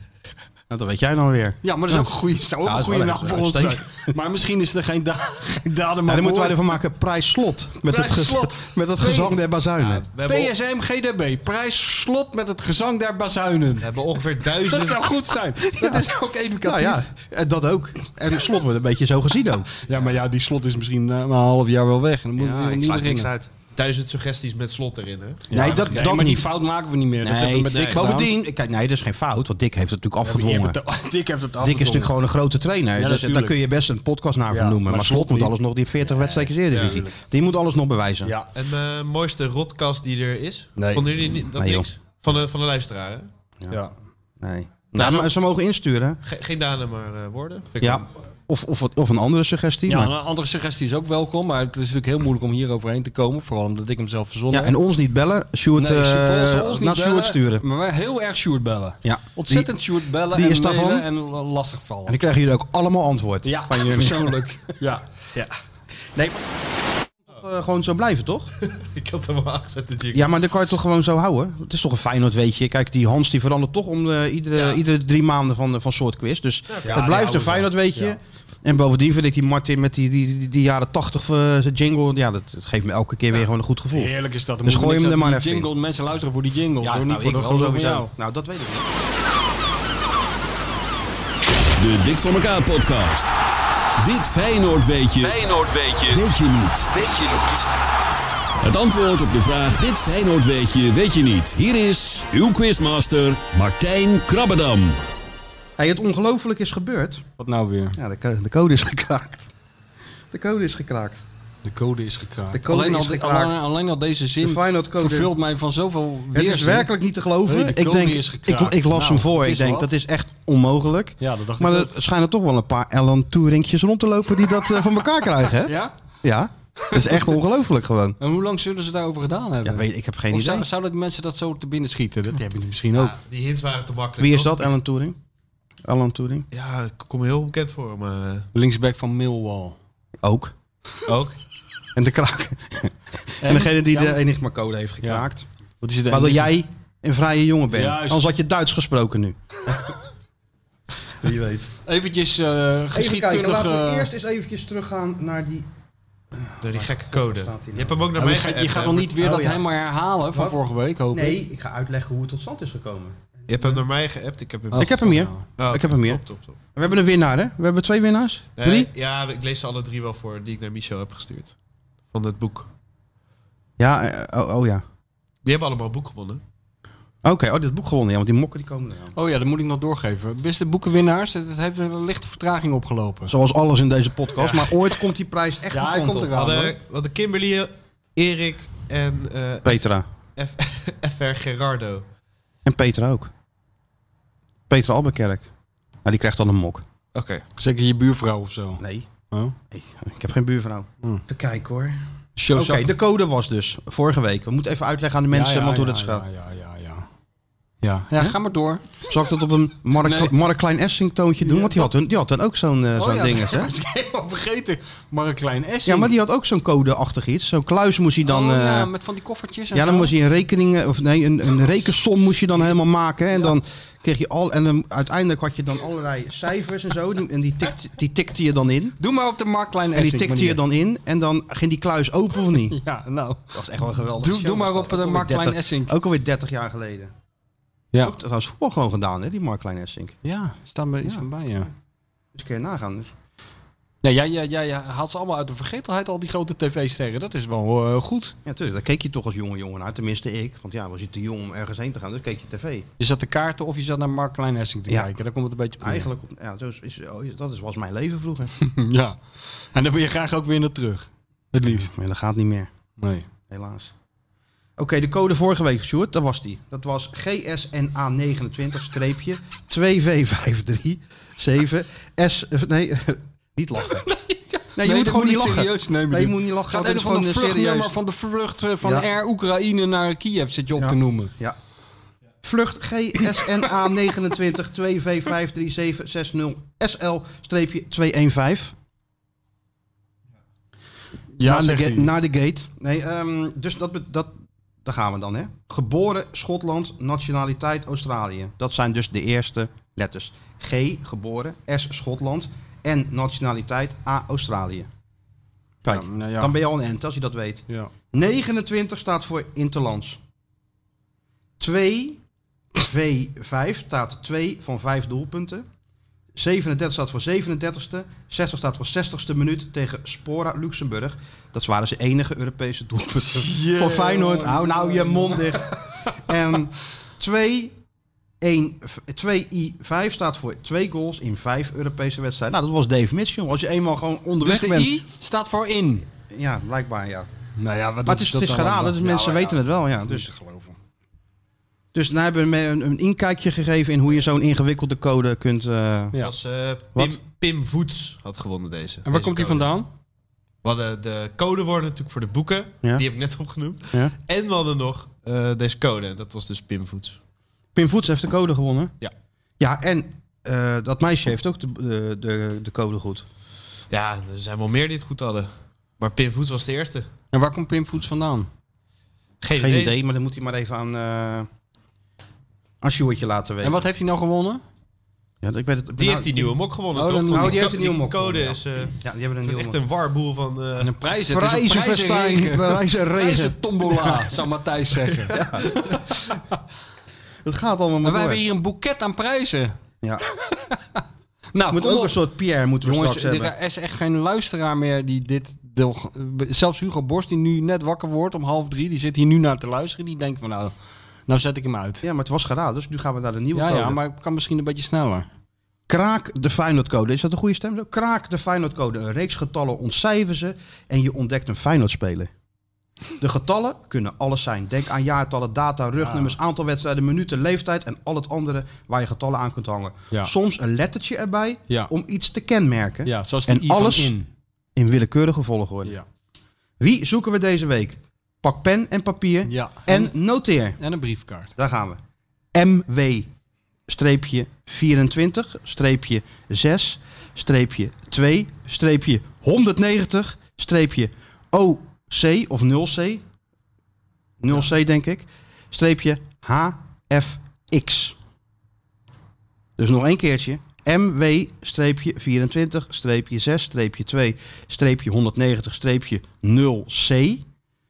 S4: Nou, dat weet jij dan weer.
S5: Ja, maar dat is ook een goede, zou ook
S4: Ja,
S5: een
S4: dat is
S5: goede
S4: wel
S5: naam
S4: echt
S5: voor ons zijn.
S4: uitstekend.
S5: Maar misschien is er geen, da geen daden
S4: Ja,
S5: maar
S4: dan moeten wij
S5: woorden.
S4: ervan maken prijsslot. Met, het, ge-
S5: Prijsslot.
S4: met het gezang der bazuinen.
S6: We hebben, on-
S5: PSM GDB. Prijs slot met het gezang der bazuinen.
S6: we hebben ongeveer
S5: Dat
S6: duizend...
S5: zou goed zijn. Dat is ook educatief.
S4: nou ja, en dat ook. En slot wordt een beetje zo gezien ook.
S5: Ja, maar ja, die slot is misschien eh, maar een half jaar wel weg. En dan moet
S4: Ja,
S5: ja,
S4: ik
S5: niet
S4: sluit
S5: beginnen.
S4: niks uit.
S6: Duizend suggesties met slot erin, hè?
S4: nee, dat,
S5: Nee,
S4: dat
S5: maar
S4: niet.
S5: die fout maken we niet meer. dat hebben
S4: Nee,
S5: we met Dick gedaan.
S4: bovendien... Kijk, nee, dat is geen fout. Want Dick heeft het natuurlijk afgedwongen.
S5: Dik heeft het afgedwongen.
S4: Dick is natuurlijk gewoon een grote trainer. dus daar
S5: natuurlijk.
S4: kun je best een podcast naar van
S5: Ja,
S4: noemen.
S5: maar
S4: Maar Slot
S5: Slot
S4: moet
S5: niet.
S4: alles nog, die 40 wedstrijdjes eerder divisie. Die moet alles nog bewijzen.
S5: Ja.
S6: En de mooiste rotkast die er is?
S5: Nee.
S6: Vonden jullie niet, dat
S4: Nee, joh.
S6: niks? Van de, van de luisteraar, hè?
S5: Ja.
S4: Nee. Nou, maar ze mogen insturen.
S6: Ge- geen daden, maar eh, woorden. Vind ik
S4: Ja.
S6: wel.
S4: Of, of, wat- of een andere suggestie.
S5: Ja,
S4: maar-
S5: een
S7: nou,
S5: andere suggestie is ook welkom, maar het is natuurlijk heel moeilijk om hier overheen te komen. Vooral omdat ik hem zelf verzonnen
S4: ja, en ons niet bellen. Stuart,
S5: Nee, volgens ons niet bellen,
S4: naar Stuart sturen.
S5: Maar wij heel erg Sjoerd bellen.
S4: Ja,
S5: Ontzettend Sjoerd bellen
S4: die
S5: en
S4: is daarvan.
S5: mailen en eh, lastigvallen.
S4: En dan krijgen jullie ook allemaal antwoord.
S5: ja, persoonlijk. ja.
S4: Nee, maar- Toch, eh, gewoon zo blijven, toch?
S6: Ik had hem al aangezet, de jingle.
S4: Ja, maar dan kan je het toch gewoon zo houden? Het is toch een Feyenoord, weet je. Kijk, die Hans die verandert toch om eh, iedere, iedere drie maanden van, van soort quiz. Dus het blijft een Feyenoord, weet je. En bovendien vind ik die Martin met die, die, die, die jaren tachtig eh, zijn jingle... Ja, dat, dat geeft me elke keer weer gewoon een goed gevoel.
S7: Heerlijk is dat. Dan
S4: Dus
S7: moeten we
S4: gooi
S7: niks
S4: hem er
S7: aan- die
S4: maar even in.
S7: jingle, Mensen luisteren voor die jingle.
S4: Ja,
S7: hoor,
S4: nou,
S7: niet voor
S4: ik
S7: de
S4: wel
S7: geloof van
S4: sowieso.
S7: jou.
S4: Nou, dat weet ik niet.
S11: De Dik voor elkaar podcast. Dit Feyenoord weet je. Feyenoord weet je. Weet je niet. Weet je niet. Het antwoord op de vraag Dit Feyenoord weet je, weet je niet. Hier is uw quizmaster Martijn Krabbedam.
S4: Hey, het ongelooflijk is gebeurd.
S7: Wat nou weer?
S4: Ja, de, co- de code is gekraakt. De code is gekraakt.
S7: De code is gekraakt.
S4: De code
S5: alleen,
S4: is
S5: al, de-
S4: gekraakt.
S5: alleen, alleen al deze
S4: De
S5: zin
S4: Feyenoord code-
S5: vervult mij van zoveel
S4: Het
S5: weerzin.
S4: is werkelijk niet te geloven.
S5: Nee, de
S4: ik
S5: code
S4: denk,
S5: is
S4: ik,
S5: gekraakt.
S4: ik las
S5: Nou,
S4: hem voor.
S5: het
S4: Ik
S5: is
S4: denk,
S5: wat.
S4: dat is echt onmogelijk.
S7: Ja, dat dacht
S4: maar
S7: ik
S4: er
S7: ook.
S4: schijnen toch wel een paar Alan Turingjes rond te lopen die dat eh, van elkaar krijgen, hè?
S5: Ja?
S4: Ja. Dat is echt ongelooflijk gewoon.
S5: En hoe lang zullen ze daarover gedaan hebben?
S4: Ja, weet, ik heb geen
S5: of
S4: idee.
S5: zou, zouden die mensen dat zo te binnen schieten? Dat hebben die misschien ook.
S6: Ja, die hints waren te makkelijk.
S4: Wie is
S6: toch?
S4: dat, Alan Turing? Alan Turing?
S6: Ja, ik kom heel bekend voor, maar... eh,
S5: Linksback van Millwall.
S4: Ook.
S6: Ook.
S4: En de kraak. En degene die de Enigma code heeft gekraakt.
S5: Wat is het
S4: Waardoor jij een vrije jongen bent.
S7: Juist.
S4: Anders had je Duits gesproken nu. Wie weet.
S5: Eventjes eh
S4: Even kijken,
S5: geschiedkundige...
S4: laten we eh, eerst eens eventjes teruggaan naar die...
S6: Door die gekke code.
S4: staat hij
S6: Je hebt hem ook naar
S5: Ja, maar
S6: mij
S5: je gaat- je
S6: geappt,
S5: gaat
S6: hè?
S5: nog niet weer
S4: Oh,
S5: dat
S4: ja.
S5: helemaal herhalen van
S4: Wat?
S5: vorige week, hoop ik.
S4: Nee, ik ga uitleggen hoe het tot stand is gekomen.
S6: Je hebt hem naar mij geappt, ik heb hem...
S5: Oh,
S4: ik heb hem hier.
S6: Oh,
S4: ik heb hem hier.
S6: Top, top, top.
S4: We hebben een winnaar, hè? We hebben twee winnaars.
S6: Nee,
S4: Drie?
S6: Ja, ik lees ze alle drie wel voor die ik naar Michel heb gestuurd. Van het boek.
S4: Ja, eh, oh, oh ja.
S6: Die hebben allemaal boek gewonnen.
S4: Oké, oh, dit boek gewonnen. Ja, want die mokken die komen eraan.
S5: Oh ja, dat moet ik nog doorgeven. Beste boekenwinnaars, het heeft een lichte vertraging opgelopen.
S4: Zoals alles in deze podcast. Maar ooit komt die prijs echt
S5: Ja,
S4: de
S5: hij
S4: kant
S5: komt
S4: op.
S5: eraan.
S6: Hadden,
S5: hoor.
S6: hadden Eh, Kimberly, Erik en eh,
S4: Petra.
S6: F- FR Gerardo.
S4: En Petra ook. Petra Albekerk. Nou, die krijgt dan een mok.
S6: Oké.
S5: Zeker je buurvrouw of zo.
S4: Nee.
S5: Oh.
S4: Nee, ik heb geen buurvrouw. Even kijken hoor.
S5: Show
S4: Oké, de code was dus vorige week. We moeten even uitleggen aan de mensen want hoe dat gaat.
S5: Ja, ja, ja. Ja, ja ga maar door.
S4: Zal ik dat op een Mark,
S5: Nee. Oh,
S4: Mark Klein Essing toontje doen? Want die had, een, die had dan ook zo'n eh, zo'n
S5: ja,
S4: ding. Hè?
S5: dat was ik helemaal vergeten. Maar een klein S.
S4: Ja, maar die had ook zo'n code-achtig iets. Zo'n kluis moest hij dan...
S5: oh,
S4: eh,
S5: ja, met van die koffertjes en
S4: Ja, dan
S5: zo.
S4: moest je een rekening, eh, of nee, een, een rekensom moest je dan helemaal maken. hè. En dan kreeg je al, en dan uiteindelijk had je dan allerlei cijfers en zo. En die tikte, die tikte je dan in.
S5: Doe maar op de Mark Klein S.
S4: En die tikte je dan in. En dan ging die kluis open of niet?
S5: Ja, nou.
S4: Dat was echt wel een geweldig.
S5: Doe, doe maar op de Mark Klein Essink.
S4: Ook alweer 30 jaar geleden.
S5: Ja.
S4: Ook, dat was voetbal gewoon gedaan, hè, die Mark Klein Essink. Eens
S5: Ja, staan we iets van bij, ja.
S4: een keer nagaan.
S5: Ja, jij, jij, jij haalt ze allemaal uit de vergetelheid, al die grote tv-sterren. Dat is wel eh, goed.
S4: Ja, tuurlijk. Daar keek je toch als jonge jongen naar. Tenminste ik. Want ja, was je te jong om ergens heen te gaan. Dus keek je tv.
S5: Je zat de kaarten of je zat naar Mark Klein Hessing te
S4: Ja.
S5: kijken. Daar komt het een beetje op neer.
S4: Eigenlijk, op- ja, zo is, is- oh, is- dat is, was mijn leven vroeger.
S5: Ja. En dan wil je graag ook weer naar terug. Het liefst.
S4: Maar dat gaat niet meer.
S5: Nee.
S4: Helaas. Oké, de code vorige week, Sjoerd, dat was die. Dat was GSNA29-2V537S... eh, Nee, niet lachen. Nee, je moet
S5: dat
S4: gewoon niet
S5: ik
S4: lachen.
S5: Serieus nemen.
S4: Nee, je
S5: dit.
S4: moet niet lachen.
S5: Gaat
S4: dat
S5: een
S4: is
S5: van de
S4: gewoon serieus.
S5: vluchtnummer van de vlucht eh, van
S4: Ja.
S5: Air Oekraïne naar Kiev zit je op
S4: Ja.
S5: te noemen.
S4: Ja. Vlucht GSNA 29 2V53760 SL-215. Ja, naar, de ga- naar de gate. Nee, ehm, dus dat, be- dat, daar gaan we dan, hè. Geboren Schotland, nationaliteit Australië. Dat zijn dus de eerste letters. G, geboren, S, Schotland en nationaliteit A, Australië. Kijk,
S7: Ja, nou ja.
S4: dan ben je al een ent als je dat weet.
S7: Ja.
S4: 29 staat voor Interlands. 2 V5 staat 2 van 5 doelpunten. 37 staat voor 37ste. 60 staat voor 60ste minuut tegen Spora Luxemburg. Dat waren zijn enige Europese doelpunten. Voor Feyenoord, hou nou je mond dicht. En 2 1, 2i5 staat voor 2 goals in 5 Europese wedstrijden. Nou, dat was Dave Mitchell. Als je eenmaal gewoon onderweg
S5: Dus de
S4: bent.
S5: I staat voor in.
S4: Ja, blijkbaar ja.
S5: Nou ja, wat
S4: dus Maar het is, het is geraden, dus mensen weten het wel. Ja.
S7: Dus
S4: Dus
S7: te geloven.
S4: Dus daar hebben we me een, een inkijkje gegeven in hoe je zo'n ingewikkelde code kunt... eh,
S5: Ja.
S6: was, eh, Pim,
S4: Wat?
S6: Pim Voets had gewonnen deze.
S5: En waar komt die vandaan?
S6: We hadden de codewoorden natuurlijk voor de boeken.
S4: Ja.
S6: Die heb ik net opgenoemd.
S4: Ja.
S6: En we hadden nog eh, deze code. En dat was dus Pim Voets.
S4: Pim Voets heeft de code gewonnen.
S6: Ja.
S4: Ja, en eh, dat meisje heeft ook de, de, de, de code goed.
S6: Ja, er zijn wel meer die het goed hadden. Maar Pim Voets was de eerste.
S5: En waar komt Pim Voets vandaan?
S6: Geen,
S4: Geen idee, maar dan moet hij maar even aan... eh aan Sjoerdje laten weten.
S5: En wat heeft hij nou gewonnen?
S4: Ja, ik weet het,
S6: Die heeft die nieuwe mok gewonnen,
S5: Oh,
S6: toch?
S5: dan-
S6: Want
S4: Nou, Oh, die heeft
S6: co-
S4: een nieuwe mok
S6: code
S4: gewonnen,
S6: is... eh,
S4: Ja, die hebben een
S6: het
S4: nieuwe
S6: wordt echt een warboel van... eh,
S5: En een prijs. Het is een
S4: Prijzenfestijn, prijzenregen.
S5: tombola, zou Matthijs zeggen.
S4: Het gaat allemaal
S5: Maar
S4: maar
S5: wij
S4: door.
S5: hebben hier een boeket aan prijzen.
S4: Ja.
S5: Nou,
S4: We moeten
S5: kom
S4: ook
S5: op.
S4: een soort Pierre moeten we
S5: Jongens,
S4: straks hebben.
S5: er is echt geen luisteraar meer die dit... deel- Zelfs Hugo Borst, die nu net wakker wordt om half drie, die zit hier nu naar te luisteren. Die denkt van nou, nou zet ik hem uit.
S4: Ja, maar het was geraden, dus nu gaan we naar de nieuwe
S5: Ja,
S4: code.
S5: ja, maar ik kan misschien een beetje sneller.
S4: Kraak de Feyenoordcode. Is dat een goede stem? Kraak de Feyenoordcode. Een reeks getallen ontcijferen ze en je ontdekt een Feyenoordspeler. De getallen kunnen alles zijn. Denk aan jaartallen, data, rugnummers,
S5: Ah.
S4: aantal wedstrijden, minuten, leeftijd en al het andere waar je getallen aan kunt hangen.
S5: Ja.
S4: Soms een lettertje erbij
S5: Ja.
S4: om iets te kenmerken
S5: Ja, zoals
S4: En
S5: die I van
S4: alles-
S5: in.
S4: in willekeurige volgorde.
S5: Ja.
S4: Wie zoeken we deze week? Pak pen en papier
S5: Ja.
S4: en noteer.
S5: En een briefkaart.
S4: Daar gaan we. MW-24-6-2-190-OC of 0C. 0C denk ik. Streepje HFX. Dus nog één keertje. MW-24-6-2-190-0C.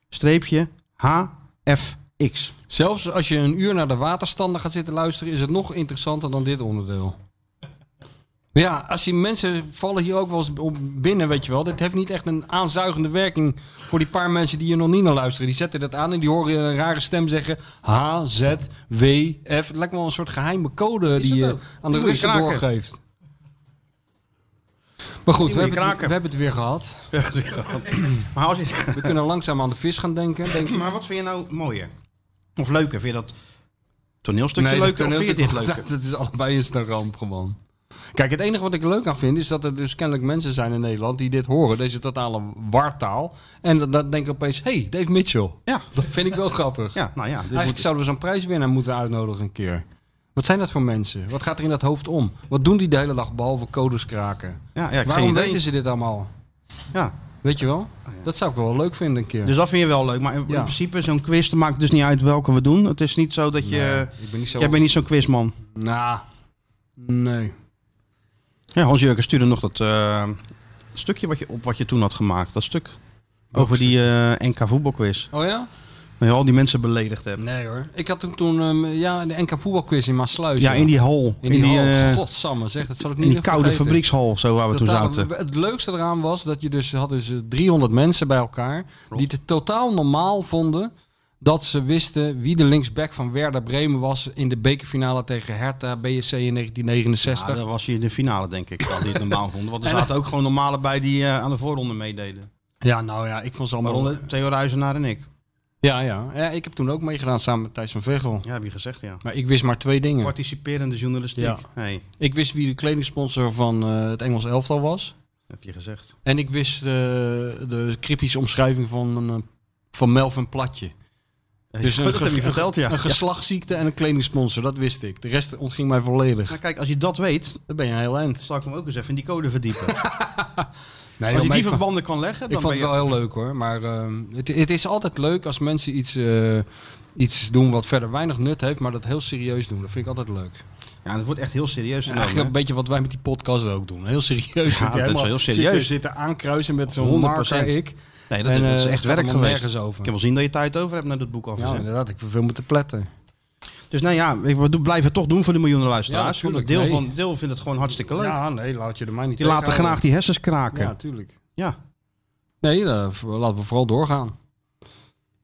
S4: Streepje HFX.
S5: Zelfs als je een uur naar de waterstanden gaat zitten luisteren, is het nog interessanter dan dit onderdeel. Ja, als die mensen vallen hier ook wel eens op binnen, weet je wel. Dit heeft niet echt een aanzuigende werking voor die paar mensen die hier nog niet naar luisteren. Die zetten dat aan en die horen een rare stem zeggen H, Z, W, F. Het lijkt wel een soort geheime code die je aan de
S4: je
S5: Russen
S4: kraken.
S5: doorgeeft. Maar goed, we
S4: moet je
S5: hebben, het, we
S4: kraken.
S5: hebben het weer gehad.
S4: Maar, als je,
S5: We kunnen langzaam aan de vis gaan denken. Denk ik.
S4: maar wat vind je nou mooier? Of leuker? Vind je dat toneelstukje
S5: Nee,
S4: leuker
S5: dat
S4: of vind je dit
S5: toneelstuk-
S4: leuker?
S5: Dat is allebei eens een ramp gewoon. Kijk, het enige wat ik er leuk aan vind is dat er dus kennelijk mensen zijn in Nederland die dit horen, deze totale wartaal. En dan, dan denk ik opeens, hey, Dave Mitchell.
S4: Ja.
S5: Dat vind ik wel grappig.
S4: Ja, nou ja. Dit
S5: Eigenlijk
S4: moet-
S5: zouden we zo'n prijswinnaar moeten uitnodigen een keer. Wat zijn dat voor mensen? Wat gaat er in dat hoofd om? Wat doen die de hele dag behalve codes kraken?
S4: ja, ja, ik
S5: Waarom
S4: geen idee.
S5: weten ze dit allemaal?
S4: Ja. Oh,
S5: Weet je wel? Dat zou ik wel leuk vinden een keer.
S4: Dus dat vind je wel leuk. Maar in, in
S5: Ja.
S4: principe, zo'n quiz, dat maakt dus niet uit welke we doen. Het is niet zo dat je...
S5: ik ben niet zo...
S4: Jij bent niet zo'n quizman.
S5: Nou, nee.
S4: Ja, Hans-Jurgen stuurde nog dat eh, stukje wat je, op wat je toen had gemaakt. Dat stuk over die eh, NK voetbalquiz.
S5: Oh ja?
S4: Dat je al die mensen beledigd hebt.
S5: Nee hoor. Ik had toen, toen ehm, ja, de NK voetbalquiz in Maasluis.
S4: Ja, in die hal.
S5: in die, hal.
S4: eh,
S5: Godsamme zeg, dat zal ik niet
S4: in die
S5: echt
S4: koude
S5: vergeten.
S4: fabriekshal, zo waar we toen
S5: Totaal-
S4: zaten.
S5: Het leukste eraan was dat je dus had dus eh, 300 mensen bij elkaar die het totaal normaal vonden dat ze wisten wie de linksback van Werder Bremen was in de bekerfinale tegen Hertha BSC in 1969.
S4: Ja, dat was hier in de finale, denk ik, dat die het normaal vonden. Want er zaten ook gewoon normale bij die eh, aan de voorronde meededen.
S5: Ja, nou ja, ik vond ze allemaal.
S4: Waaronder Theo Ruizenaar en ik.
S5: Ja, ja, ja. Ik heb toen ook meegedaan samen met Thijs van Veghel.
S4: Ja, heb je gezegd, ja.
S5: Maar ik wist maar twee dingen.
S4: Participerende journalistiek.
S5: Ja.
S4: Hey,
S5: Ik wist wie de kledingsponsor van eh, het Engels elftal was.
S4: heb je gezegd.
S5: En ik wist eh, de cryptische omschrijving van, eh, van Melvin Platje. Dus
S4: Ja,
S5: een
S4: dat heb je
S5: ge-
S4: verteld, ja.
S5: Een geslachtsziekte en een kledingsponsor, dat wist ik. De rest ontging mij volledig.
S4: Nou, kijk, als je dat weet,
S5: Dan ben je een heel eind.
S4: zal ik hem ook eens even in die code verdiepen.
S5: Nee,
S4: als je
S5: maar ik, vond-
S4: die verbanden kan leggen,
S5: ik
S4: dan
S5: vond
S4: ben
S5: het
S4: je...
S5: wel heel leuk hoor. Maar ehm, het, het is altijd leuk als mensen iets, eh, iets doen wat verder weinig nut heeft, maar dat heel serieus doen. Dat vind ik altijd leuk.
S4: Ja, dat wordt echt heel serieus genomen,
S5: Eigenlijk
S4: hè?
S5: een beetje wat wij met die podcast ook doen. Heel serieus.
S4: dat is
S5: helemaal
S4: heel serieus.
S5: Zitten, zitten aankruisen met zo'n
S4: 100%.
S5: marker ik.
S4: Nee, dat,
S5: En,
S4: dat is
S5: eh, het
S4: echt
S5: gaat
S4: werk
S5: allemaal
S4: geweest.
S5: nergens over.
S4: Ik heb wel zien dat je tijd over hebt naar dat boek af.
S5: Ja, inderdaad. Ik heb veel moeten pletten.
S4: Dus nou ja, ik- we doen- blijven het toch doen voor de miljoenen
S5: Ja,
S4: luisteraars. want
S5: natuurlijk,
S4: een deel,
S5: nee.
S4: van, deel vindt het gewoon hartstikke leuk.
S5: Ja, nee, laat je er mij niet
S4: Die laten graag die hersens kraken.
S5: Ja,
S4: Ja.
S5: natuurlijk. Nee, eh, v- laten we vooral doorgaan.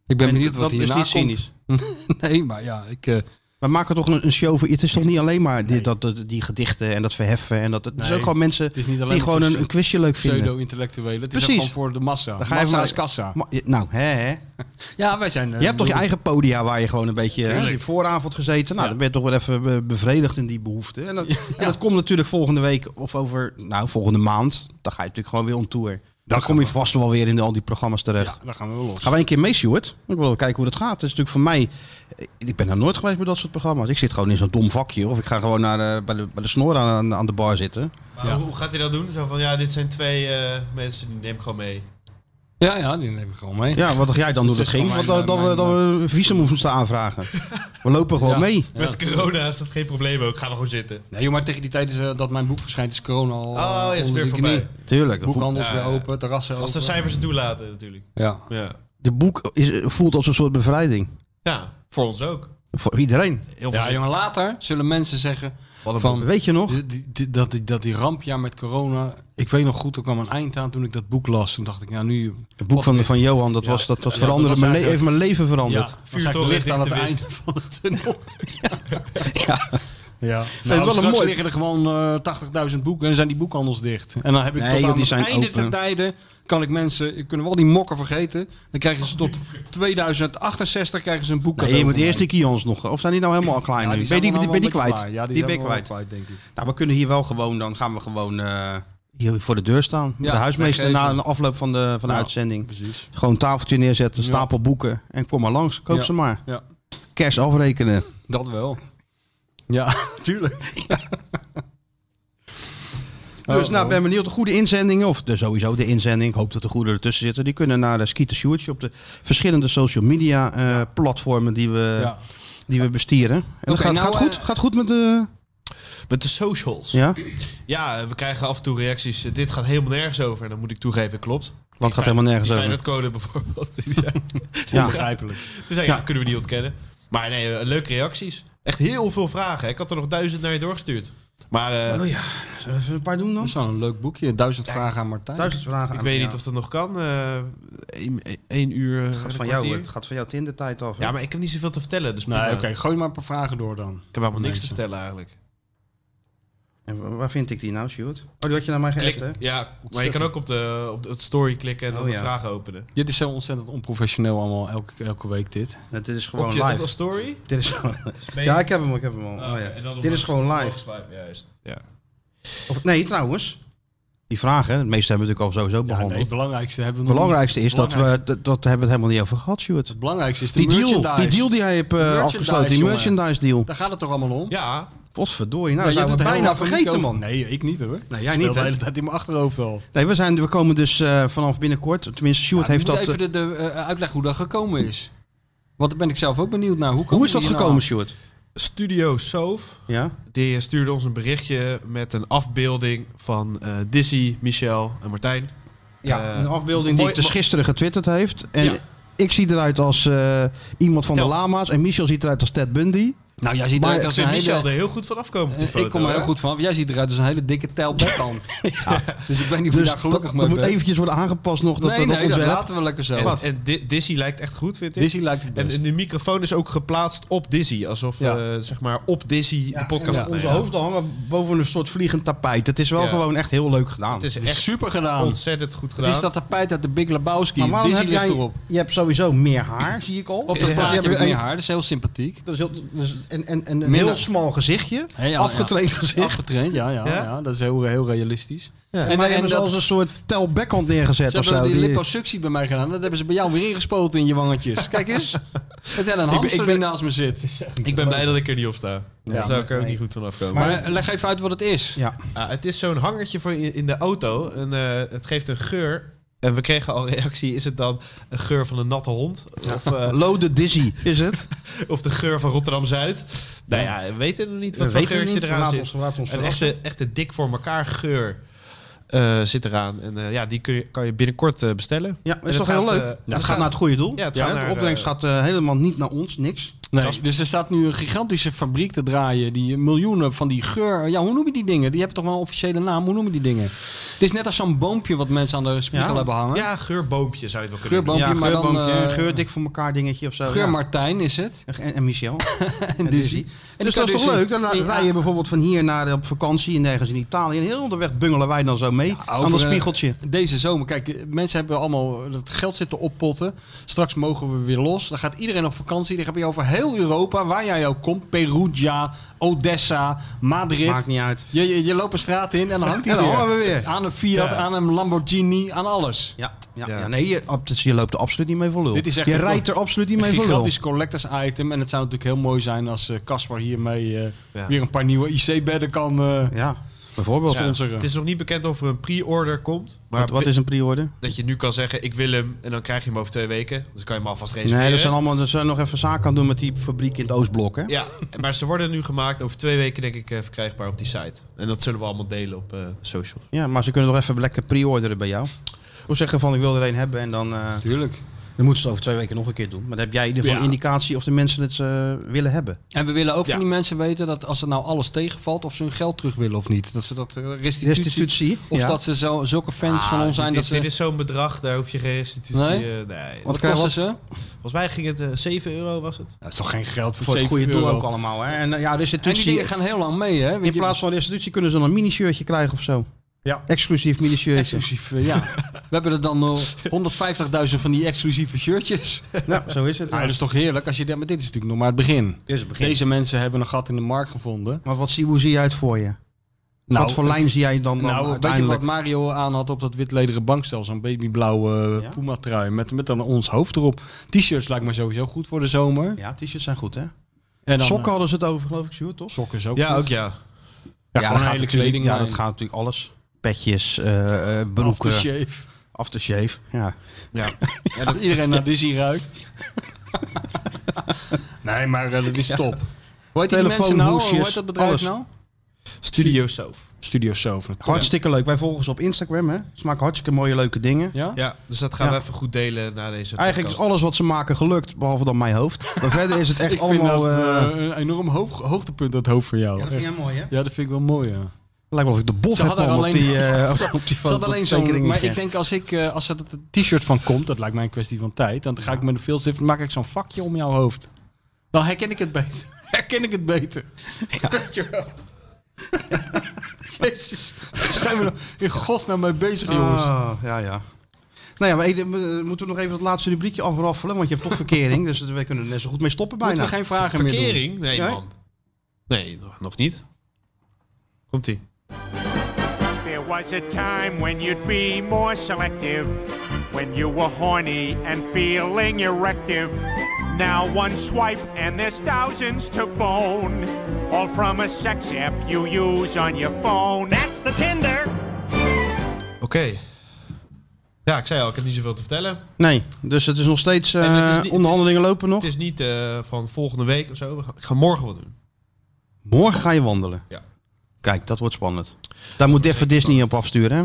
S5: Ik ben
S4: En
S5: benieuwd wat
S4: dat is
S5: hierna
S4: niet
S5: komt.
S4: cynisch.
S5: Nee, maar ja, ik, eh,
S4: We maken toch een, een show voor... Het is toch niet alleen maar die, dat, dat- die gedichten en dat verheffen. En dat, het is
S5: Nee,
S4: ook gewoon mensen
S5: het is niet alleen
S4: die
S5: maar
S4: gewoon
S5: voor
S4: een, een quizje leuk vinden.
S5: Pseudo-intellectuelen. Het is
S4: Precies.
S5: ook gewoon voor de massa.
S4: Dan
S5: Dan
S4: ga
S5: ga
S4: je
S5: massa
S4: maar-
S5: is kassa.
S4: Ma- je- Nou, hè, hè.
S5: Ja, wij zijn... eh,
S4: Je hebt toch je
S5: bedoel-
S4: eigen podia waar je gewoon een beetje hè,
S5: Tuurlijk.
S4: die vooravond gezeten. Nou, dan ben je toch wel even be- bevredigd in die behoefte. En dat, en dat komt natuurlijk volgende week of over, nou, volgende maand. Dan ga je natuurlijk gewoon weer on tour. Dan kom je vast wel weer in al die programma's terecht.
S5: Ja, daar gaan we wel los.
S4: Gaan wij een keer mee, Stuart? Ik wil wel kijken hoe dat gaat. Het is natuurlijk voor mij... eh, Ik ben er nooit geweest bij dat soort programma's. Ik zit gewoon in zo'n dom vakje. Of ik ga gewoon naar de, bij, de, bij de snor aan, aan de bar zitten.
S6: Maar
S5: Ja.
S6: Ah, hoe, hoe gaat hij dat doen? Zo van, ja, dit zijn twee eh, mensen, die neem ik gewoon mee.
S5: Ja, ja, die neem ik gewoon mee.
S4: Ja, wat dacht jij dan hoe dat
S5: is
S4: ging?
S5: gewoon
S4: Want
S5: mijn-
S4: dat, dat, we,
S5: mijn-
S4: dat we een visum moesten aanvragen. We lopen gewoon
S5: Ja.
S4: mee.
S5: Ja.
S6: Met corona is dat geen probleem ook. Gaan we gewoon zitten.
S5: Nee, joh, maar tegen die tijd is, eh, dat mijn boek verschijnt is corona al eh,
S6: Oh, is
S5: onder
S6: weer
S5: de
S6: voorbij.
S5: knie.
S4: Tuurlijk. dat voelt-
S5: Boekhandels
S6: Ja,
S5: weer
S6: ja.
S5: open, terrassen
S6: Als de
S5: open.
S6: cijfers het toelaten natuurlijk.
S5: Ja.
S6: Ja.
S4: De boek is, eh, voelt als een soort bevrijding.
S6: ja, voor ons ook.
S4: Voor iedereen.
S6: Heel
S5: ja,
S6: veel
S5: jongen, later zullen mensen zeggen
S4: Wat een
S5: van...
S4: boek. Weet je nog?
S5: Die- die- die- dat, die, dat die rampjaar met corona... Ik weet nog goed, er kwam een eind aan toen ik dat boek las. Toen dacht ik, nou nu...
S4: Het boek van, van Johan, dat,
S5: Ja.
S4: was, dat, dat
S5: Ja,
S4: veranderde
S5: dat was
S4: mijn le- heeft
S5: eigenlijk-
S4: mijn leven veranderd.
S5: dat was
S6: vuurtoren
S5: eigenlijk licht aan het einde
S6: dichte mist.
S5: van de tunnel.
S7: Ja.
S5: Nou,
S4: wel een
S5: straks
S4: mooi-
S5: liggen er gewoon eh 80.000 boeken en zijn die boekhandels dicht. En dan heb ik
S4: Nee,
S5: tot
S4: joh,
S5: aan
S4: die
S5: het
S4: zijn
S5: einde
S4: open.
S5: der tijden... kan ik mensen... kunnen we al die mokken vergeten. Dan krijgen ze tot 2068 krijgen ze een boek
S4: Nee, je
S5: cadeau
S4: moet
S5: van
S4: eerst
S5: mij.
S4: die kions nog. Of zijn die nou helemaal al klein?
S5: Ja,
S4: nu?
S5: die
S4: ben
S5: zijn
S4: je die,
S5: allemaal
S4: die- ben je
S5: een
S4: die
S5: beetje klaar.
S4: kwijt?
S5: Ja, die
S4: die ben
S5: zijn
S4: je
S5: allemaal
S4: kwijt.
S5: denk ik.
S4: Nou, we kunnen hier wel gewoon, dan gaan we gewoon eh, hier voor de deur staan. Met
S5: Ja,
S4: de huismeester
S5: weggeven.
S4: na de afloop van de, van de
S5: Ja,
S4: uitzending.
S5: Precies.
S4: Gewoon een tafeltje neerzetten,
S5: Ja.
S4: stapel boeken. En kom maar langs, koop
S5: Ja.
S4: ze maar.
S5: Ja,
S4: Cash afrekenen.
S5: dat wel. Ja, tuurlijk.
S4: dus nou, ben benieuwd. De goede inzendingen, of de, sowieso de inzending. Ik hoop dat de goede ertussen zitten. Die kunnen naar de Skeeter Sjoerdje op de verschillende social media eh, platformen die we,
S5: Ja.
S4: die we bestieren. En dat
S5: Oké,
S4: gaat,
S5: nou,
S4: gaat
S5: eh,
S4: goed? Gaat goed met de...
S6: Met de socials.
S4: Ja?
S6: Ja, we krijgen af en toe reacties. eh, Dit gaat helemaal nergens over. En dan moet ik toegeven, klopt.
S4: Wat gaat helemaal nergens over?
S6: Dat code bijvoorbeeld. Die zijn-
S4: Ja.
S5: Begrijpelijk.
S6: Toen zei ik, ja, kunnen we niet ontkennen. Maar nee, eh, leuke reacties. Echt heel veel vragen. Ik had er nog duizend naar je doorgestuurd. Maar eh,
S4: Oh ja, zullen we even een paar doen
S5: Dat
S4: dan?
S5: is wel een leuk boekje. Duizend vragen aan Martijn.
S4: Duizend vragen.
S6: ik
S4: aan-
S6: weet
S4: ja.
S6: niet of dat nog kan. Eén uur. eh,
S4: Het gaat
S6: een
S4: van jou,
S6: kwartier.
S4: het gaat van jou Tinder-tijd af. hè?
S6: Ja, maar ik heb niet zoveel te vertellen. Dus
S5: Nee,
S6: prima.
S5: oké. Gooi maar een paar vragen door dan.
S6: Ik heb helemaal niks te
S5: Nee,
S6: vertellen eigenlijk.
S4: En wa- waar vind ik die nou, Sjoerd? Oh, die had je naar mij geëst, hè?
S6: Klik- ja, maar je kan ook op, de, op het story klikken en
S4: Oh,
S6: dan de
S4: ja.
S6: vragen openen.
S5: Dit is zo ontzettend onprofessioneel allemaal elke, elke week dit.
S4: Nee, Dit is
S6: Op
S4: gewoon
S6: je op de
S4: live.
S6: story?
S4: Dit is,
S6: ben je-
S4: ja, ik heb hem, ik heb hem al.
S6: Ah,
S4: Oh,
S6: oké, en dan
S4: ja.
S6: omhoog-
S4: Dit is gewoon
S6: omhoog
S4: live.
S6: swipen, Juist. Ja.
S4: Of, nee, trouwens. Die vragen, het meeste hebben we natuurlijk al sowieso
S5: Ja,
S4: behandeld.
S5: nee, het belangrijkste hebben we
S4: Het
S5: nog
S4: belangrijkste is dat we,
S5: Belangrijkste-
S4: dat, dat hebben we het helemaal niet over gehad, Stuart.
S5: Het belangrijkste is de
S4: Die deal,
S5: merchandise.
S4: die deal die jij hebt eh,
S5: merchandise,
S4: afgesloten, die
S5: jongen.
S4: merchandise deal.
S5: Daar gaat het toch allemaal om?
S6: ja,
S4: Potverdorie, nou
S5: Ja, jij
S4: zijn we
S5: doet er
S4: bijna
S5: helemaal niet
S4: vergeten,
S5: over.
S4: man.
S5: Nee, ik niet hoor.
S4: jij
S5: Speelt
S4: niet,
S5: de
S4: hè?
S5: hele tijd in mijn achterhoofd al.
S4: Nee, we, zijn, we komen dus eh, vanaf binnenkort, tenminste Stuart
S5: Ja,
S4: heeft
S5: je
S4: dat...
S5: moet
S4: eh,
S5: even de, de, eh, uitleggen hoe dat gekomen is. Want daar ben ik zelf ook benieuwd naar. Hoe,
S4: eh, hoe is dat gekomen, Stuart?
S6: Studio Soof.
S4: Ja?
S6: Die stuurde ons een berichtje met een afbeelding van eh Dizzy, Michel en Martijn.
S4: Ja,
S6: Eh,
S4: een afbeelding die
S6: mooi-
S4: ik dus gisteren getwitterd heeft. En
S6: Ja.
S4: ik zie eruit als eh, iemand van
S6: Tel.
S4: de lama's. En Michel ziet eruit als Ted Bundy.
S5: Nou, jij ziet
S4: Maar
S5: eruit
S6: Ik
S5: als een
S6: vind Michel
S5: hele...
S6: er heel goed van afkomen op die
S5: eh,
S6: foto.
S5: ik kom er heel
S6: hè?
S5: goed van. want Jij ziet eruit als een hele dikke telbekkant. Dus ik weet niet of je
S4: Dus
S5: daar gelukkig
S4: dat,
S5: mee
S4: dat moet
S5: bent.
S4: eventjes worden aangepast nog, dat,
S5: nee,
S4: dat
S5: nee, dat
S4: ontwerp.
S5: laten we lekker zo.
S6: En, en Di- Dizzy lijkt echt goed, vind ik.
S5: Dizzy lijkt het
S6: En,
S5: best.
S6: en de microfoon is ook geplaatst op Dizzy. Alsof,
S5: Ja.
S6: eh, zeg maar, op Dizzy de podcast
S4: Ja, onze
S6: opnemen.
S4: hoofden hangen boven een soort vliegend tapijt. Het is wel
S6: Ja.
S4: gewoon echt heel leuk gedaan.
S6: Het is
S5: Het is
S6: echt
S5: super gedaan.
S6: ontzettend goed
S5: Het
S6: gedaan.
S5: is dat tapijt uit de Big Lebowski.
S4: Maar waarom
S5: Dizzy
S4: heb
S5: ligt
S4: jij,
S5: erop.
S4: Je hebt sowieso meer haar, zie ik al.
S5: Op
S4: Dus
S5: dat
S4: je
S5: plaatje
S4: hebt
S5: heb ik
S4: een-
S5: meer haar. Dat is heel sympathiek.
S4: dat is heel- dat is een, en, en een
S5: Minder.
S4: heel smal gezichtje.
S5: Hey, ja,
S4: afgetraind gezicht.
S5: Afgetraind, ja, ja, ja?
S4: Ja?
S5: Dat is heel, heel realistisch.
S4: Ja,
S5: en-
S4: maar
S5: en
S4: hebben ze
S5: dat-
S4: als een soort telbackhand neergezet
S5: Ze
S4: of
S5: hebben
S4: zo.
S5: die,
S4: Die-
S5: liposuctie bij mij gedaan. Dat hebben ze bij jou weer ingespoten in je wangetjes. Kijk eens. Het Ellen
S6: ben-
S5: Hamster die
S6: ik ben-
S5: naast me zit.
S6: Ik ben blij dat ik er niet op sta. Daar zou ik er ook
S4: nee.
S6: niet goed van afkomen.
S5: Maar eh, leg even uit wat het is.
S4: ja.
S6: Ah, het is zo'n hangertje voor in, in de auto. En, eh, het geeft een geur. En we kregen al reactie, is het dan een geur van een natte hond? Of, eh,
S4: Loaded Dizzy is het.
S6: of de geur van Rotterdam-Zuid? Nou ja, we weten nog niet
S4: We
S6: wat voor
S4: weten het
S6: geurtje
S4: niet.
S6: eraan
S4: Laat
S6: zit.
S4: ons- laat ons
S6: Een
S4: verrassen.
S6: echte, echte dik voor elkaar geur eh, zit eraan. En eh, ja, die kun je, kan je binnenkort eh, bestellen.
S4: Ja, dat
S6: En
S4: is
S6: het
S4: toch heel
S6: gaat,
S4: leuk.
S6: eh,
S4: Het
S6: het
S4: gaat naar het goede doel.
S6: Ja, het
S4: Ja,
S6: gaat
S4: de
S6: naar,
S4: opbrengst
S6: eh,
S4: gaat eh, helemaal niet naar ons, niks.
S5: Nee, dus er staat nu een gigantische fabriek te draaien. Die miljoenen van die geur. Ja, hoe noem je die dingen? Die hebben toch wel een officiële naam. Hoe noem je die dingen? Het is net als zo'n boompje wat mensen aan de spiegel hebben hangen.
S6: Ja, geurboomje zou je het wel kunnen
S5: Geurboompje,
S4: Ja,
S5: maar dan...
S4: geurboompje,
S5: eh,
S4: geur dik voor elkaar dingetje of zo.
S5: Geur
S4: ja.
S5: Martijn is het.
S4: En, en Michel.
S5: Dizzy. En
S4: en Dizzy. dus
S5: die
S4: dat is
S5: kan
S4: toch
S5: dus
S4: leuk?
S5: in-
S4: Dan la-
S5: in-
S4: rijden je bijvoorbeeld van hier naar eh, op vakantie en ergens in Italië. En heel onderweg bungelen wij dan zo mee aan
S5: Over,
S4: dat
S5: eh,
S4: spiegeltje.
S5: Deze zomer, kijk, eh, mensen hebben allemaal dat geld zitten oppotten. Straks mogen we weer los. Dan gaat iedereen op vakantie. Dan heb je over heel Europa, waar jij ook komt. Perugia, Odessa, Madrid.
S4: Maakt niet uit.
S5: Je, je, je loopt een straat in en dan hangt hij
S4: En dan
S5: weer.
S4: hangen we weer.
S5: Aan een Fiat, aan een Lamborghini, aan alles.
S4: Ja, ja, ja. nee, je, ab- dus je loopt er absoluut niet mee voor lul.
S5: Dit is echt
S4: je
S5: een-
S4: rijdt er absoluut niet
S5: Een
S4: mee voor lul.
S5: gigantisch collectors item. En het zou natuurlijk heel mooi zijn als eh, Caspar hiermee eh,
S4: Ja.
S5: weer een paar nieuwe IC-bedden kan... eh,
S4: Ja, bijvoorbeeld.
S5: Ja. sponsoren.
S6: Het is nog niet bekend of er een pre-order komt. Maar
S4: Wat, wat is een pre-order?
S6: dat je nu kan zeggen, ik wil hem. En dan krijg je hem over twee weken. Dus kan je hem alvast reserveren.
S4: Nee, dat zijn allemaal, dat zijn nog even zaken aan het doen met die fabriek in het Oostblok. Hè?
S6: Ja, maar ze worden nu gemaakt. Over twee weken denk ik eh, verkrijgbaar op die site. En dat zullen we allemaal delen op eh socials.
S4: Ja, maar ze kunnen toch even lekker pre-orderen bij jou. Of zeggen van ik wil er een hebben en dan, eh,
S5: Tuurlijk.
S4: dan moeten ze het over twee weken nog een keer doen. Maar dan heb jij in ieder geval
S6: Ja.
S4: een indicatie of de mensen het eh, willen hebben.
S5: En we willen ook
S6: Ja.
S5: van die mensen weten dat als er nou alles tegenvalt, of ze hun geld terug willen of niet. Dat ze dat eh, restitutie.
S4: Restitutie.
S5: Of
S4: ja.
S5: dat ze zo, zulke fans van ons zijn
S6: dit,
S5: dat
S6: is-
S5: ze.
S6: dit is zo'n bedrag, daar hoef je geen restitutie...
S5: Nee?
S6: eh, nee.
S5: wat
S4: Want dan krijgen we
S5: kosten ze?
S6: Volgens mij ging het eh, 7 euro, was het?
S5: Dat is toch geen geld
S4: voor het
S5: 7
S4: goede doel
S5: euro?
S4: ook allemaal. Hè? En eh, ja,
S5: En die
S4: restitutie.
S5: dingen gaan heel lang mee, hè?
S4: in plaats van restitutie kunnen ze dan een mini-shirtje krijgen of zo.
S5: Ja.
S4: Exclusief mini-shirtje.
S5: exclusief, eh, ja. We hebben er dan eh, 150.000 van die exclusieve shirtjes.
S4: Nou, zo is het.
S5: Ja,
S4: Ja.
S5: dat is toch heerlijk als je denkt, maar dit is natuurlijk nog maar het begin.
S4: Dit is het begin.
S5: Deze mensen hebben een gat in de markt gevonden.
S4: Maar wat zie, hoe zie jij het voor je? wat voor lijn zie jij dan, dan
S5: Nou, weet je
S4: uiteindelijk?
S5: wat Mario aan had op dat witlederen bankstel? Zo'n babyblauwe eh,
S4: Ja?
S5: Puma-trui met, met dan ons hoofd erop. T-shirts lijkt me sowieso goed voor de zomer.
S4: Ja, t-shirts zijn goed hè.
S5: En dan,
S4: Sokken hadden ze het over geloof ik, Sjoerd, toch?
S5: eh, sokken is ook
S6: Ja,
S5: goed.
S6: ook ja.
S5: Ja, gewoon
S4: dat gaat
S5: een hele
S4: natuurlijk-
S5: kleding.
S4: Ja, dat gaat natuurlijk alles. Petjes, eh, eh, broeken, aftershave.
S5: Aftershave.
S4: Ja.
S6: Ja.
S5: Ja, dat iedereen naar Disney ruikt. nee, maar eh, dat is top. Hoe heet die
S4: Telefoon,
S5: mensen nou? Hoe
S4: hoesjes,
S5: heet dat bedrijf
S4: alles.
S5: nou?
S6: Studio Soof.
S5: Studio Sofa.
S4: Hartstikke leuk. Wij volgen ze op Instagram. Hè. Ze maken hartstikke mooie leuke dingen.
S5: Ja?
S6: Ja, dus dat gaan
S4: Ja.
S6: we even goed delen na deze
S4: Eigenlijk is
S6: podcast.
S4: alles wat ze maken gelukt, behalve dan mijn hoofd. Maar verder is het echt
S5: Ik vind
S4: allemaal...
S5: dat
S4: eh,
S5: eh, een enorm hoog, hoogtepunt, dat hoofd voor jou.
S4: ja, dat vind jij mooi, hè?
S5: Ja, dat vind ik wel mooi, ja.
S4: Lijkt wel of ik de bof
S5: Ze
S4: heb
S5: hadden
S4: man, op
S5: alleen-
S4: die, eh,
S5: Ze-
S4: op die
S5: Ze had
S4: foto.
S5: alleen zo'n.
S4: tekening.
S5: Maar ik denk als ik eh, als er dat t-shirt van komt, dat lijkt mij een kwestie van tijd. Dan ga ik met een filstift maak ik zo'n vakje om jouw hoofd. Dan herken ik het beter. Herken ik het beter. Weet je wel. Jezus, waar zijn we nou in godsnaam mee bezig, jongens?
S4: Ah, ja, ja. Nou ja, maar ik- eh, moeten we nog even dat laatste rubriekje afraffelen? Want je hebt toch verkering, dus we kunnen er net zo goed mee stoppen
S5: Moeten
S4: bijna.
S5: we geen vragen meer doen?
S6: Verkering? Nee,
S4: Ja.
S6: man. Nee, nog- nog niet. Komt-ie.
S12: There was a time when you'd be more selective, when you were horny and feeling erective. Now one swipe and there's thousands to bone, all from a sex app you use on your phone. That's the Tinder.
S6: Oké. Ja, ik zei al, ik heb niet zoveel te vertellen.
S4: Nee, dus het is nog steeds... eh,
S6: En het is niet-
S4: onderhandelingen lopen nog.
S6: Het is niet eh, van volgende week of zo. We gaan, ik ga morgen wat doen.
S4: Morgen ga je wandelen.
S6: Ja.
S4: Kijk, dat wordt spannend. Daar moet even Disney op afsturen. Hè?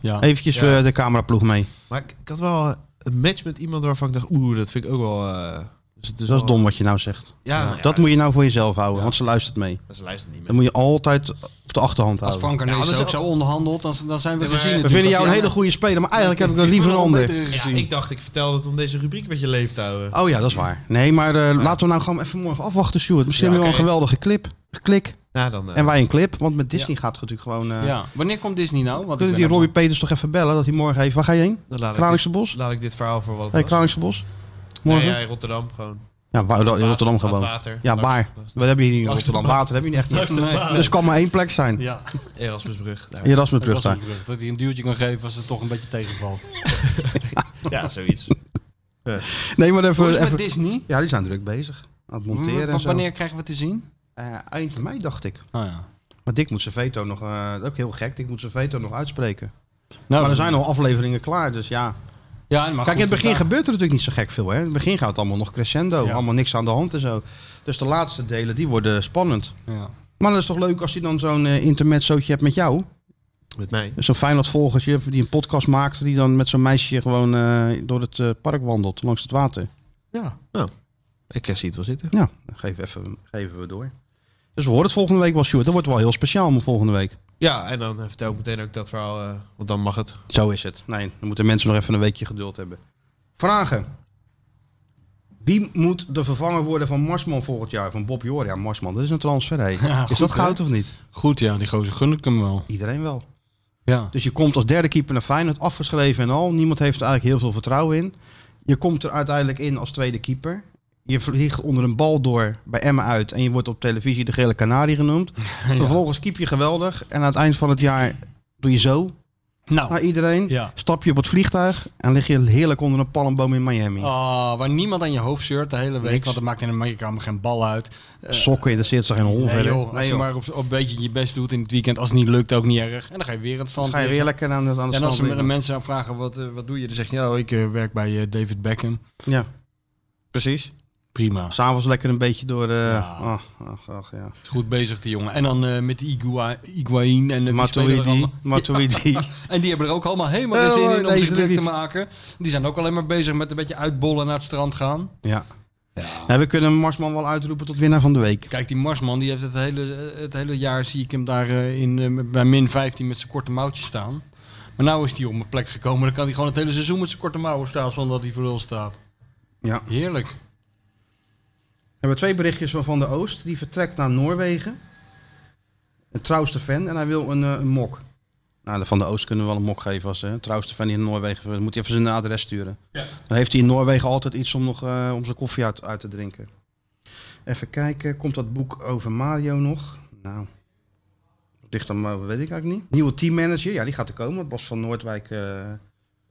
S5: Ja.
S4: Eventjes
S6: Ja.
S4: eh, de cameraploeg mee.
S6: Maar ik, ik had wel een match met iemand waarvan ik dacht, oeh, dat vind ik ook wel... eh, dus het
S4: Dus dat is
S6: wel-
S4: dom wat je nou zegt.
S6: Ja, nou ja,
S4: dat moet je nou voor jezelf houden, want ze luistert mee.
S6: Ze luisteren niet
S4: Dat
S6: meer.
S4: moet je altijd op de achterhand
S5: Als
S4: houden.
S5: Frank
S6: Ja,
S5: Arnees
S6: dat is
S5: ook zo onderhandelt, dan, dan zijn we
S6: Ja, maar-
S5: gezien.
S6: We
S4: We
S5: natuurlijk.
S4: vinden jou een
S5: Dat
S4: hele
S5: hij-
S4: goede speler, maar eigenlijk heb ik dat liever een ander.
S6: Ja, ik dacht, ik vertelde het om deze rubriek een beetje leef te houden.
S4: Oh ja, dat is waar. Nee, maar eh, laten we nou gewoon even morgen afwachten, Stuart. Misschien
S6: Ja,
S4: hebben we wel
S6: oké.
S4: een geweldige clip. Klik.
S6: Ja, dan... eh,
S4: En wij een clip, want met Disney gaat het natuurlijk gewoon... eh,
S5: Ja. Wanneer komt Disney nou? Want
S4: Kunnen
S5: ik
S4: die
S5: ben
S4: Robbie Peters toch even bellen dat hij morgen even... Waar ga je heen?
S6: dan laat, ik
S4: Kralingse
S6: dit,
S4: Bos?
S6: laat ik dit verhaal voor wat het
S4: Hey,
S6: was.
S4: Kralingse Bos?
S6: Nee,
S4: Morgen?
S6: ja, in Rotterdam gewoon.
S4: Ja, wa- in Rotterdam
S6: Aan het
S4: gewoon.
S6: water.
S4: Ja,
S6: Langs-
S4: waar?
S6: langs de-
S4: We hebben hier niet in
S6: Langs de
S4: Rotterdam. Water hebben jullie echt niet.
S5: Nee.
S4: Dus het kan maar één plek zijn.
S5: Ja,
S6: Erasmusbrug. daar.
S4: Erasmusbrug
S5: dat, was
S4: daar.
S5: een brug, dat hij een duwtje kan geven als het toch een beetje tegenvalt.
S6: Ja, zoiets.
S4: Nee, maar
S5: Hoe is
S4: even...
S5: het
S4: even...
S5: met Disney?
S4: Ja, die zijn druk bezig. Aan het monteren en
S5: W-
S4: zo.
S5: Mm, Wanneer krijgen we het te zien?
S4: Eh, eind mei dacht ik.
S5: Oh, ja.
S4: Maar Dick moet zijn veto nog... eh, ook heel gek, Dick moet zijn veto nog uitspreken.
S5: Nou,
S4: Maar er zijn al afleveringen klaar, dus ja.
S5: Ja, maar
S4: Kijk, in
S5: goed,
S4: het begin
S5: daar-
S4: gebeurt er natuurlijk niet zo gek veel. Hè? In het begin gaat het allemaal nog crescendo.
S5: Ja.
S4: Allemaal niks aan de hand en zo. Dus de laatste delen, die worden spannend.
S5: Ja.
S4: Maar dat is toch leuk als je dan zo'n eh, intermezzootje hebt met jou.
S6: Met mij.
S4: Dus Zo'n Feyenoord-volgertje die een podcast maakt... die dan met zo'n meisje gewoon eh, door het eh, park wandelt, langs het water.
S5: Ja.
S6: Nou. Ik eh, zie het wel zitten.
S4: Ja, dan geef even, geven we door. Dus we horen het volgende week wel, Sjoerd. Dat wordt wel heel speciaal maar volgende week.
S6: Ja, en dan eh, vertel ik meteen ook dat verhaal, eh, want dan mag het.
S4: Zo is het. Nee, dan moeten mensen nog even een weekje geduld hebben. Vragen. Wie moet de vervanger worden van Marsman volgend jaar? Van Bob Jor. Ja, Marsman, dat is een transfer. hè.
S5: goed,
S4: is dat
S5: hè?
S4: goud of niet?
S5: Goed, ja, die gozer gun ik hem wel.
S4: Iedereen wel.
S5: Ja.
S4: Dus je komt als derde keeper naar Feyenoord, afgeschreven en al. Niemand heeft er eigenlijk heel veel vertrouwen in. Je komt er uiteindelijk in als tweede keeper. Je vliegt onder een bal door bij Emmen uit en je wordt op televisie de gele kanarie genoemd. Vervolgens keep je geweldig en aan het eind van het jaar doe je zo naar
S5: Nou,
S4: iedereen.
S5: ja.
S4: Stap je op het vliegtuig en lig je heerlijk onder een palmboom in Miami.
S5: Ah, waar niemand aan je hoofd zeurt de hele week,
S4: Niks.
S5: want het maakt in Amerika allemaal geen bal uit. Eh,
S4: Sokken, dat zit er geen hol
S5: nee,
S4: verder.
S5: joh, als
S4: Nee,
S5: je
S4: joh.
S5: maar op, op een beetje je best doet in het weekend, als het niet lukt, ook niet erg. En dan ga je weer aan het
S4: Dan
S5: strand.
S4: ga je
S5: liggen.
S4: weer lekker aan de, aan de
S5: En als ze me-
S4: strand
S5: de
S4: liggen.
S5: mensen aan vragen, wat, eh, wat doe je? Dan zeg je, ja, ik eh, werk bij eh, David Beckham.
S4: Ja, precies.
S5: Prima.
S4: S'avonds lekker een beetje door... eh ach, ach, ach, ja.
S5: Goed bezig, die jongen. En dan eh, met Igua, Iguain en... eh, die spelen er
S4: Matuidi,
S5: allemaal-
S4: Matuidi.
S5: En die hebben er ook allemaal helemaal geen
S4: Eh,
S5: zin
S4: hoor,
S5: in om
S4: deze
S5: zich druk
S4: niet.
S5: te maken. Die zijn ook alleen maar bezig met een beetje uitbollen naar het strand gaan.
S4: Ja. Nou, we kunnen Marsman wel uitroepen tot winnaar van de week.
S5: Kijk, die Marsman, die heeft het hele, het hele jaar, zie ik hem daar eh, in, eh, bij min 15 met zijn korte mouwtjes staan. Maar nou is hij op mijn plek gekomen. Dan kan hij gewoon het hele seizoen met zijn korte mouwen staan zonder dat hij voor lul staat.
S4: Ja.
S5: Heerlijk.
S4: We hebben twee berichtjes van Van de Oost. Die vertrekt naar Noorwegen. Een trouwste fan en hij wil een, eh, een mok. Nou, de Van de Oost kunnen we wel een mok geven als eh, een trouwste fan die in Noorwegen. Dan moet hij even zijn adres sturen. Dan heeft hij in Noorwegen altijd iets om, nog, eh, om zijn koffie uit, uit te drinken. Even kijken, komt dat boek over Mario nog? Nou, dicht aan, Mario, weet ik eigenlijk niet. Nieuwe teammanager, ja, die gaat er komen. Want Bas van Noordwijk eh,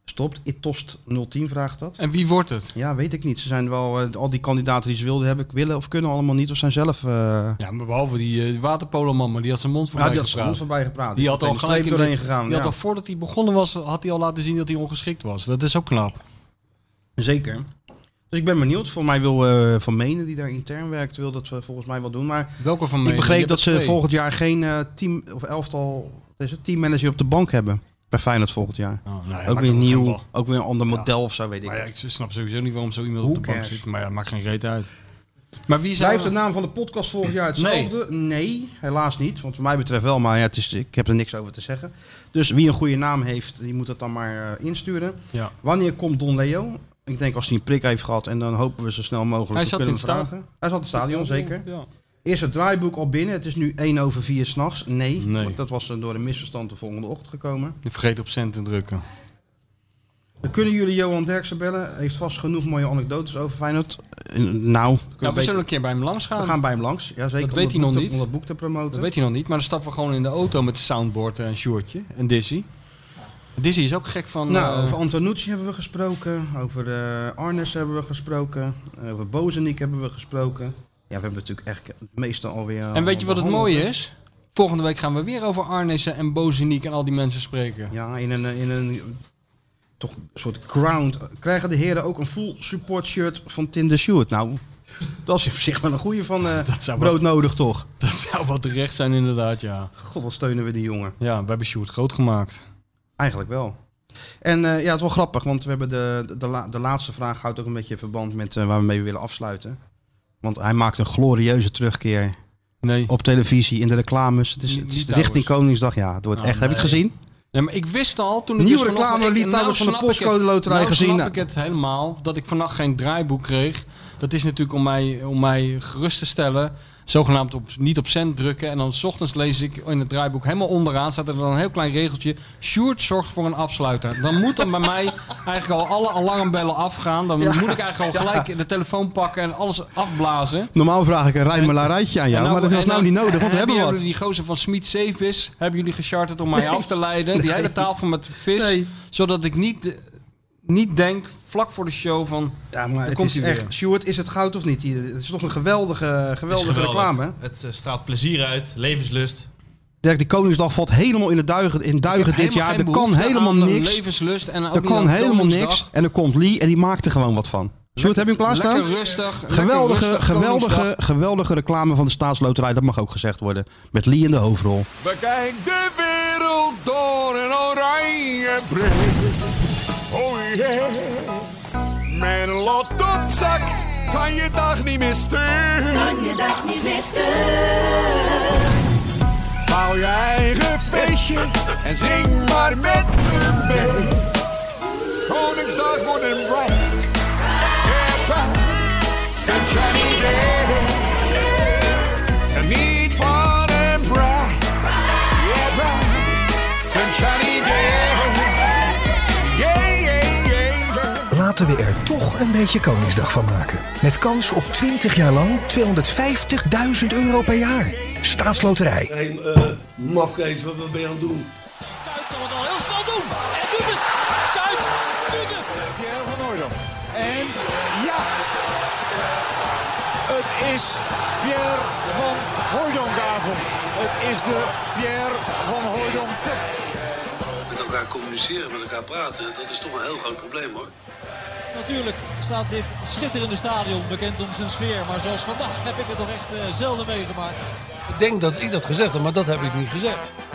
S4: stopt. Itost 010 vraagt dat.
S5: En wie wordt het?
S4: Ja, weet ik niet. Ze zijn wel eh, al die kandidaten die ze wilden hebben, willen of kunnen allemaal niet, of zijn zelf. eh ja,
S5: Ja, maar behalve die eh, die waterpoloman, maar die had zijn mond voorbij
S4: die had ze
S5: gepraat.
S4: ons voorbij gepraat. Dus
S5: Die had al
S4: Meteen de
S5: gelijk in
S4: streep
S5: de-
S4: doorheen gegaan.
S5: Die
S4: Ja.
S5: had al voordat hij begonnen was, had hij al laten zien dat hij ongeschikt was. Dat is ook knap.
S4: Zeker. Dus ik ben benieuwd. Voor mij wil eh, Van Menen, die daar intern werkt, wil dat we volgens mij wel doen. Maar
S5: Welke van mij?
S4: ik begreep dat ze volgend jaar geen eh, team of elftal, wat is het, teammanager op de bank hebben. Bij Feyenoord volgend jaar.
S5: Oh, nou
S4: ook weer nieuw, ook weer een ander model of zo, weet ik.
S5: Maar ja, ik snap sowieso niet waarom zo iemand
S4: Who
S5: op de bank
S4: cares?
S5: zit. Maar ja, maakt geen reet uit. Maar wie zijn
S4: Blijft de
S5: we?
S4: naam van de podcast volgend jaar hetzelfde? Nee. helaas niet. Want wat mij betreft wel, maar ja, het is, ik heb er niks over te zeggen. Dus wie een goede naam heeft, die moet dat dan maar eh, insturen.
S5: Ja.
S4: Wanneer komt Don Leo? Ik denk als hij een prik heeft gehad en dan hopen we zo snel mogelijk
S5: Hij
S4: te
S5: zat
S4: kunnen
S5: in het
S4: vragen. Hij zat in het stadion, zeker.
S5: Ja.
S4: Is het draaiboek al binnen? Het is nu 1 over 4 s'nachts. Nee,
S5: Nee.
S4: want dat was eh, door een misverstand de volgende ochtend gekomen.
S5: Je vergeet op cent te drukken.
S4: Dan kunnen jullie Johan Derksen bellen. Heeft vast genoeg mooie anekdotes over Feyenoord. Eh, nou,
S5: Nou, we zullen een keer bij hem langs gaan.
S4: we gaan bij hem langs. Ja, zeker
S5: Dat
S4: om
S5: weet hij nog
S4: boek te-
S5: niet.
S4: om dat boek te promoten.
S5: Dat weet hij nog niet, maar dan stappen we gewoon in de auto met soundboard en shortje. En Dizzy. Dizzy is ook gek van...
S4: Nou,
S5: eh,
S4: over Antonucci hebben we gesproken. Over eh Arnes hebben we gesproken. eh, Over Bozenik hebben we gesproken. Ja, we hebben natuurlijk echt het meeste alweer.
S5: en weet je wat het
S4: behandeld,
S5: mooie
S4: hè?
S5: is? Volgende week gaan we weer over Arnissen en Bozeniek en al die mensen spreken.
S4: Ja, in een, in een toch een soort ground. Krijgen de heren ook een full support shirt van Tinder Stewart? Nou, dat is op zich wel een goede van eh,
S5: Dat zou
S4: brood
S5: wat-
S4: nodig, toch?
S5: Dat zou wel terecht zijn inderdaad, ja.
S4: God, wat steunen we die jongen.
S5: Ja, we hebben Sjoerd groot gemaakt.
S4: Eigenlijk wel. En eh, ja, het is wel grappig, want we hebben de, de, de, la- de laatste vraag houdt ook een beetje verband met eh, waar we mee willen afsluiten. Want hij maakt een glorieuze terugkeer
S5: Nee.
S4: op televisie, in de reclames. Het is,
S5: Niet-
S4: het is
S5: niet
S4: richting
S5: trouwens.
S4: Koningsdag, ja. Het wordt
S5: Ah,
S4: echt. Heb je het
S5: nee.
S4: gezien?
S5: Nee, maar ik wist al toen ik
S4: Nieuwe
S5: dus vanaf-
S4: reclame,
S5: ik-
S4: liet
S5: en
S4: trouwens van de
S5: snap ik het.
S4: postcode loterij
S5: nou
S4: gezien.
S5: snap ik het helemaal. Dat ik vannacht geen draaiboek kreeg. Dat is natuurlijk om mij, om mij gerust te stellen. Zogenaamd op, niet op cent drukken. En dan 's ochtends lees ik in het draaiboek helemaal onderaan... staat er dan een heel klein regeltje. Sjoerd zorgt voor een afsluiter. Dan moet dan bij mij eigenlijk al alle alarmbellen afgaan. Dan moet ik eigenlijk al gelijk de telefoon pakken en alles afblazen.
S4: Normaal vraag ik een rijmelarijtje aan jou,
S5: En
S4: maar dat was
S5: en
S4: nou niet nodig, want we hebben
S5: jullie
S4: wat.
S5: die gozer van Smit Zeevis, hebben jullie gecharterd om mij af te leiden? Die hele tafel met vis,
S4: Nee.
S5: zodat ik niet, eh, niet denk, vlak voor de show, van...
S4: Ja, maar het
S5: komt
S4: is
S5: hij
S4: echt...
S5: weer.
S4: Stuart, is het goud of niet? Hier, Het is toch een geweldige,
S6: Het is
S4: geweldige
S6: geweldig.
S4: reclame.
S6: Het eh, straalt plezier uit, levenslust.
S4: Dirk, die Koningsdag valt helemaal in de duigen, in duigen dit
S5: Helemaal
S4: jaar.
S5: geen
S4: Er kan
S5: behoefte
S4: helemaal
S5: aan
S4: niks.
S5: Levenslust en ook
S4: Er
S5: niet
S4: kan
S5: aan
S4: helemaal
S5: Koningsdag.
S4: niks. En er komt Lee en die maakt er gewoon wat van. Sjoerd, heb je hem klaarstaan?
S5: Lekker rustig. lekker
S4: Geweldige,
S5: rustig,
S4: geweldige,
S5: Koningsdag.
S4: geweldige reclame van de staatsloterij, dat mag ook gezegd worden. Met Lee in de hoofdrol.
S12: Bekijk de wereld door een oranje bril. Oh yeah. Mijn lot op zak, kan
S3: kan je dag niet meer stuk.
S13: Kan je dag niet meer stuk.
S3: Bouw je eigen feestje en zing maar met me mee. Koningsdag wordt een bright, yeah, bright, sunshiny day. Geniet van een bright, yeah, bright, sunshiny day. Yeah, yeah, yeah, yeah.
S9: Laten we er toch een beetje Koningsdag van maken. Met kans op 20 jaar lang 250.000 euro per jaar. Staatsloterij.
S1: Hé, eh, mafkees, wat wat ben je aan het doen?
S2: kan het al heel snel doen. En doet het. Kuit doet het.
S14: Pierre van Hooydonk. En ja, het is Pierre van Hooydonkavond. Het is de Pierre van Hooydonk Cup.
S1: Met elkaar communiceren, met elkaar praten, dat is toch een heel groot probleem hoor.
S2: Natuurlijk staat dit schitterende stadion bekend om zijn sfeer. Maar zoals vandaag heb ik het toch echt eh, zelden meegemaakt.
S15: Ik denk dat ik dat gezegd heb, maar dat heb ik niet gezegd.